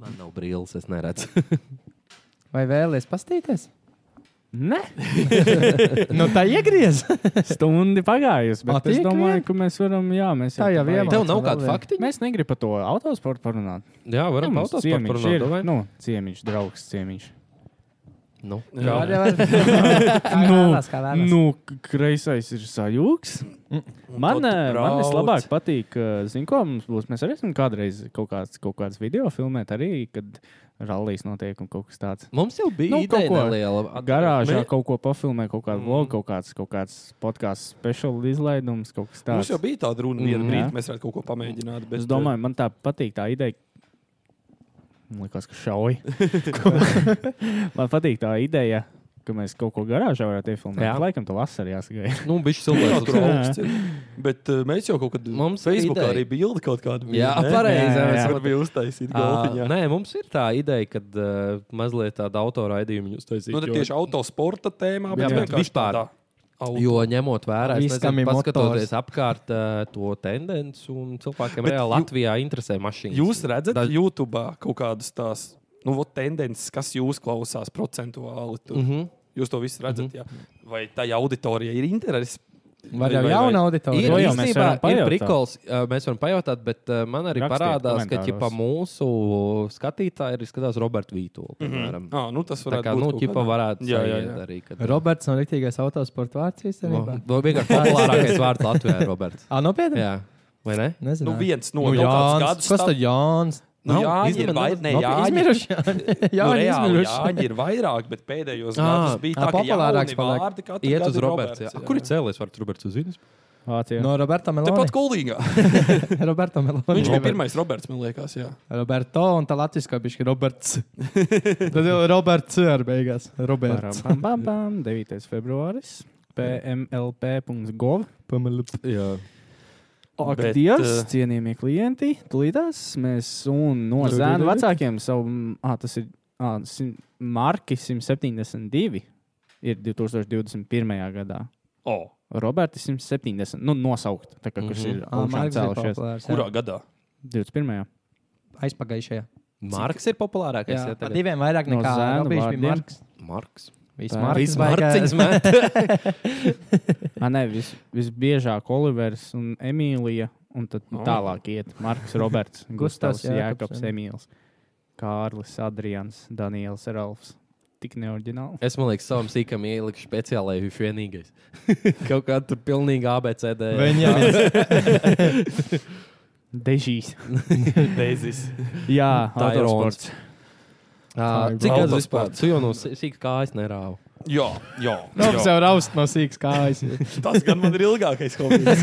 Man nav brīles, es neredzu.
Vai vēlaties pastīties?
Nē,
Nu, tā iegriez.
stundi pagājusi.
A,
Bet
tie
es domāju,
iekriet?
ka mēs varam, jā, mēs
Tā jau
pabeigsim.
iemācījām.
Tev nav
vēl
kāda
vien.
fakti?
Mēs negribam par to autosportu parunāt.
Jā, varam
mums
pautāt par
ciemiņš
to
ir,
runāt.
Nu, ciemiņš, draugs, ciemiņš.
Nu,
Var,
jā.
var. Kā vēlas, kā vēlas.
nu, k- kreisais ir sajūgs.
Mm.
Man, eh, man vislabāk patīk, eh, zin, ko mums būs. Mēs arī esam kādreiz kaut kāds, kaut kāds video filmēt, arī, kad rallijas notiek un kaut kas tāds.
Mums jau bija
Nu,
nu,
kaut
ideja
ko
neliela. At-
Garāžā
Mē-
kaut ko pafilmē, kaut kādu vlogu,
Mhm.
kaut kāds, kaut kāds podkāsts, speciāls izlaidums, kaut kas
Mums
tāds.
jau bija tāda runa, viena
Mm,
Mhm.
brīdī mēs varētu kaut ko pamēģināt. Bet,
Es domāju, man tā patīk tā ideja. Man liekas, ka šauj. man patīk tā ideja, ka mēs kaut ko garāžā varētu iefilmēt.
Jā.
Jā, laikam, to vasarā jāsagaida.
Nu, bišķi
Jā,
cilvēks
tur augsts ir. Bet uh, mēs jau kaut kad
Mums ir
Facebookā
ideja.
arī bildi kaut kādu. bija,
Jā,
ne?
pareizi.
Jā,
mēs
jā.
Tur
varam-
bija uztaisīta
Ā,
golfiņa.
Nē, mums ir tā ideja, ka uh, mazliet tāda autora raidījuma jūs taisīt.
Nu, tad tieši autosporta tēmā,
Jā,
bet
bet
vienkārši
vispār.
tādā auto-
Jo ņemot vērā, es
Viss, kam
nezinu,
ir motors.
paskatoties apkārt uh, to tendenci, un cilvēkiem
Bet
reāli
jū-
Latvijā interesē mašīnas.
Jūs redzat,
Daž-
Daž... YouTube kaut kādas tās nu, vot tendences, kas jūs klausās procentuāli. Tur. Mm
Mhm.
-hmm. Jūs to visu redzat, mm -hmm. vai tā auditorija ir interese?
nu. Var jau jaunu
Ir
To
auditoriju.
jau mēs
īstenībā,
varam
ir
pajautāt.
prikols, uh, mēs varam pajautāt, bet uh, man arī
Rakstiet
parādās, ka
komentāros.
ķipa, mūsu skatītāji arī skatās Roberta Vītola. piemēram.
Ah, nu, tas
Tā
varētu
kā,
būt.
nu,
kaut
ķipa
kādā-
varētu
Jā, jā,
sajiet
jā.
arī. Kad...
Roberts no rītīgais autosporta vārds īstenībā.
No, vienkārši populārākais vārds Latvijā ir Roberts.
Ā, nopietni?
Jā, vai ne?
Nezinu.
Nu, viens no
Nu,
tādiem
Jānis. Kas tad
gadsimtiem.
Jānis?
Nu,
Nav,
jā, ir
izņemot
vai-
Roberts.
ne,
Nav
Jāņi-
Izmiruši. Jā,
nu, reāli,
izmiruši.
Jāņi ir vairāk, bet pēdējos
Ā,
gados bija
ā,
tā, ka
populārāks
populārāks
paliek.
vārdi katru
Iet
gadu
uz
ir
Roberts. jā.
jā.
Kur ir cēlies vārds Roberts uz Zīnes?
Vācijā.
No Roberta Meloni.
Tepat Kulīgā.
Roberta Meloni.
Viņš bija pirmais Roberts, man liekas. Jā.
Roberto un tā latviskā bišķi Roberts. Tad jau Roberts ir beigās. Roberts.
Param, pam, pam, 9. februāris. PMLP.gov.
Jā.
Bet,
Aktīvs,
eh,
cienījamie klienti, tulītās mēs un no
Dod,
zēnu
dod, dod.
vecākiem savu, ah, tas ir ā, sim, marki 172, ir 2021. gadā.
O,
Roberti 170, nu nosaukt, tā kā
Mhm.
kurš ir
Ah,
augšām cēlušies.
kurā gadā?
21.
Aizpagājušajā.
Marks ir populārākais. Jā,
Jā, par
tagad.
diviem vairāk
No
nekā
zēnu
Robijs bija
vārdiem.
Marks.
Marks.
Viss
Tā.
Marks.
Viss
vajag, ā,
Marciņš met.
Ah, nē, vis, visbiežāk Olivers un Emīlija, un tad
O.
tālāk iet Marks, Roberts,
Gustavs,
Gustavs,
Jākabs,
Jākaps,
jā.
Emīls, Kārlis, Adrians, Daniels, Ralfs. Tik neorģināli.
Es domāju, ka savam sīkam ieliku speciālai viņš vienīgais. Kaut kā tur pilnīgi ABCD.
Viņam
Dežīs.
Deizis.
Jā,
Tā ir
autosports.
Ā, Cik tas vispār? Tu jau no sī- sīka kājas nerāvi.
Jā, jā. jā.
jau raust no sīkas kājas.
Tas gan man ir ilgākais hobijs.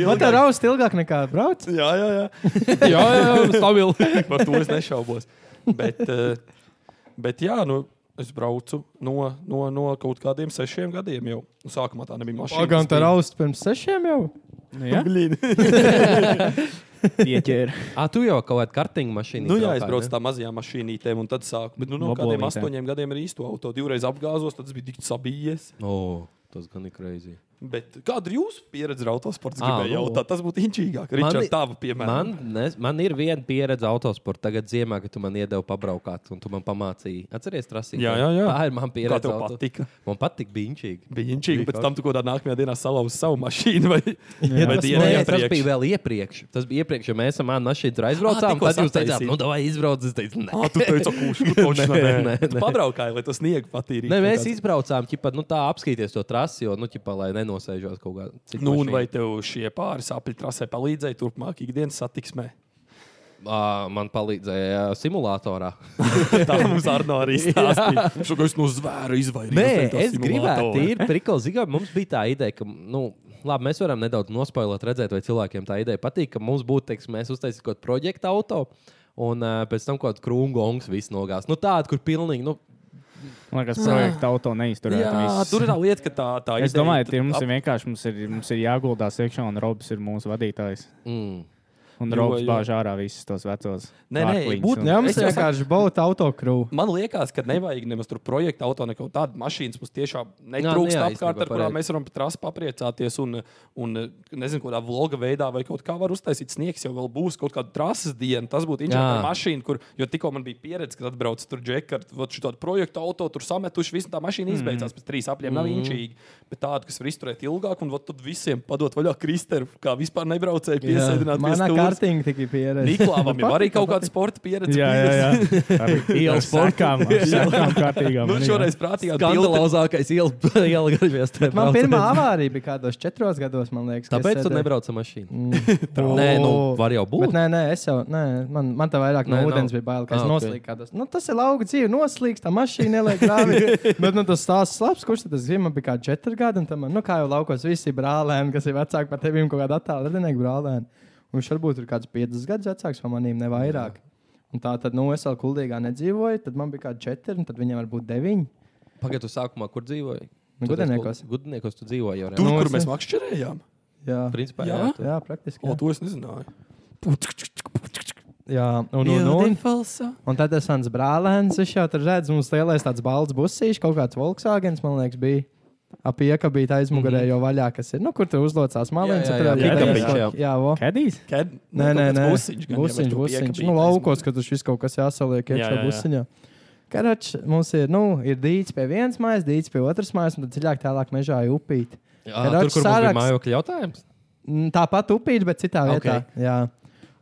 Man tā raust ilgāk nekā brauc.
jā, jā, jā.
jā, jā, stabili.
Par to es nešaubos. Bet, eh, bet jā, nu, es braucu no, no, no kaut kādiem sešiem gadiem jau. Nu, sākumā tā nebija mašīna.
Pagaidām, tā raust pirms sešiem jau.
Nu, jā, pieķēra.
Ā, tu jau kaut kādu kartiņu mašīnu.
Nu, jā, es braucu tā mazajā mašīnītē, un tad sāku. Bet, nu, no kādiem
Mobolītē.
astoņiem gadiem ar īsto auto. Divreiz apgāzos, tad tas bija tik sabijies.
O, tas gan ir kreizi.
Bet kāda ir jūsu pieredze ar autosporta?
Ā,
Gribēju
nu.
jautāt, tas būtu inčīgāk. Ričard,
ir-
tava piemēra.
Man, nes- man ir viena pieredze autosportā. Tagad ziemā, kad tu man iedevi pabraukāt un tu man pamācīji. Atceries, trasīt.
Jā, jā, jā.
Tā ir man
Kā
pieredze.
tev
auto-
patika?
Man patīk biņķīgi.
Bija inčīgi,
Bija
pēc tam tu kaut kādā nākamajā dienā salauzi savu mašīnu vai, vai
Tas,
dienu
nē, tas
iepriekš.
bija vēl iepriekš. Tas bija iepriekš, jo mēs esam mašīnā aizbraucām.
Ah, tikko
Tad jūs teicāt,
sataisīt.
nu, tā vai izbrauc. Es teicu, nē,
Ah, tu teici, kurš tur taču
Nē,
nē,
nē,
nē,
nē.
nē. Pabraukāji, lai tas sniegu patīrītu.
Nē, mēs izbraucām, ķipa, nu, tā apskatīties to trasi, jo, nu, ķipa, lai nenosēžos kaut kādā citā.
Nu, un vai tev šie pāris apli trasē palīdzēja turpmāk ikdienas satiksmē?
Uh, man palīdzēja ā, simulatorā.
Tā mums Arno arī stāstīja. Šo es no zvēra izvairījos.
Nē,
no tā
es gribēju,
simulatora.
tīri priklis. Mums bija tā ideja, ka, nu, labi, mēs varam nedaudz nospoilot, redzēt, vai cilvēkiem tā ideja patīk, ka mums būtu, teiksim, mēs uztaisīsim kaut kādu projektu auto, un uh, pēc tam kaut kāds krūmgongs viss nogās. Nu, tāda, kur pilnīgi, nu,
Man liekas, projekta auto neizturētu.
Jā,
viss.
tur ir tā lieta, ka tā, tā
Es
ideja
domāju,
tad
ka mums
ap-
ir vienkārši mums ir, mums ir jāguldās iekšā, un Robs ir mūsu vadītājs.
mm,
Un Un
Jo,
draugs
jo.
bāž ārā visus tos vecos.
Nē, nē,
vārkliņus
būt-
un-
Jā, mums
Es jau
vienkārši būtu autokrūve.
Man liekas, ka nevajag nemaz tur projekta auto, neko tādu. Mašīnas mums tiešām
nu
netrūkst
jā,
apkārt,
īstenībā
ar kurām
pareizi.
mēs varam pat rasi papriecāties. Un, un nezinu, kādā vloga veidā vai kaut kā var uztaisīt sniegs, jau vēl būs kaut kāda trases diena. Tas būtu
Jā.
interesanti mašīna, kur, jo tikko man bija pieredze, kad atbrauc tur džekar, vot šo tādu projektu auto, tur sametuši, visu tā
Mhm.
mašīna izbeidzās pēc trīs apļiem. Nav inčīgi, bet tādu, kas var izturēt ilgāk, un vot tad visiem padot vaļā Kristeru, kā vispār nebraucēji piesēdināt. pie
Manā
stūres.
kārtiņa tikai pieredze.
Niklāvam jau arī kaut kāda sporta pieredze.
Jā, jā, jā. Ar ielas porkām. Sekām kārtīgām.
Nu, šoreiz prātīgā tilta
Skandalozākais ielas ielgarvies.
Man pirmā avārija bija kādos četros gados, man liekas. kad es
Tāpēc tu
sēdēju-
nebrauc ar mašīnu.
O.
Nē, nu, var jau
Mm.
būt.
Bet nē, nē, es jau, nē, man, man tā vairāk no
Nē, nav.
ūdens bija bail, ka es
Ah,
noslīdu kādos. Nu, tas ir lauka dzīve, noslīgs, tā mašīna neliek grāvī. bet, nu, tas stāsts labs, kurš tad tas bija, man bija kā četri gadi, un tam, man, nu, kā jau laukos visi brālēni, kas ir vecāki par tevīm, kaut kāda attāla radinieku brālēni. Un viņš varbūt ir kāds piecas gadus vecāks par manīm, ne vairāk. Un tā tad, nu, es vēl kuldīgā nedzīvoju, tad man bija kā četri, un tad viņam varbūt deviņi.
Pagaidu sākumā, kur dzīvoji?
Nu,
Tu
Gudeniekos.
diezgan- Gudeniekos tu dzīvoji jau
Tur,
reāli.
Nu,
kur
es
mēs
ne-
makšķerējām,
Jā,
Principā,
Jā?
jā. tu-
jā praktiski.
o,
Jā,
to es nezināju.
jā. un, un, un, Un tad tas mans brālēns, viņš jau tur redz, mums lielais tāds balts busīšs, kaut kāds Volkswagens, man liekas, bija. Apieka bija aizmugurē jau vaļā, kas ir. Nu, kur tur uzlocās maliņas?
Jā, jā,
tur
jā,
vēl
jā,
idejas
jā,
kaut-
jā.
jā, vo.
Kedīs?
Kad? Nu,
Nē, nē, nē.
Busiņš, gan jau, vai
busiņš.
tu
busiņš.
piekabīti
Nu,
aizmugurē?
laukos, ka tur viss kaut kas
Jā,
jāsaliek
jā,
iekšā
jā.
busiņā. Karač, mums ir, nu, ir dīķis pie vienas mājas, dīķis pie otras mājas, un tad dziļāk tālāk mežā ir upīte.
Jā,
Karoči
tur, kur mums bija
saraksts.
mājokļa jautājums.
Mm, Tāpat upīte, bet citā
Ok.
vietā. Jā.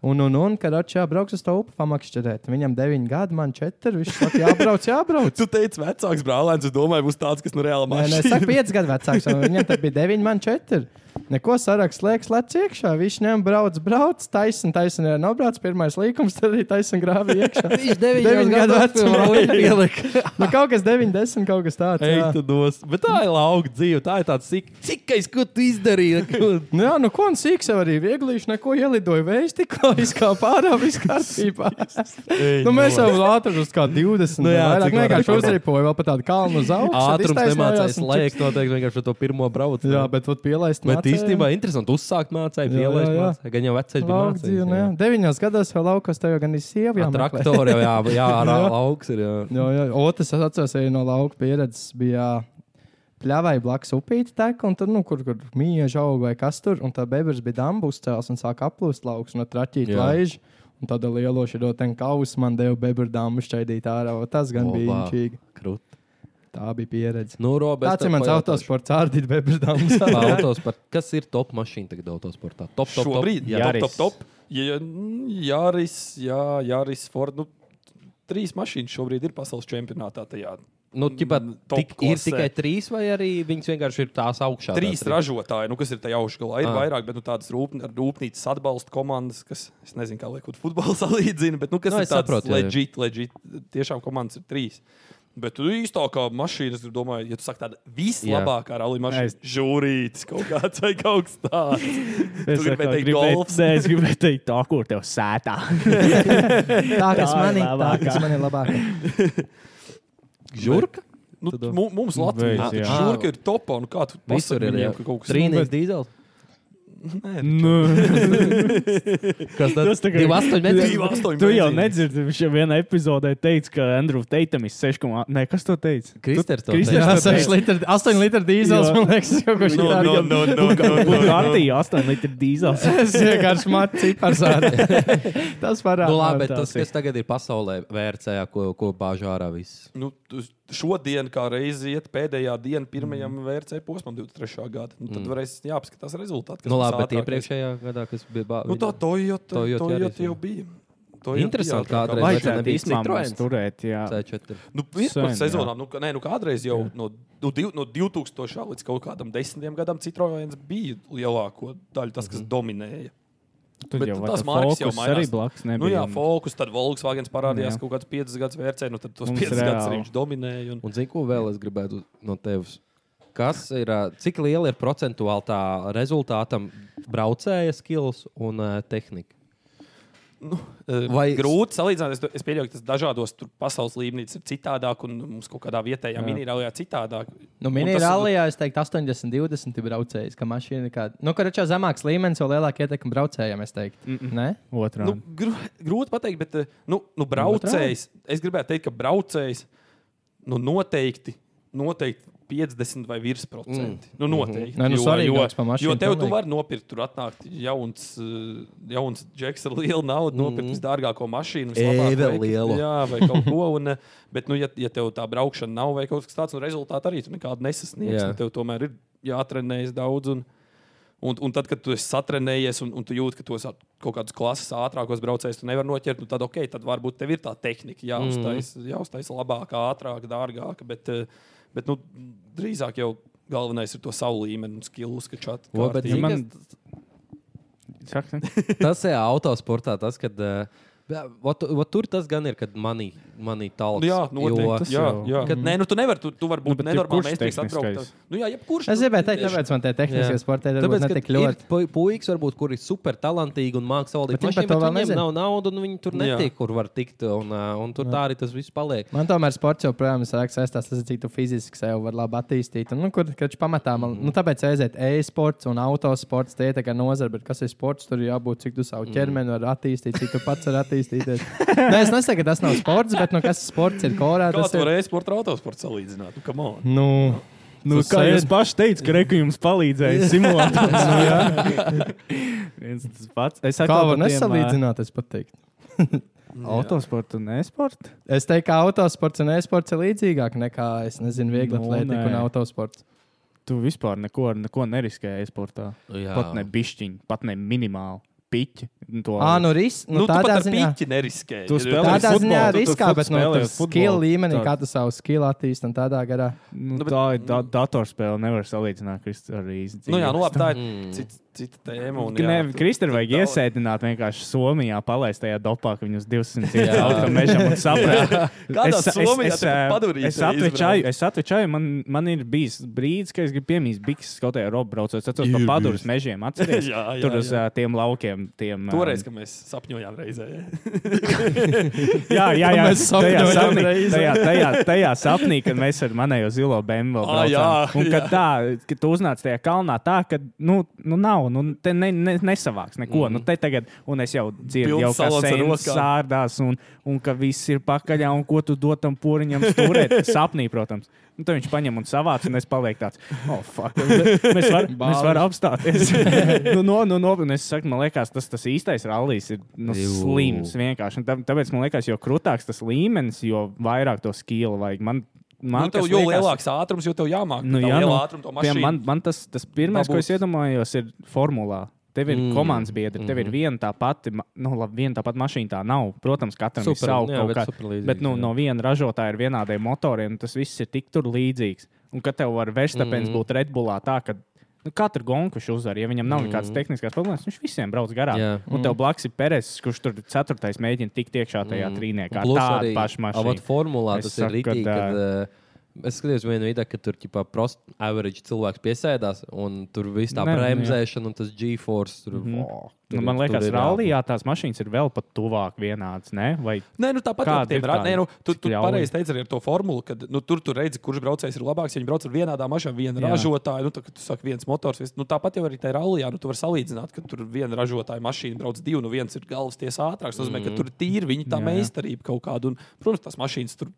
Un, un, un kad Ročijā brauks uz to upi pamakšķerēt, viņam 9 gadi, man 4, viņš saka, jābrauc, jābrauc.
Tu teici, vecāks brālēns, es domāju, būs tāds, kas nu reāli
Nē,
maksā.
nē, es saku, 5 gadu vecāks. un Viņam tad bija 9, man 4. Neko saraksts liekas, lec iekšā. Viņš ņem, brauc, brauc, taisn, taisn, ja nobrauc, pirmais līkums, tad arī taisn grāvi iekšā.
Viņš
Deviņu gadu vecumā
ielika.
Nu, kaut kas 9, 10, kaut kas tāds.
Ei,
Jā.
tu dos. Bet tā ir lauka dzīve. Tā ir tāds cik, cikais, ko tu izdarīji.
Nu, jā, nu, ko un sīks jau arī vieglīši, neko ielidoja vējš, tikko izkāpa pārā, viss kārtībā. nu, mēs jau ātrāk uz kā 20.
Nu
vai
jā,
vairāk
cik
vienkārši
vairāk.
uzripoja vēl pa tādu kalnu uz augšu. tad
Ātrums
iztaisnojās
nemācās
un
laiks, noteikti vienkārši ar to pirmo braucu.
čip- Jā, bet vot pielaist.
Bet
mācēja.
īstenībā interesanti. Uzsākt mācīja,
Jā, jā,
pielaist
jā.
mācīja. Gan jau vecais bija
Lauks dzīve, nu jā.
mācījis.
Deviņos gados jau laukos tev jau gan ir sieva. jāmeklē.
Traktori jau jā, jā, jā,
Jā.
lauks ir. Jā.
Jā, jā. Otrs, es atceros, arī no lauka pieredzes bija pļāvai blakus upīte teka, un tur, nu, kur, kur mīja auga vai kas tur, un tā bebers bija dambus cēls un sāka aplūst lauks no traķīt
Jā.
laiži. Un tāda lieloša rotaļu kausa man deva bebru dāmu šķaidīt ārā. o Tas gan
O,
bija
vā.
inčīgi.
Krūti.
Tā bija pieredze.
Nu, Robert,
Tāds ir mans autosports, ārdīt bebru dāmu.
Autos par, kas ir top mašīna tagad autosportā? Top, top, top.
Šobrīd, jā,
Jaris.
top, top, top. Ja- mm, Jāris, jā, Jāris, Ford. Nu, trīs mašīnas šobrīd ir pasaules čempionātā. Tajā.
Nu, ķipa,
Mm, Top
tik, ir
klasē.
tikai trīs, vai arī viņas vienkārši ir tās augšā?
Trīs
tās
ražotāji, nu, kas ir tajā augšgalā, ir
Ah.
vairāk, bet nu, tādas rūpn- ar rūpnīcas atbalsta komandas, kas, es nezinu, kā liekot, futbolu salīdzina, bet, nu, kas
Nu,
no, ir
es
tādas
saprotu, jā, jā.
leģitīvas, leģitīvas, tiešām komandas ir trīs. Bet tu īstākā mašīna, es domāju, ja tu saki tādu vislabākā rallija mašīnu,
Es-
žūrītis kaut kāds vai kaut kas tāds.
Es
gribēji
atkal
teikt
gribēju-
golfs?
Nē, es gribēju teikt to, kur tev sētā.
Tā, kas
Tā
man
ir
ir, tā,
labākā.
kas man ir labāk.
Žurka?
Nu,
Tu domā?
mu- mums Latvijā
Beidz, jā.
žurka ir topā, nu kā tu
Visur
pasaki
ir
viņiem,
jā.
ka kaut kas
Trīnīgs dīzels.
Nu.
Kas tad?
Tas tā kā-
Divi astoņi metri?
Divi astoņi
Tu jau
benzīni.
nedzirdi, viņš jau vienā epizodē teica, ka Andrew Teitam ir 6,5. Nē, kas to teica?
Kristers to
Kristers
Jā,
to teica.
6 litri, 8 litri dīzels,
Jā.
man liekas, kaut kas
No,
tāds.
no, no, no,
Nu,
no, no, no.
Bugatti 8 litri dīzels.
Es vienkārši mācīju par zāli. Tas parādās.
Nu, labi, bet
tā
tas,
ir.
kas tagad ir pasaulē, vērtējā, ko, ko bāž ārā viss.
Nu, tu- šodien, kā reizē, iet pēdējā dienā, pirmajam mm. VRC posmam, 23. gada. Nu, tad mm. varēs jāapskatās rezultāti.
Nu, labi, bet
ātrākais.
iepriekšējā gadā, kas bija bāž.
Nu, tā Toyota,
Toyota
Toyota, Toyota
arī
jau bija. Toyota bija
Interesanti,
ātrākā.
kādreiz
Vai-
Vajag
vairs
tā
nebija
īstenībā mums
Citroens.
turēt, jā.
C4.
Nu, ir par
Sen,
sezonām. Nu, ka- nē, nu, kādreiz jau no, no, div- no 2000 līdz kaut kādam desmitiem gadam Citroens bija lielāko daļu tas, kas mm -hmm. dominēja.
Tur
Bet
jau
tās
tas
markas jau
fokus
mainās.
arī blakus nebija.
Nu, jā,
un-
Focus, tad Volkswagen parādījās
Jā.
kaut kāds 5 gadus vērtē, nu tad tos
Mums
5 gadus
reāli.
arī viņš dominēja. Un...
Un zinu, ko vēl es gribētu no tevis. Kas ir, ā, cik liela ir procentuāli tā rezultātam braucēja skills un ā, tehnika?
nu, eh,
Vai-
grūti salīdzināt. Es, do- es pieļauju, ka tas dažādos tur pasaules līmenīs ir citādāk, un mums kaut kādā vietējā minimālajā citādāk.
Nu,
Un tas-
Minimālajā es teiktu, 80, 20 ir braucējs, ka mašīna ir kāda. Nu, ka rečā zemāks līmenis, jau lielāka ietekme braucējiem, es teiktu. Mm -mm. Nē,
Otrā.
Nu, gru, grūti pateikt, bet eh, nu, nu, braucējs. Es gribētu teikt, ka braucējs nu, noteikti, noteikti 50 vai virs procenti. Mm. Nu, noteikti.
Nē, nu,
Jo-
svarīgāks pa
jo,
mašīnu
jo tev tu
pilnīgi.
vari nopirkt, tur atnākt jauns, eh, jauns džeks ar lielu naudu, nopirkt mm. visdārgāko mašīnu. vislabāko
Eivelu
veiku.
lielu.
Jā, vai kaut ko. Un, eh, bet, nu, ja, ja tev tā braukšana nav vai kaut kas tāds, nu, rezultāti arī tu nekādu nesasniegs.
Jā.
Nu, Tev tomēr ir jāatrenējas daudz. Un, Un, un tad, kad tu esi satrenējies un, un tu jūti, ka tos kaut kādus klases ātrākos braucējus tu nevar noķert, nu tad ok, tad varbūt tev ir tā tehnika jāuztais, mm. jāuztais labāka, ātrāka, dārgāka. Bet, eh, bet nu, drīzāk jau galvenais ir to savu līmeni un skilu uzskačāt.
O, bet
kārtīgi.
zini,
man-
kas-
Saka, ne?
tas ir autosportā, tas, kad. Uh, Vat, vat tur tas gan ir, kad manī manī talks.
Nu Jā, noteikti.
tas
Jā,
jau-
jā. Kad, nē, nu, tu nevari. Tu, tu vari būt
bet
nu, nenormāli.
jebkurš
Mēs tikai atbraukt.
tehniskais.
Nu, jā, jebkurš.
es
nu,
gribēju teikt,
tieši-
tāpēc man tie tehniskie sportēji ir
Tāpēc,
ne
ka
tik ļoti.
ir pu- puikas, varbūt, kur ir super talantīgi un mākslinieks valdīt
Bet viņi par
mašīnu,
to
bet
vēl
viņiem
nezina.
nav naudas, un viņi tur
Jā.
netiek, kur var tikt. Un, ā, un tur tā arī tas viss paliek.
Man tomēr sports joprojām ir sākts saistās ar to, cik tu fiziski sev var labi attīstīt. Un, nu, kur taču pamatā man, nu, tāpēc aiziet e-sports un autosports, tie ir tā kā nozara, bet kas ir sports, tur jābūt, cik tu savu
Mm.
ķermeni var attīstīt, cik tu pats var attīstīties. Nē, es nesaku, ka tas nav sports, bet, nu, kas sports ir korā,
Kā
tas
tu
ir.
vari e-sporta ar autosportu salīdzināt? Nu, come on.
Nu,
Nu,
Tas
kā
sen.
jūs paši teicāt, Greku jums palīdzēja simulators. nu, jā. Viens un tas pats. Es
kā
atkal
var
par tiem, ā,
nesalīdzināt, es pat teiktu.
Autosportu un e-sportu.
Es teiktu, ka autosports un e-sports ir līdzīgāk nekā, es nezinu, viegla
Nu,
atlētika
nē.
un autosports.
Tu vispār neko, ar neko neriskēji e-sportā.
Jā.
Pat ne bišķiņi, pat ne minimāli. Piķi. un to-
Ā, nu, ris, nu,
Nu, tu pat
tādā
ar
ziņā.
piķi neriskēji.
Tu
Ir-
spēlē
Tādā-
Spēlēji
Tādā ziņā
futbolu, tu- tu
riskā,
fut-
bet no
spēlēji
tādas
futbolu.
skill līmenī,
Tā.
kā tu savu skill attīsti un tādā garā.
Nu,
Nu, bet-
tā ir da datorspēle. Nevar salīdzināt Krist- ar īstu.
Nu, jā, nu, labi, tā ir cita, cita tēma. un jā,
Nē,
tu-
Kristēna vajag
tālāk.
iesēdināt vienkārši Somijā, palaist tajā dopā, ka viņus 200
Jā.
gadu mežam un saprāt.
Kādā
Es- es-
Somijā
es,
tu pat
eh,
padurītē
Es atveicāju,
izbrauc?
es atveicāju man, man ir bijis brīdis, kad es gribu piemīt bikses kaut kādā robu braucot. Es atceros,
Ir
pa paduras mežiem atceries.
Jā, jā,
Tur uz
jā.
eh, tiem laukiem. Tiem, eh,
Toreiz, kad mēs sapņojām reizē.
Jā, jā, jā.
Mēs
tajā,
sapņojam
sapnī,
reizi.
tajā, tajā, tajā sapnī, kad mēs ar manējo zilo BMW
Ā,
braucām.
jā,
un kad
jā.
tā, kad tu uznāc tajā kalnā, tā, ka, nu, nu nav, nu, te ne, ne, nesavāks neko. Mm. Nu, te tagad, un es jau dzirdu,
Pilns
jau kā
salons ar
sēnes
rokām.
sārdās, un, un ka viss ir pakaļā, un ko tu dod tam pūriņam stūrēt. sapnī, protams. Nu, tad viņš paņem un savāc, un es palieku tāds, oh, fuck. Mēs varam var apstāties. nu, no, nu, no, un es saku, man liekas, tas, tas īstais rallies ir nu,
Jū.
slims vienkārši. Un tā- Tāpēc man liekas, jo krūtāks tas līmenis, jo vairāk to skilu vajag. Man, man
Man nu, tev
kas
jo
liekas-
lielāks ātrums, jo tev jāmāk.
Nu, jā, nu,
ātrumu, to
piemēram,
mašīnu.
man, man tas, tas pirmais, ko es
dabūt.
iedomājos, ir formulā. Tev ir mm. komandas biedri, tev ir
Mhm.
viena tā pati, ma- nu, labi, viena tā pati mašīna. Tā nav. Protams, katram ir
Super,
sava
jā,
kaut
bet
kāda.
super līdzīgs,
Bet nu,
jā.
no viena ražotāja ir vienādiem motoriem, un tas viss ir tik tur līdzīgs. Un kad tev var verstapēns mm. būt Redbullā, tā ka nu, katru gonku viņš uzvar, ja viņam nav nekādas mm. tehniskas problēmas, viņš visiem brauc garām.
Jā. Mm.
Un tev blakus ir Peres, kurš tur ceturtais mēģina tikt iekšā tajā mm. trīniekā.
Plus
Tā
arī
ir paša mašīna.
Avot formulā
Es
tas ir
saku, ka
rītīgi.
tā-
Kad, uh, Es skatījos vienā video, ka tur jau prost average cilvēks piesēdās, un tur viss tā
Nē, nu, jā.
bremzēšana, un tas G-force. Tur, mm -hmm.
Nu, man liekas, rallija tās mašīnas ir vēl pat tuvāk vienādas. ne? Vai
Nē, nu tāpat
Kāda
jau tiem
ir
rā-
tā
Nē, nu, tu,
cik
tu
ļauj?
pareizi teici arī ar to formulu, ka nu, tur tur redzi, kurš braucējs ir labāks. Ja viņi brauc ar vienādām mašīnām, viena
Jā.
ražotāja, nu, tad tu saki, viens motors. Viss, nu, tāpat jau arī tajā rallija, nu, tu vari salīdzināt, ka tur viena ražotāja mašīna brauc divi, nu viens ir galvas tiesa ātrāks. Tas nozīmē, ka tur tīri viņi tā
Mm. Jā, jā.
meistarība kaut kāda. Un, protams, tās mašīnas tur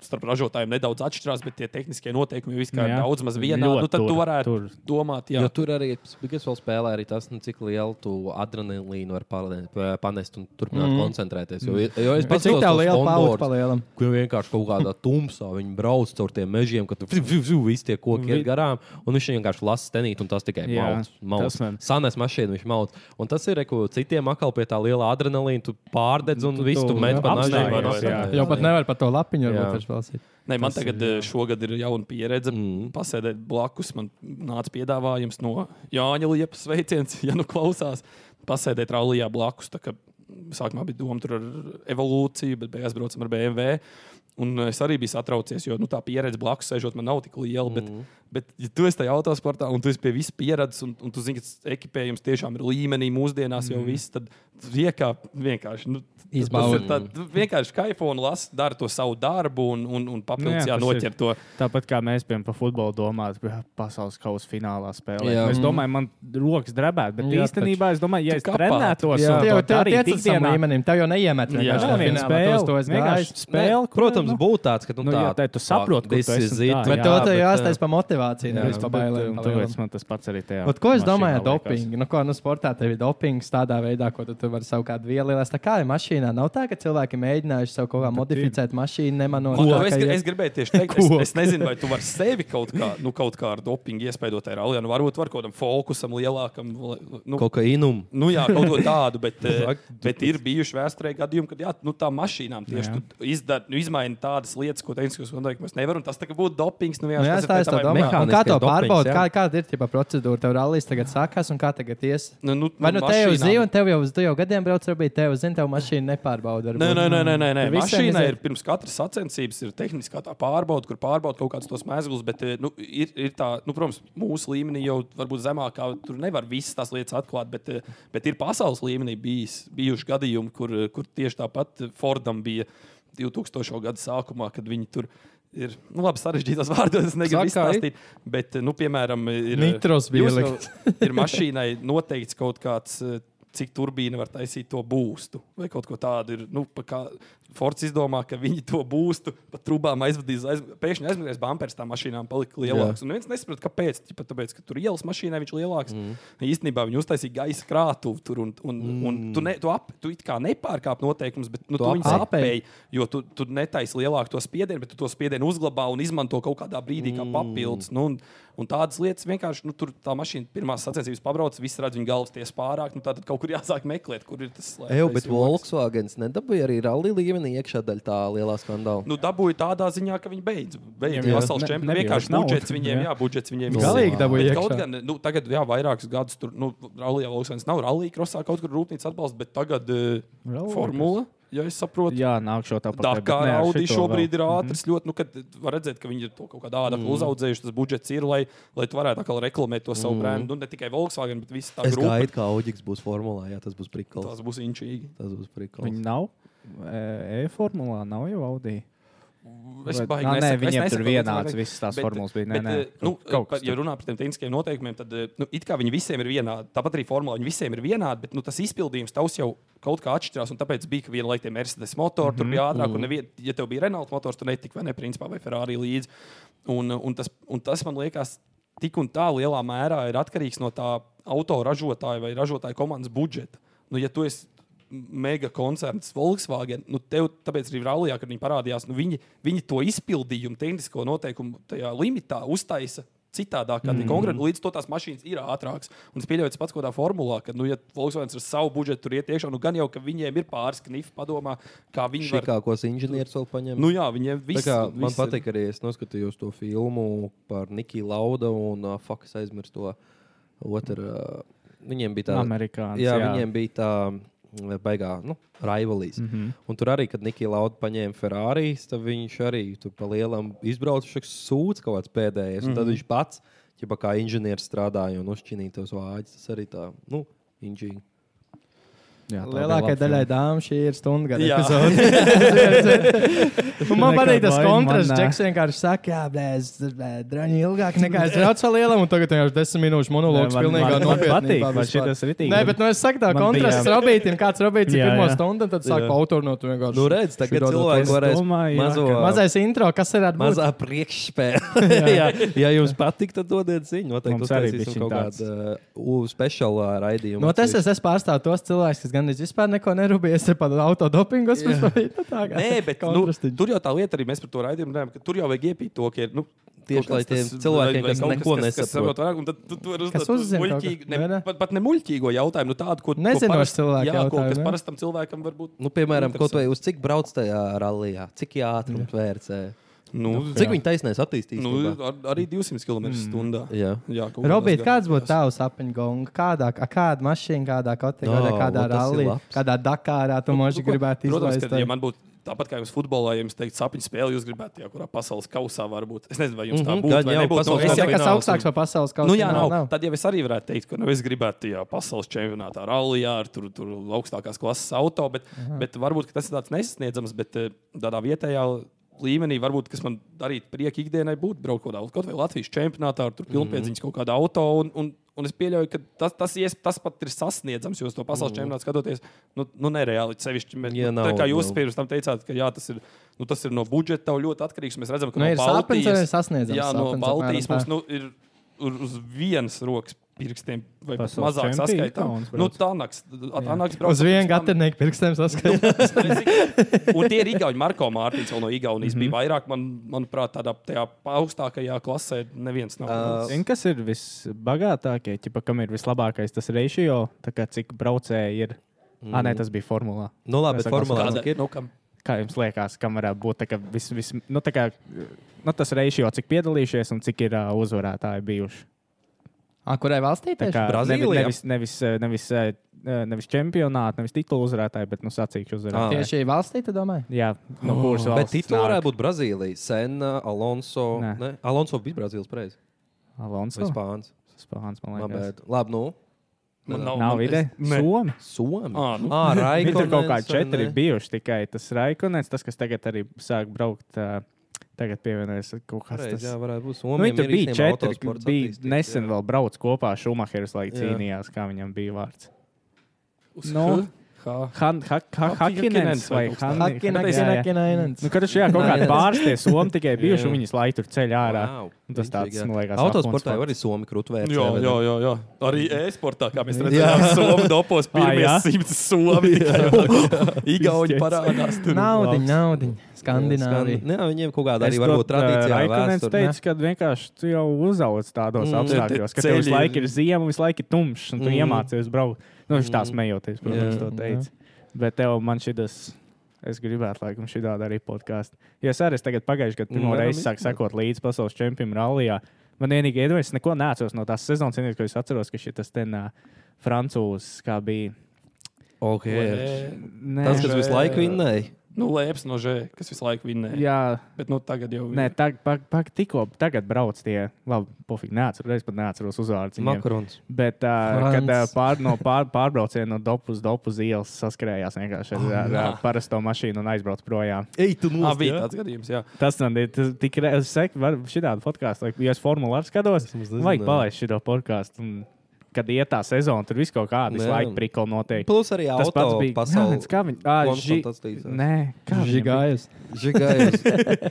starp ražotājiem nedaudz atšķirās, bet tie tehniskie noteikumi jau vispār ir
Jā.
daudz maz vienādi.
Ļoti
Nu, tad tu
tur,
varētu
tur.
domāt, jā.
Jo tur arī bija vēl spēlē arī tas, nu, cik lielu tu adrenalīnu var palē- pa- panest un turpināt mm. koncentrēties. Jo, jo es
Bet
pats
cik tā liela pauta palielam?
Kur vienkārši kaut kādā tumsā viņi brauc caur tiem mežiem, kad tur visu, visu, visu tie koki iet garām. Un viņš vienkārši lasa stenīt, un tas tikai
Jā,
mauc.
tas man-
Sanēs mašīnu viņš mauc. Un tas ir, re, ko citiem akal pie tā liela adrenalīna, tu pārdedz un visu tu
tu
met pa
apstājies,
nažiem.
jā.
Jau pat nevar par to lapiņu
Jā.
varbūt vairs lasīt.
Nē, man tagad jā. šogad ir jauna pieredze. Mm.
Mm.
Pasēdēt blakus, man nāca piedāvājums no Jāņa Liepas sveiciens, ja nu klausās. Pasēdēt rallija blakus. tā kā Sākumā bija doma tur ar evolūciju, bet beigās braucam ar BMW. Un es arī biju satraucies, jo nu, tā pieredze blakus sēžot man nav tik liela. Mm. Bet, Bet, ja tu esi tajā autosportā un tu esi pie visu pieredzējis, un, un tu zini, ka ekipējums tiešām ir līmenī mūsdienās jau viss, tad riekā vienkārši nu, t- tas
Izbaudi.
ir tā- tu vienkārši kaifo un lasi, dara to savu darbu un, un, un
Nu jā,
papildus jā,
tas ir.
noķer to.
Tāpat kā mēs piemēram par futbolu domājam, bija pasaules kausa finālā spēlē.
Jā.
Jā.
mm.
Es domāju, man rokas drebētu, bet jā,
Jā,
īstenībā es domāju, ja es
kapāt.
trenētos,
Tev jau
tad jau tā arī
tādā
tikdienā
līmenī, tev jau neiemet.
Jā.
vienkārši
Jā,
tajā
viena
finālā,
spēle,
tos tu esi
vienkārši
gājis.
spēle,
Nē,
kur,
protams,
nu,
būtu tāds, ka tu
nu,
tā,
jā, tā tu saproti, kur
this
tu esi
is
un
it,
tā,
Bet
jā,
tev tā
bet,
jāstāsta
uh,
par motivāciju,
jā.
nevis par bailēm.
Un Tāpēc man tas pats arī tajā.
Ot, ko es
mašīnā
domāju ar
liekas.
dopingu? Nu, ko, nu, sportā tev ir dopings tādā veidā, ko tu, tu vari savu kādu vielu ielēst. Tā kā ir mašīnā, nav tā, ka cilvēki mēģinājuši sev kaut kā modificēt mašīnu, nemanot,
Un
tā,
to Es,
ka
gr-
iet-
es gribēju tieši teikt, es,
Ko?
es nezinu, vai tu vari sevi kaut kā, nu, kaut kā ar dopingu iespējot tajā rallija. Nu, varbūt var kaut kādam fokusam lielākam. lai- Nu,
kokainumu.
Nu, jā, kaut ko tādu, bet, eh,
Ak, tu-
bet ir bijuši vēsturē gadījumi, kad jā, nu, tā mašīnām tieši tu izdara, nu, izmaina tādas lietas, ko tehniskos kontrolieris mēs nevaram. Tas tā kā būtu dopings. Nu,
Nu, jā,
vienkārši tas ir
tā
pēc
es
tam, vai
tā domāju.
mehā-
Un Kā to
mehāniskais dopings,
pārbaudīt?
jā.
Kā, kāda ir tā procedūra? Tev rallies tagad sākās, un kā tagad ies?
Nu, nu,
Vai nu te jau
mašīnām-
zini, un tev jau, tu jau gadiem brauc ar bītu, tev zini, tev mašīna nepārbauda.
Nē, nē, nē, nē, nē, nē.
Ar Nu, visiem
mašīnā
iziet.
ir pirms katras sacensības ir tehniskā tā pārbauda, kur pārbauda kaut kādus tos mēslus, bet eh, nu, ir, ir tā, nu, protams, mūsu līmenī jau varbūt zemākā tur nevar visas tās lietas atklāt, bet, eh, bet ir pasaules līmenī bijis, bijuši gadījumi, kur, eh, kur tieši tāpat eh, Fordam bija 2000. gada sākumā, kad viņi tur ir, nu, labi, sarežģītos vārdos, es negribu
Sakai.
izstāstīt, bet, eh, nu, piemēram, ir. eh,
Nitros bija
jūs
ielikts.
jau- ir mašīnai noteikts kaut kāds. eh, Cik turbīna var taisīt to būstu, vai kaut ko tādu. Ir, nu, pa kā Fords izdomā, ka viņi to būstu pa trūkām aizvadīs. Aiz, pēkšņi aizmirst, ka bumpers tam mašīnām palika lielāks. Un Neviens nesaprata, kāpēc. Tipa, tāpēc, ka tur ielas mašīnai viņš ir lielāks. Mm. Īstenībā viņi uztaisīja gaisa krātuvi tur, un, un, mm. un tu, ne, tu, ap, tu it kā nepārkāp noteikumus, bet nu, tu
Tu
viņus
apēj.
apēji, jo tu, tu netaisi lielāku to spiedienu, bet tu to spiedienu uzglabā un izmanto kaut kādā brīdī
Mm.
kā papildus. Nu, un, un tādas lietas vienkārši, nu, tur tā mašīna pirmās sacensības pabrauc, viss redz viņa galvas tiesas pārāk, nu, tad kaut kur jāsāk meklēt, kur ir tas
Ej,
slēptais
bet
joks.
Volkswagens nedabūja arī rallija līmenī iekšā daļā tā lielā skandāla.
Nu, dabūju tādā ziņā, ka viņi beidz. Beidz
Jā,
pasaules
ne-
čempionu.
nebija
Vienkārši
vairs
budžets
naudas.
viņiem,
Jā. Nu,
jā, budžets viņiem ir.
Galīgi dabūja
Bet Kaut
iekšā.
gan, nu, tagad, jā, vairākus gadus tur, nu, Rallija Volkswagens nav Rallija krosā, kaut kur rūpnīca atbalsta, bet tagad uh,
Rallija
formula, ja es saprotu.
Jā, nākšu tāpat.
Tā kā Audi šobrīd ir
ir.
Mhm.
ātrs, ļoti, nu, kad var redzēt, ka viņi ir to kaut kādā ādā mm. uzauguši. Tas budžets ir, lai, lai tu varētu atkal reklamēt to savu mm. brendu. Un ne tikai Volkswagen, bet visa tā
Mhm. Es
grupa.
gaidu, ka Audžeks būs formulā. Jā, tas būs prikals.
Tas būs inčīgi.
Tas būs prikals.
Viņi nav. E- E-formulā nav jau Audi.
Es
Bet-
baigi
Nā, nē,
nesaku-
viņiem
es
tur
nesaku,
vienāds
bet-
visas tās
bet-
formulas bija. Nē,
bet,
nē,
eh, nu,
kaut- kaut
pa-
kas
Ja
tur.
runā par tiem tehniskiem noteikumiem, tad eh, nu, it kā viņi visiem ir vienādi. Tāpat arī formula viņi visiem ir vienādi, bet nu, tas izpildījums tavs jau kaut kā atšķirās. un Tāpēc bija, ka vienlaikus tie Mercedes motori mm -hmm.
Mhm,
tur bija ātrāk, un nevien, ja tev bija Renault motors, tu netika vai ne principā vai Ferrari līdzi. Un, eh, un, tas, un tas man liekas, tik un tā lielā mērā ir atkarīgs no tā autoražotāja vai ražotāja komandas budžeta. Nu, ja tu esi mega koncerns Volkswagen. Nu, tev, tāpēc arī Rālijā, kad viņi parādījās, nu, viņi, viņi to izpildījumu, tehnisko noteikumu tajā limitā uztaisa. Citādāk, kā mm. konkrēti, līdz to tās mašīnas ir ātrākas. Un es pieļauju, tas pats kaut kādā formulā, ka, nu, ja Volkswagen ar savu budžetu tur iet iekšā, nu, gan jau, ka viņiem ir pāris knifi padomā, kā viņi var.
Šikākos inženierus vēl paņem.
Nu, jā, viņiem
Tā
viss
kā, man
viss ir-
patīk, arī es noskatījos to filmu par Nikiju Laudu un uh, Fakas aizmirst to otru. Uh, viņiem bija tāda
Amerikāns,
Jā,
jā.
viņiem bija tā. mm, Baigā, nu, rivalīs. Mm
Mhm.
-hmm. Un tur arī, kad Nikija Lauda paņēma Ferrari, tad viņš arī tur pa lielam izbrauca šis sūds kaut kāds pēdējais. Mm -hmm. Tad
Mhm.
viņš pats, ja kā inženieris strādāja un uzšķinīja tos vāģus, tas arī tā, nu, inžīni.
Jā, tā bija
Lielākajai
laba
daļai dāmas šī ir stundu gada
Jā.
epizode. Un Nu, man
Nekā
patīk tas
bail
kontrasts.
man, nē.
Džeks vienkārši saka, jā, blēz, drāņi ilgāk nekā es braucu ar lielu, un tagad jau ir desmit minūšu monologs.
Nē, man-
Pilnīgi
man- man patīk, man šitas
nopietni.
ritīgi.
Nē, bet nu, es saku, tā
Man
kontrasts
bija-
robītiem, kāds robīts ir
Jā,
pirmo
jā.
stundu, un tad sāk pa autorinot vienkārši.
Nu, redz, tagad
šķidrot
cilvēki
to-
varēs
domāju, jā,
mazo,
ka-
Mazais intro, kas ir atbildīgs?
mazā priekšspēlē. jā, ja jums patīk, tad dodiet ziņu. Noteikti
Mums arī
uztaisīsim
bišķiņ
kaut
tāds.
kādu uh, speciālu raidījumu.
No tas es, es pārstāvu tos cilvēkus, kas gandrīz vispār neko nerūpējas par autodopingus.
Nē, bet nu, tur jau tā lieta arī mēs par to raidījumu runājam, ka tur jau vajag iepīt to, ka ir. Nu,
Tieši,
kaut
lai
kas
tiem
tas-
cilvēkiem,
vai-
kas
vai kaut
neko
kas- kas
nesaprot.
saprot vairāk, un tad tu, tu vari
Kas
uzdot to
uzzina kaut
muļķīgu,
ko, vai ne?
ne, pat, pat ne muļķīgo jautājumu, nu tādu, ko
Nezinošu
ko parasti-
cilvēku
Jā, ko,
jautājumu,
kas
jā.
parastam cilvēkam varbūt.
Nu, piemēram, kaut vai
interesanti.
uz cik brauc tajā rallija, cik ātri vērtē.
Nu,
Cik viņa taisnēs attīstīs?
Nu, ar, arī 200
Mm.
km/h.
Jā.
Jā, kaut
Robīt,
kas gan-
kāds būtu tavs apiņgongs? Kādā, ar kādu mašīnu, kādā kategorijā,
Ā,
kādā
o, tas ir
rallija,
labs.
kādā Dakārā tu
Nu,
moži
ko-
gribētu
Protams,
izlaist?
ka, ja man būtu tā Tāpat kā jums futbolā, ja jums teikt, sapņu spēle, jūs gribētu, ja kurā pasaules kausā varbūt. Es nezinu, vai jums tā
Mhm,
būtu.
gan
vai
jau
nebūtu
pasaules
no
Es
kausā
jau
fināla
kāds
fināla.
augstāks par pasaules kaut
Nu, jā, nav.
nav.
Tad jau es arī varētu teikt, ka nu, es gribētu tajā pasaules čempionātā, rallija, ar tur, tur augstākās klases auto, bet,
Mhm.
bet varbūt ka tas ir tāds nesasniedzams, bet eh, tādā vietējā līmenī, varbūt, kas man darītu prieku ikdienai, būtu braukt kaut kādā kaut vai Latvijas čempionātā ar
Mhm.
pilnpiedziņas kaut kādu auto. Un, un, un es pieļauju, ka tas, tas, ies, tas pat ir sasniedzams, jo uz to pasaules
Mhm.
čempionātu skatoties, nu, nu nereāli sevišķi. Bet,
Ja
nu,
nav,
tā kā jūs
nav.
pirms tam teicāt, ka jā, tas ir. Nu, tas ir no budžeta tev ļoti atkarīgs. Mēs redzam, ka
Nu,
no
ir sāpens,
Baltijas-
ir sasniedzams
Jā, no
sāpens, apmēram
Baltijas
tā.
mums nu, ir uz, uz vienas rokas pirkstiem, vai pat
Pasaules
mazāk
čempions
saskaitām.
Kauns
Nu,
brauc.
tā nāks. Tā nāks
Uz vienu gatavnieku pirkstiem saskatās.
Un tie ir Igauni. Marko Mārtiņš vēl no Igaunijas
Mhm.
bija vairāk. Man, manuprāt, tādā tajā augstākajā klasē neviens nav.
Zini, kas ir visbagātākie, ķipa, kam ir vislabākais tas ratio, tā kā cik braucēji ir. Mm. Ah, nē, tas bija formulā.
Nu, labi,
Es
bet
saku,
formulā
Kāda
cik ir.
ir? Nu, kam?
Kā jums liekas, kam varētu būt tā kā vis, vis, nu, tā kā, nu, tas ratio, cik piedalījušies un cik ir uh, uzvarētāji bijuši?
Ā, Kurai valstī
Tā
tieši?
kā
Brazīlijā?
Nevis, nevis, eh, nevis, eh, eh, nevis čempionāti, nevis titulu uzvarētāji, bet nu, sacīkšu
Ah.
uzvarētāji.
Tieši valstī, tu domā?
Jā, no kuras valsts?
Bet titulā
nāk?
varētu būt Brazīlija. Senna, Alonso.
Nē. Oh.
Ne? Alonso bija Brazīlijas prezidents.
Alonso.
Vai Spāns?
Spāns, man
Nā,
liekas.
bet- Labi, nu.
Man
Nav
man-
ideja.
es- ne.
Somi.
Somi.
Ā, nu.
Ā,
Viņi tur kaut kādi
Raikonens,
četri
vai ne?
bijuši tikai tas Raikonens, tas, kas tagad arī sāk braukt. ā, Tagad pievienojas kaut kas
Pareizi,
tāds.
jā, varētu būt.
Nu,
Somijam
viņi tur
ir
bija
īstenībā
četri.
autosports
Bija
attīstīts,
nesen
jā.
vēl brauc kopā. Šumacheris laik
Jā.
cīnījās, kā viņam bija vārds.
Uz
Nu.
H. H.
Han- ha- ha- Hakinens
vai
vai
kaut kas
Han-
tāds.
Hakinens, jā, jā. Nu,
Hakinainains.
kad šajā kaut kādā
Hakinens.
pārstē somi tikai bijuši,
Jā.
un viņas lai tur ceļā ārā.
Wow,
Un tas tāds,
brīnišķīgi, jā.
man liekas,
Autosportā
apmūns
jau arī Somija krūtvērts.
Jā, jā, jā, jā. Arī e-sportā, kā mēs redzam, Somijas dopos pirmie
jā?
simts somi. tikai Igauni parādās. tur.
Naudiņa, naudiņa. Nu, Skandināvija.
Jā, viņiem kaut kāda
Es
arī
to,
varbūt
ā,
tradīcijā.
Raikonens
vēsture,
teica, ka vienkārši tu jau uzaugs
Mm.
tādos mm, apstākļos, ka
Ceļi
tev visu
ir-
laiku ir ziema, visu laiku ir tumšs, un tu
Mm.
mm. iemācies braukt. Nu, viņš tā smējoties, protams,
Jā.
to teica. Bet tev man šis. Es gribētu, lai mums šī tāda arī podkāstu. Jo es arī es tagad pagājušajā gadā pirmo
Nu, varam
reizi sāku sekot līdzi pasaules čempionam rallija. Man vienīgi iedomājās, es neko neatceros no tās sezonas. Vienīgais, ko es atceros, ka šis tas ten uh, francūzs, kā bija.
Okay.
Nē,
Tas, kas visu laiku vinnēja.
Nu, lēps no žēl, kas visu laiku vinnēja.
Jā,
Bet nu, tagad jau
Nē, tā pak, pak, tikko tagad brauc tie, labi, pofīgi, neatceros, es pat neatceros uzvārdus.
Makarons.
Bet, uh, kad uh,
Frants.
pār, no pār, pārbrauciena no dopus, dopus ielas saskrējās vienkārši ar, ar, ar
Ah.
parasto mašīnu un aizbrauc projām.
Ej,
Tā
tu mums
bija tāds gadījums, jā.
Tas man ir tas tik reizes, var šitādu podkāstu, like, ja es formulāru skatos,
Es maz nezināju.
vajag palaist šo podkāstu. un Kad iet tā sezona, tur viss kaut kāda
Jā.
laika prikla notiek.
Plus arī
Tas pats bija
pasaules
Jānis, kā viņš to
Koms un tas līdzās.
Nē, kā viņš to
Žigājas.
Žigājums.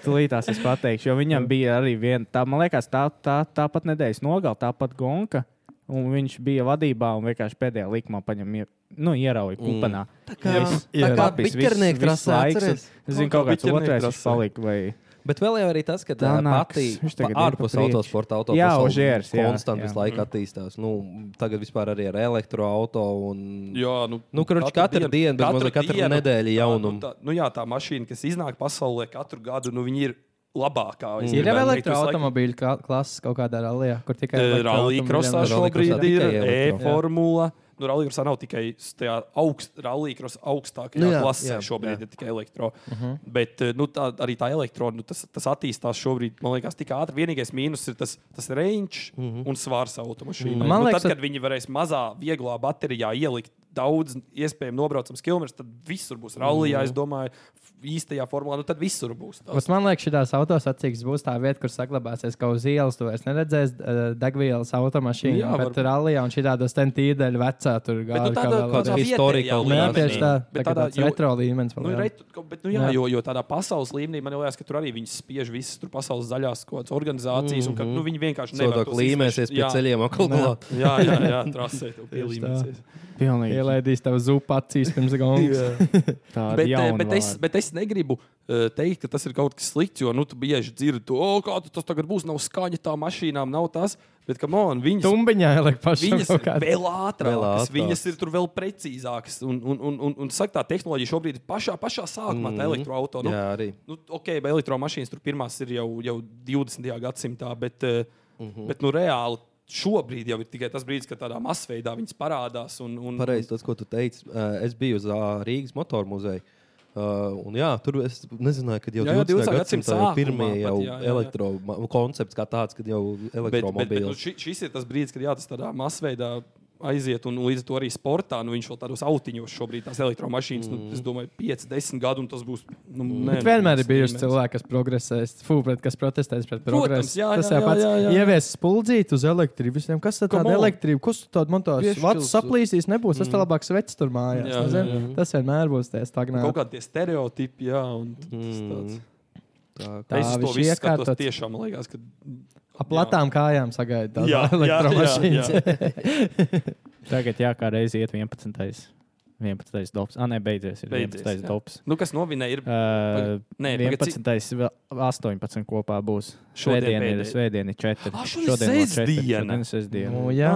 Tūlītās es pateikšu, jo viņam
Nu.
bija arī viena, tā, man liekas, tā, tā, tāpat nedēļas nogalē, tāpat gonka. Un viņš bija vadībā un vienkārši pēdējā likumā paņem, ie- nu, ierauja
Mm.
kupanā. Tā kā
tā kā biķernieku trasē, atceries?
Es zinu,
Kaut
kaut
kā
kāds
biķernieku
otrais viņš
trasē.
palika. Vai...
Bet vēl jau arī tas, ka tā
Tanaks,
pati
viņš
pa-
tagad ir pa
ārpus
priekšu.
autosporta auto
Jā,
pasaule
Ožērs, jā,
konstant
jā. mhm.
visu laiku attīstās. Nu, tagad vispār arī ar elektroautoru un
Jā, nu,
Nu, karoči, katru dienu, bet mazliet katru nedēļu jaunumu.
Tā, nu, tā, nu, jā, tā mašīna, kas iznāk pasaulē katru gadu, nu, viņi ir labākā.
Mm.
es
Ir jau
gribētu teikt, visu laiku.
elektroautomobīļu kla- klases kaut kādā rallija, kur tikai
Eh, Rallija
elektroautomobīļiem
krosā
var-
šobrīd
Rallycrossā
ir E
tikai elektro.
e-formula. Nu, Rallija krosā nav tikai s- tajā augst, rallija krosā augstākajā
Nu
nu,
jā,
klasē.
jā,
Jā, šobrīd jā. ir tikai elektro. Uh -huh. Bet eh, nu, tā, arī tā elektronika, nu, tas, tas attīstās šobrīd, man liekas, tik ātri. Vienīgais mīnus ir tas, tas range uh
Mhm.
-huh. un svārs automašīnai.
Man
Man liekas, nu,
liekas,
tad,
ka-
kad viņi varēs mazā, vieglā baterijā ielikt daudz iespējami nobraucams kilometrus, tad visur būs rallija, es domāju, f- īstajā formulā, nu tad visur būs. tās.
Bet Man liekas, šīs autosacīkstas būs tā vieta, kur saglabāsies kaut uz ielas. Tu vairs neredzēsi eh, degvielas automašīnu,
Jā,
jā, bet
varbūt.
rallija un šī tāda stentīdeļa vecā tur
Bet, nu,
gāja.
tādā,
kāda
kādā
historika
vietējā
līmenī.
līmenī.
Jā, tieši tā.
Bet
tā kā tāds
jo-
retro līmenis.
Nu,
vēl, jā.
reit, ko- bet, nu, jā,
Jā.
jā. Jo, jo tādā pasaules līmenī man liekas, ka tur arī viņi spiež visas tur pasaules zaļās kaut kādas organizācijas, mm -hmm. un ka nu, viņi vienkārši nevar
cilvēku
tos
Mhm. līmēsies
izmešļ-
pie
Jā.
ceļiem. atkal klāt.
Jā, jā, jā trasē tev pielīmēsies.
Pilnīgi.
Ielaidīs tev zupu acīs pirms gongas.
Tā
Bet, eh,
jauna
bet, es,
vārda.
bet es negribu eh, teikt, ka tas ir kaut kas slikts, jo nu, tu bieži dzirdi, to, "O, kā tu tas tagad būs, nav skaņa tām mašīnām, nav tas. Bet, kam on, viņas
Tumbiņā ieliek pašam
Viņas ir
kaut kādā.
vēl ātrākas,
ātrākas.
viņas ir tur vēl precīzākas. Un, un, un, un, un saka, tā tehnoloģija šobrīd ir pašā, pašā sākumā, mm. tā elektroautorā. Nu,
Mhm. Jā, arī.
nu, ok, bet elektromašīnas tur pirmās ir jau, jau 20. gadsimtā, bet, uh -huh. bet nu, reāli šobrīd jau ir tikai tas brīdis, kad tādā masveidā viņas parādās. Un, un,
Pareizi, tas, ko tu teici. Eh, Es biju uz ā, Rīgas motoru muzeju. Uh, un jā, tur es nezināju, kad jau
Jā, jā,
20.
20.
gadsimta
gadsimta
jau
sākumā
pirmie
pat,
jau
jā, jā, jā.
elektromašīna koncepts kā tāds, kad jau
Bet, bet, bet nu,
elektromobīļi.
ši, šis ir tas brīdis, kad jā, tas tādā masveidā aiziet, un līdz ar to arī sportā nu, viņš vēl tādos autiņos šobrīd, tās elektromašīnas, mm. nu, es domāju, 5, 10 gadu, un tas būs. Nu, nē,
Bet vienmēr
tas
ir bijuši
līmenis.
cilvēki, kas progresēs, fū, pret, kas protestēs pret progresu.
jā,
Tas
jā,
jau
jā,
pats
jā, jā.
ievies spuldzīti uz elektrību. Visiem. Kas tad
Come
tāda
on. Mm.
elektrība? Kas tu tādu man tās
Piešķils.
vats saplīsīs? Nebūs. Tas tā labāk svets tur mājās.
Jā,
nezinu.
jā, jā.
Tas vienmēr būs tie
Kaut
stagnēti.
kādi tie stereotipi, jā, un t- tas
Mhm.
tāds.
Hmm. Tā,
Tā,
Es uz to
viņš
visu skatos
iekārtots.
tiešām, man liekas, ka
Ap platām kājām sagaida
Jā,
tādu
jā, jā,
elektromašīnu.
Tagad jā, kā reiz iet 11. 11. dops. Ah, nē, beidzies. Ir
Beidzies,
11.
jā.
dops.
nu, kas novinēja, ir
Uh,
Nē, pagaid, cik-
11. vēl 18. kopā būs.
Šodien
Šodien ir
pēdējais.
svētdiena, 4.
Ah, šodien
vēl
sestdiena!
četri, Šodien ir sestdiena.
Nu, jā.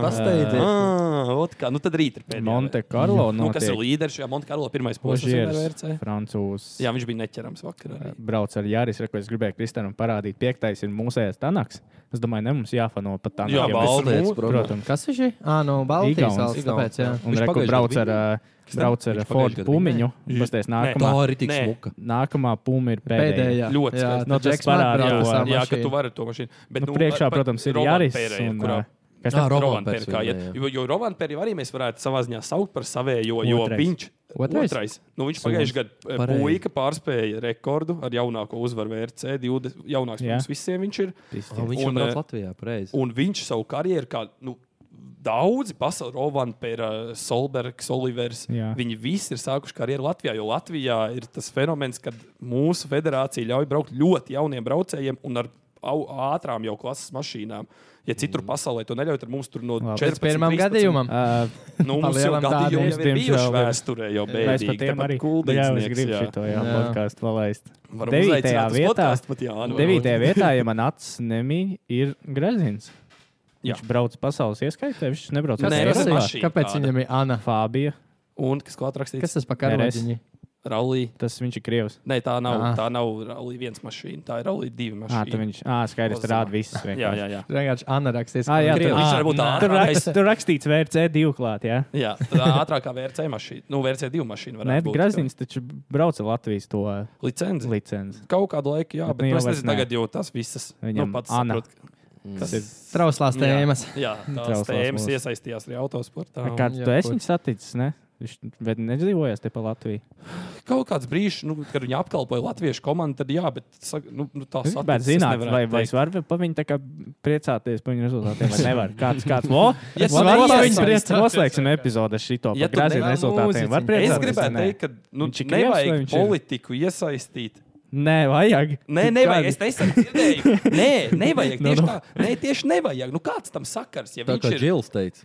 Pasteidzies.
Ah, ot kā, nu tad rīt ir pēdējā.
Monte Carlo
Nu, kas ir
notiek.
līderis šajā Monte Carlo pirmais posms?
Ožieris, francūzs.
Jā, viņš bija neķerams vakar. Arī.
brauc ar Jāris, ko es gribēju Kristānam parādīt. Piektais ir mūsējais tanaks. Es domāju, ne mums jāfano pat tā.
Jā,
Baldēts,
protams.
Kas viņš ir? Ah, no Baltijas
Igauns,
valsts.
Igauns,
Tāpēc, jā.
jā.
Un
Viņš
reku
pagājušajā
brauc
gadu
ar, ā, brauc ar
Viņš pagājušajā
Ford
gadu
pumiņu. Pasties
tā
nākamā,
ir tik
Nē.
smuka.
nākamā puma ir pēdējā.
Pēdējā.
Ļoti
jā,
skaisti.
Nu,
tad
tas
Jacks Matt
parāda,
brauc
Jā,
ar
jā,
savu
jā, ka
mašīnu.
tu vari to mašīnu. Bet,
Nu, priekšā,
par-
protams, ir
Rovan
Jāris.
Pērēja,
un,
kurā
ā, Kas
Ah,
tā?
Rovan
Rovan Pērēja,
Pērēja,
kā
jā,
iet.
jā.
Jo, jo Rovan Pērēju arī mēs varētu savā ziņā saukt par savējo, jo
Otrais.
viņš
Otrais?
otrais. Nu, viņš pagājušajā gadā eh,
Pareizi.
puika pārspēja rekordu ar jaunāko uzvaru VRC. 20, jaunāks par
Jā.
mums visiem viņš ir.
Oh,
Un,
viņš jau
eh,
brauc Latvijā, pareizi.
Un viņš savu karjeru, kā nu, daudzi pasaules rovanpēra, Solbergs, Olivers,
Jā.
viņi visi ir sākuši karjeru Latvijā. Jo Latvijā ir tas fenomens, kad mūsu federācija ļauj braukt ļoti jauniem braucējiem un ar au- ātrām jau klases mašīnām. Ja citur pasaulē to neļauj, tad mums tur no
Mm. Labi.
14.
Pēc pirmām
13.
gadījumam.
Ā,
Nu, mums jau
Palielam
gadījumi
tādiem.
jau ir bijuši
Diemžēl.
vēsturē, jau
Mēs pat
bēdīgi.
tiem arī
Tāpat
Jā, es
kuldīgs.
gribu
Jā,
šo jā,
Jā.
podkāstu palaist.
Varam
Devītajā
uzaicināt uz
vietā-
podcastu pat, jā, nu.
Devītajā vietā, ja man acis nemīļ, ir Grezins.
Jā.
Viņš brauc pasaules ieskaitē, viņš nebrauc
Nē,
Kas
tas
tas
ir
ir?
mašīna
Kāpēc
tāda.
viņam ir Anna?
Fābija.
Un kas klāt rakstīts? Kas?
Kas tas par karodziņu?
Rallija.
Tas viņš ir krievs.
Nē, tā nav,
Ah.
tā nav Rally 1 mašīna, tā ir Rally 2
Ah,
mašīna.
tā viņš. Ah, skaidrs,
Lozā.
tur rāda visus. vienkārši.
Jā, jā, jā.
Vienkārši Anna rakstīs.
Ah, jā,
ka-
Viņš
tur- Ah,
var būt
Tur,
ātrākais.
rakst, tur rakstīts VRC divu klāt, jā.
Jā, tā ātrākā VRC mašīna. Nu, VRC divu mašīnu
Nē,
varētu būt.
Grazīns taču brauc ar Latvijas to
Licenci.
licenci.
Kaut kādu laiku, jā,
Bet
bet
nu
nu,
jau
es
vairs
nezinu,
nē.
tagad jau tās visas.
Viņam
nu, pats
Ana.
saprot, kas ir
Trauslās tēmas.
Jā, jā tās
Trauslās
tēmas
mūsu.
iesaistījās arī autosportā. un
Kāds
jā,
tu esi
ko-
viņu saticis, ne? Viņš bet nedzīvojas te pa Latviju.
Kaut kāds brīdis, nu, kad viņi apkalpoja latviešu komandu, tad jā, bet saka, nu, nu, tā
Es gribētu zināt, vai, vai es varu pa viņu tā kā priecāties par viņu rezultātiem, vai nevaru. Kāds, kāds, o,
Ja tu
varu
vari
pa viņu
iesaistīt-
priecāties. Noslēgsim epizodu ar šito
Ja
par
tu
Grazīnu
nevari
rezultātiem. Var
mūzici-
Es
priecāties.
gribētu
vai ne?
teikt, ka nu,
Viņš ir krievs vai
nevajag
viņš ir?
politiku iesaistīt
Nē, vajag.
Nē,
Tik
nevajag.
kādi-
Es nesen dzirdēju, nē, nevajag.
Nu,
Tieši
nu.
tā, nē, tieši nevajag. Nu, kāds tam sakars? Ja
Tā
viņš
kā
ir
Džils teica,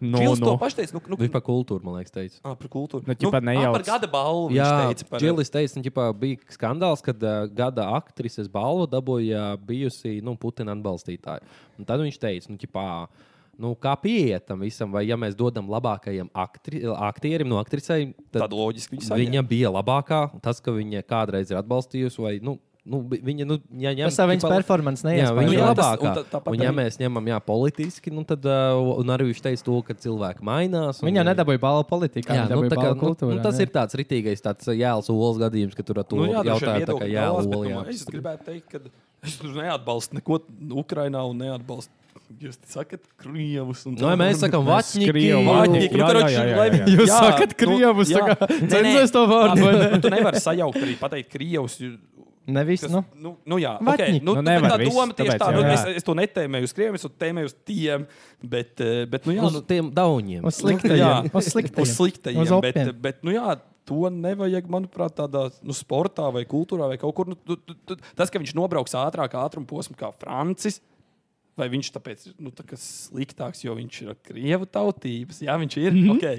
Nu,
Džils to
nu.
pašu teica, nu, nu,
viņš par kultūru, man liekas, teica.
ā, par kultūru.
Nu, ķipā
ā,
nejauc.
par gada balvu.
Jā,
viņš teica par
Džilis teica, ka ģipā, bija skandāls, kad uh, gada aktrises balvu dabūja bijusi nu, Putina atbalstītāja. Un tad viņš teica, nu, ģipā, nu, kā pieiet tam visam, vai ja mēs dodam labākajam aktri, aktierim, no aktricei, tad
Tad loģiski viņš saņem.
viņa bija labākā. Tas, ka viņa kādreiz ir atbalstījusi, vai nu, nu, bi- viņa nu, ja ņem,
Tas jau viņas
ģipā-
performance
Jā,
neiespēja.
viņa ir
jā, tas-
labākā.
un tā- tāpat
Un, ja
arī-
mēs ņemam jā, politiski, nu, tad uh, un arī viņš teica to, ka cilvēki mainās. un
Viņa jau nedabūja balvu politikā,
Jā,
viņa
nu,
dabūja
tā kā,
balvu
nu,
kultūrā.
nu, tas ir tāds rītīgais, tāds jēlas olas gadījums, ka tur ar to
Nu, jā, droši vien
jautājumu tā kā
viedokļi
jēlas
dalās, bet,
olā.
nu, Es gribētu teikt, ka es tur neatbalstu neko Ukrainā un neatbalstu. Jūs te sakat, krievus. un
Nu, ja
tā.
mēs sakām, vačņiki,
Vaļņiki, nu,
Jā,
karoči,
jā, jā, jā,
lai
jā.
viņi-
Jūs
jā,
sakat
nu,
krievus,
jā.
tā kā
Nē, nē.
cenzēs to vārdu, vai ne?
Nu, Tu nevari sajaukt arī pateikt krievus. jo-
Nevis,
Kas,
nu.
nu, nu, nu, jā, okay,
Vatņi.
nu, nu,
Nu, nevar
tā
visu,
doma tieši
tāpēc
tā.
jau,
Nu,
jā.
es, es to netēmēju uz krieviem, es to tēmēju uz tiem. Bet, eh, bet nu, jā,
Uz
nu,
tiem dauniem.
Uz sliktajiem. Uz
uz
sliktajiem.
sliktajiem.
Uz
Uz bet,
opiem.
bet, nu, jā, to nevajag, manuprāt, tādā nu, sportā vai kultūrā vai kaut kur. Nu, tu, tu, tu, tas, ka viņš nobrauks ātrāk ātruma posmu kā Francis. Vai viņš tāpēc ir nu, tā kā sliktāks, jo viņš ir krievu tautības? Jā, viņš ir.
Mhm.
Mm -hmm. okay.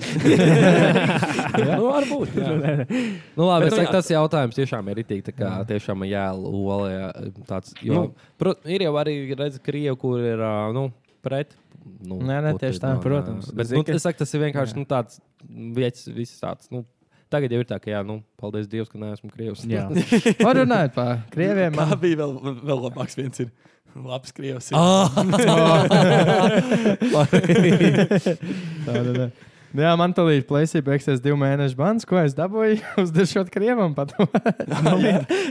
nu, varbūt. Jā.
Nu, labi,
Bet, nu,
bet, es
jā.
saku, tas jautājums tiešām ir rītīgi, tā kā tiešām jēlas olā. Tāds, jo,
Nu.
pro, ir jau arī redzams, krievi, kur ir ā, nu, pret. Nu,
Nē, nē, tieši tā,
Putinam,
protams.
ā, Bet,
Zini,
nu,
ka-
es saku, tas ir vienkārši nu, tāds vietas, viss tāds. Nu, tagad jau ir tā, ka, jā, nu, paldies Dievam, ka neesmu krievs.
Jā.
Var runāt par krieviem.
Tā bija vēl, vēl labāks. Viens ir labs
Ah,
krievs. ir.
Tā, tā, tā. Jā, man tā līnija plēsīja, beigsies divu mēnešu bans, ko es dabūju uzdešot Krievam. pat. Nu,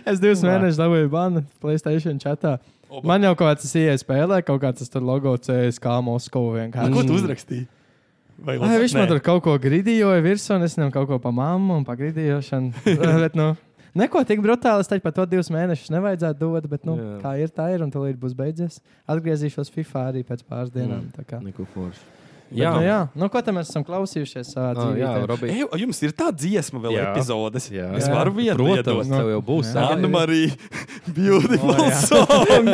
es divus mēnešus dabūju banu Playstation chatā. Man jau kaut kāds ielas spēlē, kaut kāds tas tur logo CS, kā Moskova vienkārši.
Nu,
Mm.
Ko tu uzrakstīji? Vai
Ai, viņš man
Nē.
tur kaut ko gridījoja virsū, un es viņam kaut ko pa mammu un pa gridījošanu. bet, nu, neko tik brutāli, es teiktu, par to divus mēnešus nevajadzētu dot, bet, nu,
Jā.
yeah. kā ir, tā ir, un tūlīt būs beidzies. Atgriezīšos FIFA arī pēc pāris dienām. tā kā.
Neko forši.
Bet,
Jā,
nu, jā. Nu, ko tam mēs esam klausījušies savā
Ah, jā,
dzīvē?
Robi.
Ej, jums ir tā dziesma, vēl
Jā.
epizodes.
Jā.
Es varu vienu
Protams,
iedot.
tev jau būs.
Anna
sākuma.
Marija, beautiful oh, song!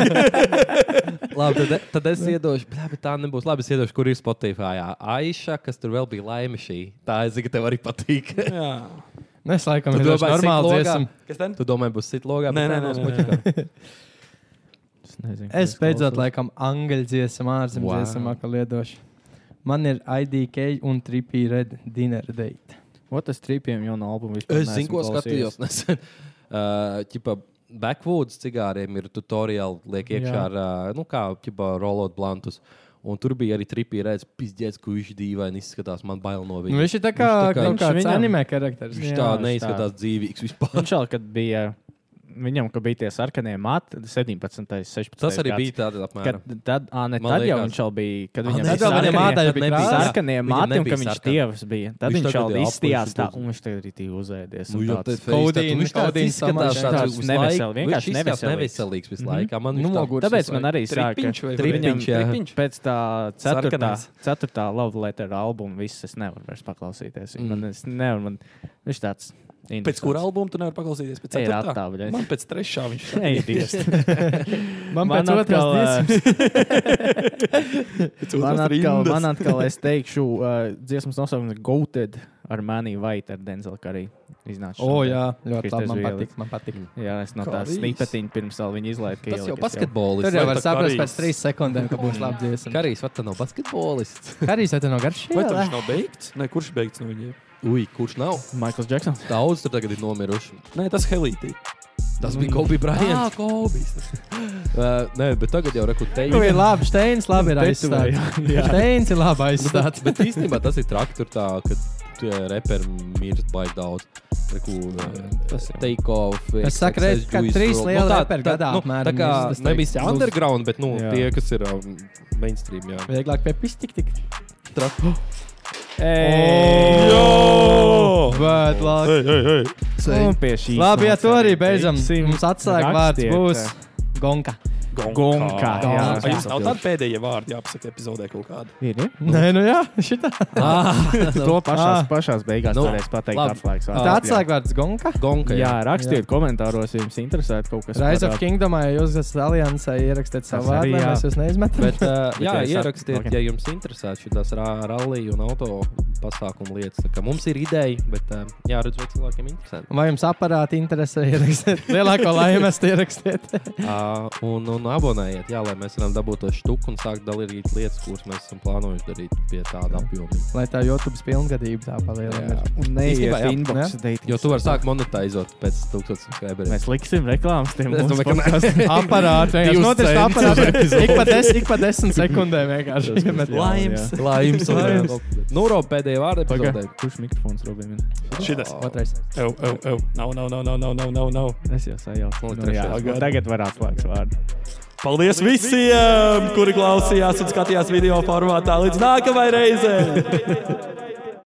Labi, tad, tad es iedošu, bļā, bet tā nebūs. Labi, es iedošu, kur ir Spotify. Aiša, kas tur vēl bija laime šī. Tā es zinu, ka tev arī patīk.
Jā.
Mēs Nu, laikam ir
Tu domāji,
normāli
cik logā?
dziesam.
Kas tad?
Tu domā, būs sit logā?
Nē, nē, nē, nē, nē.
Es nezinu. ko
Es beidzot,
klausos.
laikam, angļu dziesmu, ārzemju
Wow.
wow. dziesmu, kā liedošu. Man ir IDK un 3P Red Dinner Date.
Ko tas trījiem jau no albuma vispār?
Es zinu,
neesmu
ko
klausījies.
skatījos nesen. Uh, ķipa, Backwoods cigāriem ir tutoriāli, liek iekšā
Jā.
ar, uh, nu, kā ķipa, rolot blantus. Un tur bija arī tripī redzams, pizdzēts, kurš dīvaini izskatās. Man bail no
Nu,
viņa.
viņš ir tā kā,
Viņš tā kā-
kaut
Viņš
kāds
viņam-
anime karakters.
Viņš
Jā,
tā
viņš
neizskatās dzīvīgs vispār.
Un šādi, kad bija viņam, ka bija tie sarkanie mati, 17, 16.
Tas arī
gads.
bija tāds
Kad,
apmēram.
tad, ā, ne,
Man
tad jau
liekas.
viņš jau bija. Kad
Ā,
viņam
ne,
bija
tad vēl viņam
sarkanie-
ādaļa
tad
bija
nebija
krāsa.
sarkanie
Viņam
mati, un
nebija
ka viņš
sarkana.
dievs bija. Tad
Viņš
viņš
tagad
jau
ir apaļš
izstījās
un
tā,
tūs.
un viņš tagad ir tī uzēdies.
Nu,
un
jau
tāds.
tāds face, tad
Kaudīns-
viņš tāds
kaudīns
izskatās
samazs.
tāds
Tāds
visu
nevesel,
laiku-
vienkārši
viņš izskatās
neveselīgs.
neveselīgs visu laiku. Man viņš tā-
Nogurs
Tāpēc
visu
man
laiku.
arī sāka-
Tripiņš vai-
Tripiņš, jā.
tripiņš.
Pēc tā
Sarkanais.
ceturtā, ceturtā Love Letter albuma viss es nevaru vairs paklausīties. Mm. Man, es nevaru, man, viņš tāds.
Pēc kura albuma tu nevari paklausīties? Pēc
Ej,
ceturtā?
rātā, bļaļ.
Man pēc trešā viņš
Ei, Dievs.
Man, man
Man
pēc
atkal,
otras
ā,
dziesmas.
pēc
Man
otrās
atkal,
rindas.
man atkal, es teikšu, uh, dziesmas nosaukums ir Goated ar Mani Vaitu, ar Denzelu Karī. Iznāca
O,
šodien.
jā, ļoti
Kristais Mm.
labi. Man
Vielis.
patīk. Man patīk.
Jā, es no
Kā
tā
viss.
snipetiņa pirms vēl viņa izlaiž.
Tas jau basketbolists.
Tur
vai
jau var
tā
saprast
Karijs?
pēc trīs sekundēm, ka būs labi dziesma.
Karīs, vai tas nav basketbolists?
Karīs, vai tu no garš?
Vai tas nav beigts? Nē, kurš beigts no viņiem?
Ui, kurš nav?
Maikls Džeksons.
Daudz tur tagad ir nomiruši.
Nē, tas Helītī.
Tas bija Kobe Bryant.
Kobis.
Uh, nē, bet tagad jau rekrutēju.
Tu ir labi, Steins labi ir aizstāts. Steins ir labi aizstāts.
Bet īstenībā tas ir traki tur tā, ka tie reperi mirst baigi daudz. Reku, eh,
tas jau.
Take off.
Es saku, redz, ka trīs lieli reperi gadā
Nu Tā
apmēram
kā
mirst, tas
nevis
teiks.
underground, bet nu,
Jā.
tie, kas ir um, mainstream, jā.
Vieglāk pie pistikt tik.
Ej!
Bet labi.
Un pie šīs
Labi, ja to
nots
arī beidzam.
teiksim,
Mums atslēga vārds
rakstiet,
būs
ā,
Gonka.
Gonkā. Jā,
Vai jums nav tādi pēdējie vārdi jāpasaka epizodē kaut kādi?
ir. ir?
Nē, nu jā, šitā.
To pašās,
Ah.
pašās beigās
Nu,
varēs pateikt
labi.
atslēgas.
Tā atslēga vārds Gonka.
Gonka.
Jā, rakstiet komentāros, ja jums interesē kaut kas.
Rise of
par, ā,
Kingdomā, ja jūs esat aliansē, ierakstiet savu
Tas arī
vārdu, lai
jā.
mēs jūs neizmetam.
Bet, uh, jā,
jā, sāk-
ierakstiet,
ok.
okay. ja jums interesē šīs rallija un auto pasākumu lietas. Tā kā Mums ir ideja, bet uh, jāredz, vai cilvēkiem interesē.
Vai jums aparāti interesē, ierakstiet lielāko laimi, es ierakstiet.
Uh, un, un abonējiet, jā, lai mēs varam dabūt to štuku un sākt dalīt lietas, kuras mēs esam plānojuši darīt pie tāda apjoma.
Lai tā YouTube pilngadība tā palielina.
Un neiet
Īstenībā, jā.
inbox dating.
Jo tu vari sākt monetizēt pēc 1000 subscriberiem.
Mēs liksim reklāmas tiem.
Es
mūsu
domāju, ka
podcast-
Aparāti,
Divus
vienkārši notiek
centus
aparāti. Ik pa, des, ik pa desmit sekundēm vienkārši. iemet.
jā.
Laims.
Laims.
Nu, Rob, pēdējā vārda
Pagaid,
epizodē.
Kurš mikrofons robim?
Oh. Šitas.
Otrais.
Ew, ew, ew. Nav, nav, nav, nav, nav, nav, nav, nav.
Es jau sajaucu.
Nu,
Nu, jā,
trešais.
tagad var atslēgas vārdu.
Paldies visiem, kuri klausījās un skatījās video formātā. Līdz nākamajai reizei!